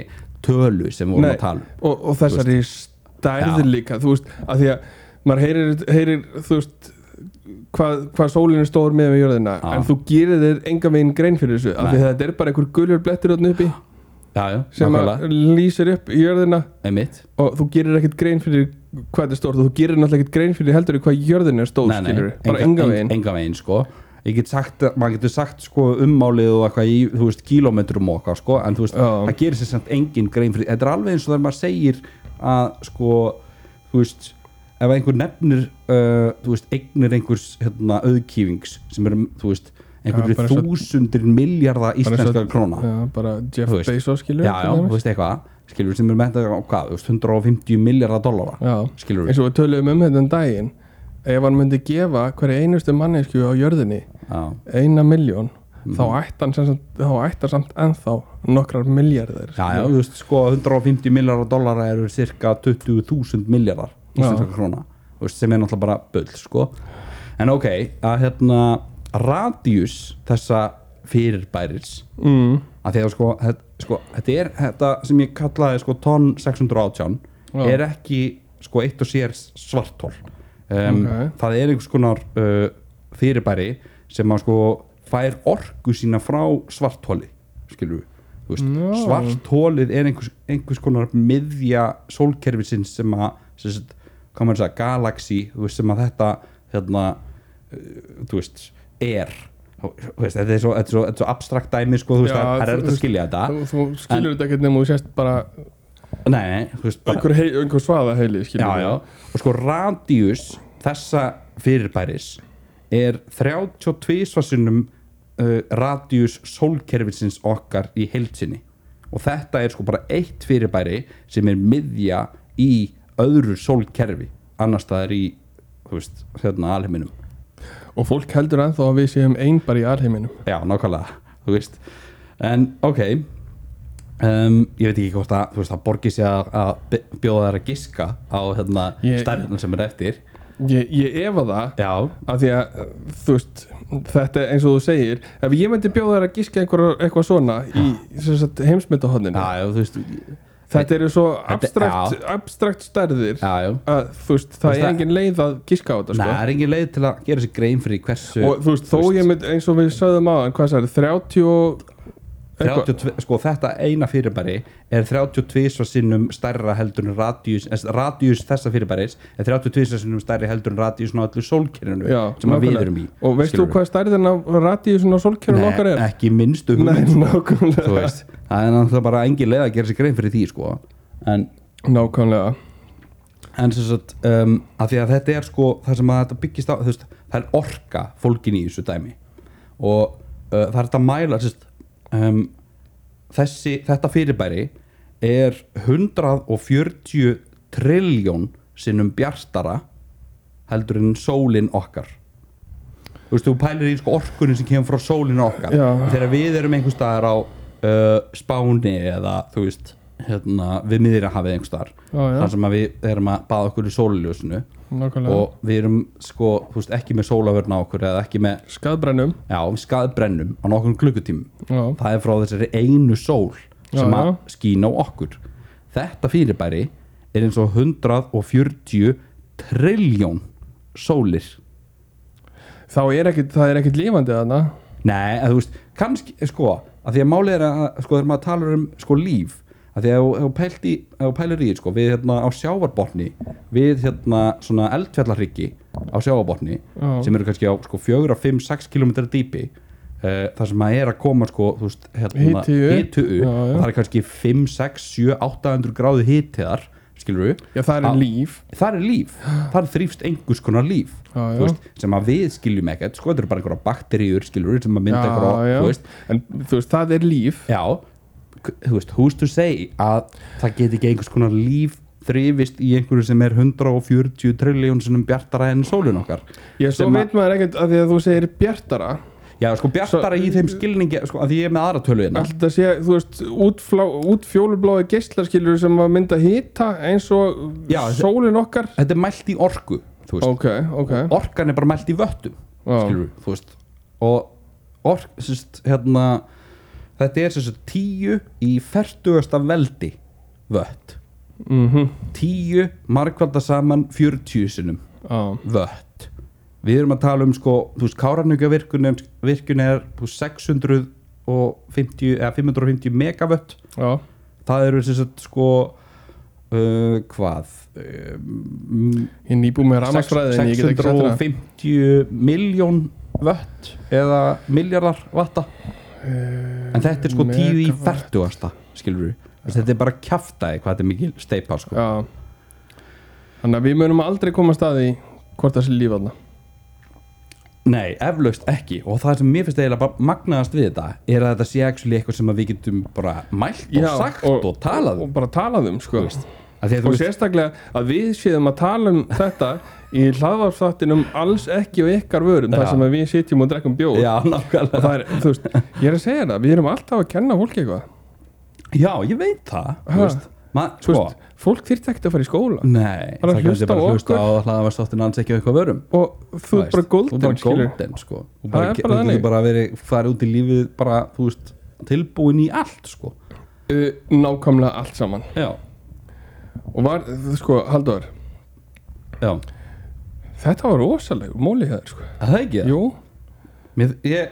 Speaker 2: tölu sem við vorum að tala um
Speaker 1: og, og þessari stærð
Speaker 2: Já.
Speaker 1: líka þú veist, að því að maður heyrir, heyrir þú veist hvað, hvað sólinn er stór með við jörðina
Speaker 2: Já.
Speaker 1: en þú gerir þér enga veginn grein fyrir þessu af því
Speaker 2: Nei.
Speaker 1: að þetta er bara einhver gulur blettur þarna uppi
Speaker 2: Já, já,
Speaker 1: sem að
Speaker 2: nákvæmlega,
Speaker 1: lýsir upp í jörðina
Speaker 2: einmitt
Speaker 1: og þú gerir ekkert grein fyrir hvað þetta er stórt og þú gerir náttúrulega ekkert grein fyrir heldur hvað jörðin er stór skilur bara enga veginn
Speaker 2: enga veginn sko ég get sagt, maður getur sagt sko ummálið og eitthvað í, þú veist, kílómetrum og eitthvað sko, en þú veist,
Speaker 1: Já.
Speaker 2: það gerir sér samt engin grein fyrir, þetta er alveg eins og þegar maður segir að sko, þú veist ef einhver nefnir uh, þú veist, eignir einhvers hérna, auðkýfings sem eru, þú veist, einhverju
Speaker 1: bara svo-
Speaker 2: þúsundir miljarda
Speaker 1: Bara eins og-
Speaker 2: íslenskar króna
Speaker 1: já, bara Jeff
Speaker 2: Þú veist.
Speaker 1: Bezos skilur
Speaker 2: já, já, þú veist eitthvað, skilur sem eru með þetta á hvað, þú veist, 150 miljardar dollara
Speaker 1: já.
Speaker 2: skilur
Speaker 1: eins og við töluðum um þetta um daginn ef hann myndi gefa hverja einustu mannesku á jörðinni
Speaker 2: já,
Speaker 1: eina miljón þá
Speaker 2: Mhm.
Speaker 1: ætti hann sem sagt- þá ætti hann samt ennþá nokkrar miljardar
Speaker 2: Já, já, þú veist, sko 150 miljardar dollara eru cirka 20.000 miljardar íslenska
Speaker 1: Já.
Speaker 2: króna þú veist, sem er náttúrulega bara bull, sko en ok, að hérna radius þessa fyrirbæris
Speaker 1: mm,
Speaker 2: að því að sko, þetta, sko, þetta er þetta sem ég kallaði sko tonn 618
Speaker 1: Já.
Speaker 2: er ekki sko eitt og sér svartól um,
Speaker 1: Ok.
Speaker 2: það er einhvers konar uh, fyrirbæri sem að sko fær orku sína frá svartóli skilur við Þú veist,
Speaker 1: Já.
Speaker 2: svartólið er einhvers, einhvers konar miðja sólkerfisins sem að sem sagt, hvað maður að segja, galaxy þú veist, sem að þetta hérna, þú veist, er þú veist, þetta er svo, þetta er svo, þetta er svo abstrakt dæmi sko, þú veist,
Speaker 1: Já,
Speaker 2: það það er
Speaker 1: þú
Speaker 2: erfitt að
Speaker 1: veist,
Speaker 2: skilja
Speaker 1: þú,
Speaker 2: þetta
Speaker 1: þú skilur þetta ekkert nema þú sést bara
Speaker 2: nei, nei, þú veist, bara,
Speaker 1: einhver, hei, einhver svaða heili
Speaker 2: já, já og sko radius þessa fyrirbæris er 32 svarsinnum uh, radius sólkerfisins okkar í heilsinni og þetta er sko bara eitt fyrirbæri sem er miðja í öðru sólkerfi annars það er í, þú veist, hérna alheiminum
Speaker 1: og fólk heldur ennþá að við séum einn bara í alheiminum
Speaker 2: Já, nákvæmlega, þú veist En ok um, Ég veit ekki hvort að, þú veist, það borgi sér að, að bjóða þær að giska á hérna,
Speaker 1: Ég-
Speaker 2: stærðina sem er eftir
Speaker 1: ég, ég efa það
Speaker 2: Já,
Speaker 1: af því að þú veist þetta er eins og þú segir ef ég myndi bjóða þær að gíska einhver, eitthvað svona í sem sagt, heimsmyndahotninu
Speaker 2: já, þú veist
Speaker 1: þetta eru svo
Speaker 2: Þetta-
Speaker 1: abstrakt, abstrakt stærðir
Speaker 2: Já, já
Speaker 1: að þú veist það er
Speaker 2: veist það-
Speaker 1: engin leið að gíska á þetta
Speaker 2: Nei,
Speaker 1: sko.
Speaker 2: það er engin leið til að gera sér grein fyrir hversu
Speaker 1: og þú veist þó
Speaker 2: veist-
Speaker 1: ég mynd eins og við sögðum á hvað það er 30 og eitthvað
Speaker 2: 32, sko þetta eina fyrirbæri er 32 svo sinnum stærra heldur en radius, eh, radius þessa fyrirbæris er 32 svo sinnum stærri heldur en radius ná allir sólkerfinu
Speaker 1: Já,
Speaker 2: sem að við
Speaker 1: nákvæmlega.
Speaker 2: erum í
Speaker 1: og veist þú
Speaker 2: skilurðu?
Speaker 1: hvað stærðin af radíusin á solkerfum okkar er?
Speaker 2: Nei, ekki minnstu
Speaker 1: Nei,
Speaker 2: hugmynd þú
Speaker 1: nákvæmlega
Speaker 2: veist, það er náttúrulega bara engin leið að gera sér grein fyrir því sko en,
Speaker 1: nákvæmlega
Speaker 2: en sem sagt, um, að því að þetta er sko það sem að þetta byggist á, þú veist það er orka fólkin í þessu dæmi og uh, það er þetta að mæla sem sagt, um, þessi, þetta fyrirbæri er 140 triljón sinnum bjartara heldur en sólin okkar þú veist, þú pælir í sko orkunni sem kemur frá sólinu okkar
Speaker 1: Já.
Speaker 2: þegar við erum einhvers staðar á uh, Spáni eða þú veist hérna, við miðir að hafa einhvers staðar
Speaker 1: Já, já.
Speaker 2: þar sem að við erum að baða okkur í sóliljósinu
Speaker 1: nákvæmlega
Speaker 2: og við erum sko þú veist, ekki með sólavörna á okkur eða ekki með
Speaker 1: skadbrennum
Speaker 2: já, skaðbrennum á nokkrum klukkutímum
Speaker 1: Já.
Speaker 2: það er frá þessari einu sól sem
Speaker 1: Já,
Speaker 2: að
Speaker 1: já.
Speaker 2: skína á okkur þetta fyrirbæri er eins og 140 triljón sólir
Speaker 1: þá er ekkit, það er ekkit lífandi þarna
Speaker 2: Nei, að þú veist, kannski, sko að því að málið er að, sko, þegar maður talar um sko líf, að því að ef- ef þú pælt í- ef þú pælir í, sko, við hérna á sjávarbotni við hérna svona eldfjallahryggi á sjávarbotni
Speaker 1: Já.
Speaker 2: sem eru kannski á, sko, 4, 5, 6 km dýpi uh, þar sem maður er að koma, sko, þú veist, hérna
Speaker 1: Hiti upp.
Speaker 2: hitu upp,
Speaker 1: Já, já.
Speaker 2: og það er kannski 5, 6, 7, 800 gráði hitiðar, skilur við
Speaker 1: já það er
Speaker 2: Að-
Speaker 1: líf
Speaker 2: þar er líf, þar þrýfst einhvers konar líf
Speaker 1: Já,
Speaker 2: þú
Speaker 1: já.
Speaker 2: Veist, sem að við skiljum ekkert sko, þetta eru bara einhverja bakteríur skiljur sem að mynda
Speaker 1: já,
Speaker 2: einhverja,
Speaker 1: já.
Speaker 2: þú veist
Speaker 1: en þú veist það er líf
Speaker 2: já, k- þú veist, who's to say að það geti ekki einhvers konar líf þrýfist í einhverju sem er 140 triljón sinum bjartara en sólun okkar
Speaker 1: Já, svo
Speaker 2: Sem að-
Speaker 1: veit maður ekkert að því að þú segir bjartara
Speaker 2: já, sko bjartara í þeim skilningi sko, að því ég er með aðra tölu hérna
Speaker 1: Alltaf sé, þú veist, útflá, útfjólublái geislaskilur sem að mynda hita eins og
Speaker 2: Já,
Speaker 1: sólin okkar
Speaker 2: þetta er mælt í orku, þú veist
Speaker 1: Ok, ok
Speaker 2: orkan er bara mælt í vöttum
Speaker 1: Já.
Speaker 2: skilur, þú veist og ork, sérst, hérna þetta er sérst tíu í færtugasta veldi vött
Speaker 1: mm
Speaker 2: tíu markvalda saman 40 sinum
Speaker 1: Já,
Speaker 2: vött við erum að tala um sko, þú veist, káranugavirkun virkun er þú veist, 650 eða 550 megavött
Speaker 1: já,
Speaker 2: það eru sérst sko uh, hvað um,
Speaker 1: ég er nýbúið með rafmagnsfræði en ég get ekki sagt það
Speaker 2: 650 miljón vött eða miljardar vatta en þetta er sko 10 í
Speaker 1: megawatt.
Speaker 2: 40 skilur við þetta er bara kjaftaði hvað þetta er mikil steipa sko.
Speaker 1: Já Þannig að við munum aldrei koma að staði hvort það sé líf þarna
Speaker 2: nei, eflaust ekki og það sem mér finnst eiginlega bara magnaðast við þetta er að þetta sé actually eitthvað sem að við getum bara mælt og sagt og, talað um
Speaker 1: Og bara talað um, sko Og
Speaker 2: Af því að þú veist-
Speaker 1: sérstaklega að við séum að tala um þetta í hlaðvarpsþáttinum alls ekki og ykkar vörum þar
Speaker 2: Já.
Speaker 1: sem að við sitjum og drekkum bjóð
Speaker 2: já, nákvæmlega
Speaker 1: og það er, þú veist, ég er að segja það við erum alltaf að kenna fólki eitthvað
Speaker 2: já, ég veit það þú
Speaker 1: Ha.
Speaker 2: veist. Ma,
Speaker 1: Þú
Speaker 2: sko, Mm.
Speaker 1: veist, fólk þyrfti ekkert að fara í skóla
Speaker 2: nei,
Speaker 1: Bara hlusta
Speaker 2: það kannski bara
Speaker 1: á
Speaker 2: hlusta
Speaker 1: okkur.
Speaker 2: á að hlaða var státtin alls ekki á eitthvað vörum
Speaker 1: og þú ert bara
Speaker 2: Þú
Speaker 1: golden,
Speaker 2: bara
Speaker 1: skilur
Speaker 2: golden sko Þú
Speaker 1: Það
Speaker 2: bara,
Speaker 1: er
Speaker 2: ge-
Speaker 1: bara
Speaker 2: þú
Speaker 1: þannig.
Speaker 2: getur bara verið farið út í lífið bara, þú veist, tilbúin í allt sko
Speaker 1: uh, nákvæmlega allt saman
Speaker 2: Já,
Speaker 1: og var, þú- sko, Haldur
Speaker 2: já,
Speaker 1: þetta var rosalegur móli hér, sko
Speaker 2: að það ekki það?
Speaker 1: jú,
Speaker 2: Mér, ég,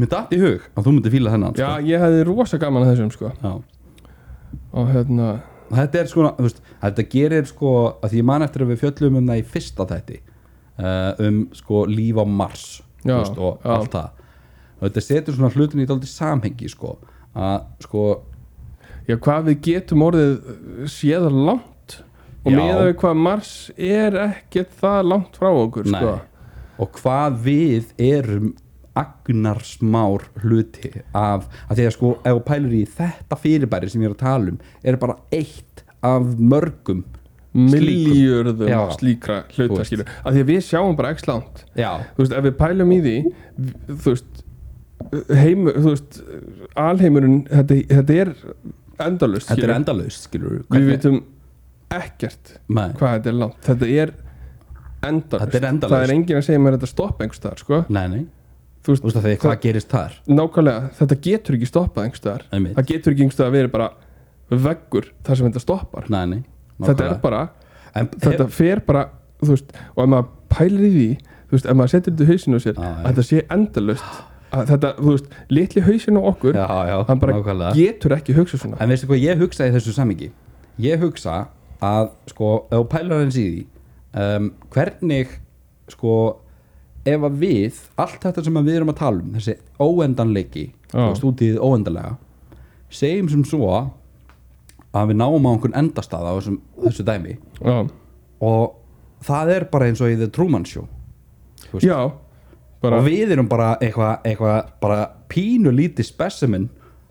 Speaker 2: mér datt í hug að þú myndir fíla þennan
Speaker 1: já,
Speaker 2: sko.
Speaker 1: ég hefði rosa gaman að þessum, sko
Speaker 2: já.
Speaker 1: og hérna,
Speaker 2: Þetta er sko, þú veist, þetta gerir sko að því ég man eftir að við fjöllum um það í fyrsta þætti uh, um sko líf á Mars þú
Speaker 1: Já,
Speaker 2: veist, og
Speaker 1: já.
Speaker 2: allt það og þetta setur svona hlutin í dálítið samhengi sko að sko
Speaker 1: já, hvað við getum orðið uh, séð langt og
Speaker 2: Já.
Speaker 1: meða við hvað Mars er ekkert það langt frá okkur,
Speaker 2: Nei.
Speaker 1: sko
Speaker 2: og hvað við erum agnarsmár hluti af, af því að sko ef þú pælir í þetta fyrirbæri sem ég er að tala um er bara eitt af mörgum
Speaker 1: miljörðum
Speaker 2: Já.
Speaker 1: slíkra
Speaker 2: Þú
Speaker 1: hluta,
Speaker 2: veist.
Speaker 1: skilur að því að við sjáum bara ekki langt
Speaker 2: já,
Speaker 1: þú veist, ef við pælum í því v- þú veist, heimur þú veist, alheimurinn þetta, þetta er endalust
Speaker 2: þetta er endalaust skilur
Speaker 1: við vitum ekkert
Speaker 2: Nei,
Speaker 1: hvað þetta er langt þetta er endalaust
Speaker 2: Þetta er endalaust.
Speaker 1: Það er enginn að segja mér að þetta stoppa einhvers staðar sko.
Speaker 2: Nei, nei,
Speaker 1: Þú
Speaker 2: þú veist að þegar hvað gerist þar
Speaker 1: nákvæmlega, þetta getur ekki stoppað einhvers staðar
Speaker 2: Einmitt.
Speaker 1: Það getur ekki einhvers staðar að vera bara veggur þar sem þetta stoppar
Speaker 2: Nei, nei,
Speaker 1: Þetta er bara,
Speaker 2: en,
Speaker 1: þetta fer bara þú veist, og ef maður pælir í því þú veist, ef maður setur þetta í hausinu á sér
Speaker 2: Já, já.
Speaker 1: að þetta sé endalaust að þetta, þú veist, litli hausinu á okkur
Speaker 2: Já, já,
Speaker 1: hann bara
Speaker 2: nákvæmlega
Speaker 1: getur ekki hugsa svona
Speaker 2: En veistu hvað ég hugsa í þessu samingi Ég hugsa að sko ef þú pælar hans í því um, hvernig sko ef að við, allt þetta sem að við erum að tala um þessi óendanleiki
Speaker 1: Já.
Speaker 2: og stútið óendanlega segjum sem svo að við náum á einhvern endastað á þessum, þessu dæmi
Speaker 1: já,
Speaker 2: og það er bara eins og í The Truman Show Þú veist.
Speaker 1: já bara,
Speaker 2: og við erum bara eitthvað eitthva, bara pínu lítið specimen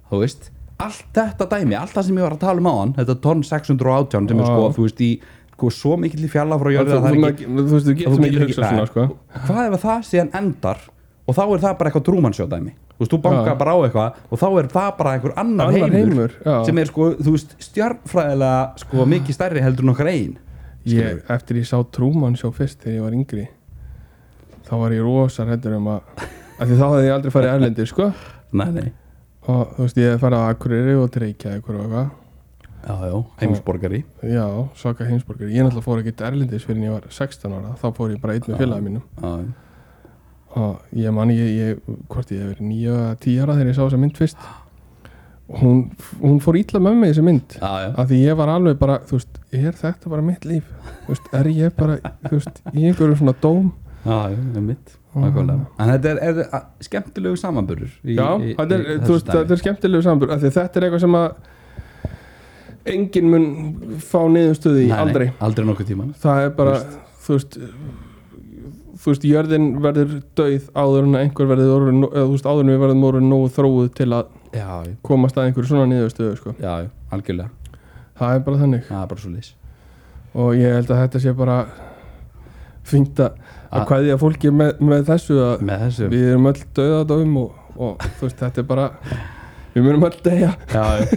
Speaker 2: þú veist, allt þetta dæmi allt það sem ég var að tala um á hann, þetta tonn 618 sem er sko,
Speaker 1: Já.
Speaker 2: þú veist, í sko, svo mikill í fjalla frá jörðu
Speaker 1: þú,
Speaker 2: að það er
Speaker 1: ekki, þú veist, við
Speaker 2: þú
Speaker 1: getum
Speaker 2: getur
Speaker 1: ekki
Speaker 2: ekki-
Speaker 1: hugsa svona
Speaker 2: Nei.
Speaker 1: sko.
Speaker 2: ekki hvað ef að það síðan endar og þá er það bara eitthvað trúmannsjóðdæmi þú veist, þú bankar
Speaker 1: Já.
Speaker 2: bara á eitthvað og þá er það bara einhver annar
Speaker 1: Annar
Speaker 2: heimur,
Speaker 1: heimur, já.
Speaker 2: sem er sko, þú veist, stjarnfræðilega sko, mikið stærri heldur en okkar ein
Speaker 1: ég, eftir ég sá Trúmann sjó fyrst þegar ég var yngri þá var ég rosar hættur um að af því þá hefði ég aldrei farið erlendi sko.
Speaker 2: nei, nei,
Speaker 1: og þú veist, ég hefði farið á Akureyri og til Reykjavík og eitthvað
Speaker 2: já, já, heimsborgari
Speaker 1: Já, svaka heimsborgari. Ég náttúrulega fór ekkert erlendis fyrir en ég var 16 ára. Þá fór ég bara einn með félagum mínum.
Speaker 2: já, já.
Speaker 1: Og ég man, ég, ég, hvort ég hef verið 9 eða 10 ára þegar ég sá þessa mynd fyrst. Og Hún, hún fór ítla með mig þessi mynd.
Speaker 2: Já, já.
Speaker 1: Af því ég var alveg bara, þú veist, er þetta bara mitt líf? Þú veist, er ég bara, þú veist, í einhverjum svona dóm?
Speaker 2: Já, já, um mitt Nákvæmlega. En þetta er, er a- skemmtilegu samanburður í,
Speaker 1: Já,
Speaker 2: í,
Speaker 1: þetta er, þú
Speaker 2: í þessu
Speaker 1: veist, þetta
Speaker 2: dæmi.
Speaker 1: er skemmtilegu sambur. Af því þetta er eitthvað sem að enginn mun fá niðurstöði í
Speaker 2: Nei, nei,
Speaker 1: aldrei.
Speaker 2: Aldrei nokkuð tíman
Speaker 1: það er bara þú veist þú veist, jörðin verður döið áður en að einhver verður orðin, eða, þú veist, áður en við verðum orðin nógu þróuð til að
Speaker 2: Já, já,
Speaker 1: komast að einhverju svona niðurstöðu sko.
Speaker 2: já, já, algjörlega
Speaker 1: það er bara þannig
Speaker 2: Það er bara svo leys
Speaker 1: og ég held að þetta sé bara fínt að,
Speaker 2: Að-
Speaker 1: að kveðja fólki með, með þessu að
Speaker 2: Með þessu
Speaker 1: við erum öll döðadofum og, og þú veist, þetta er bara við munum öll deyja,
Speaker 2: Já, já,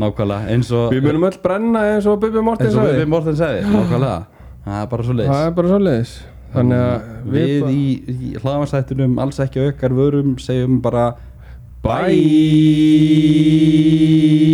Speaker 2: nákvæmlega Eins og
Speaker 1: við munum öll brenna eins og Bubi Morten
Speaker 2: eins og
Speaker 1: sagði,
Speaker 2: við Morten sagði Nákvæmlega Það er bara svo leys
Speaker 1: það er bara svoleiðis þannig að
Speaker 2: Mm. Við,
Speaker 1: bara-
Speaker 2: í, í hlaðansættunum alls ekki aukar vörum Segjum bara
Speaker 1: Bye.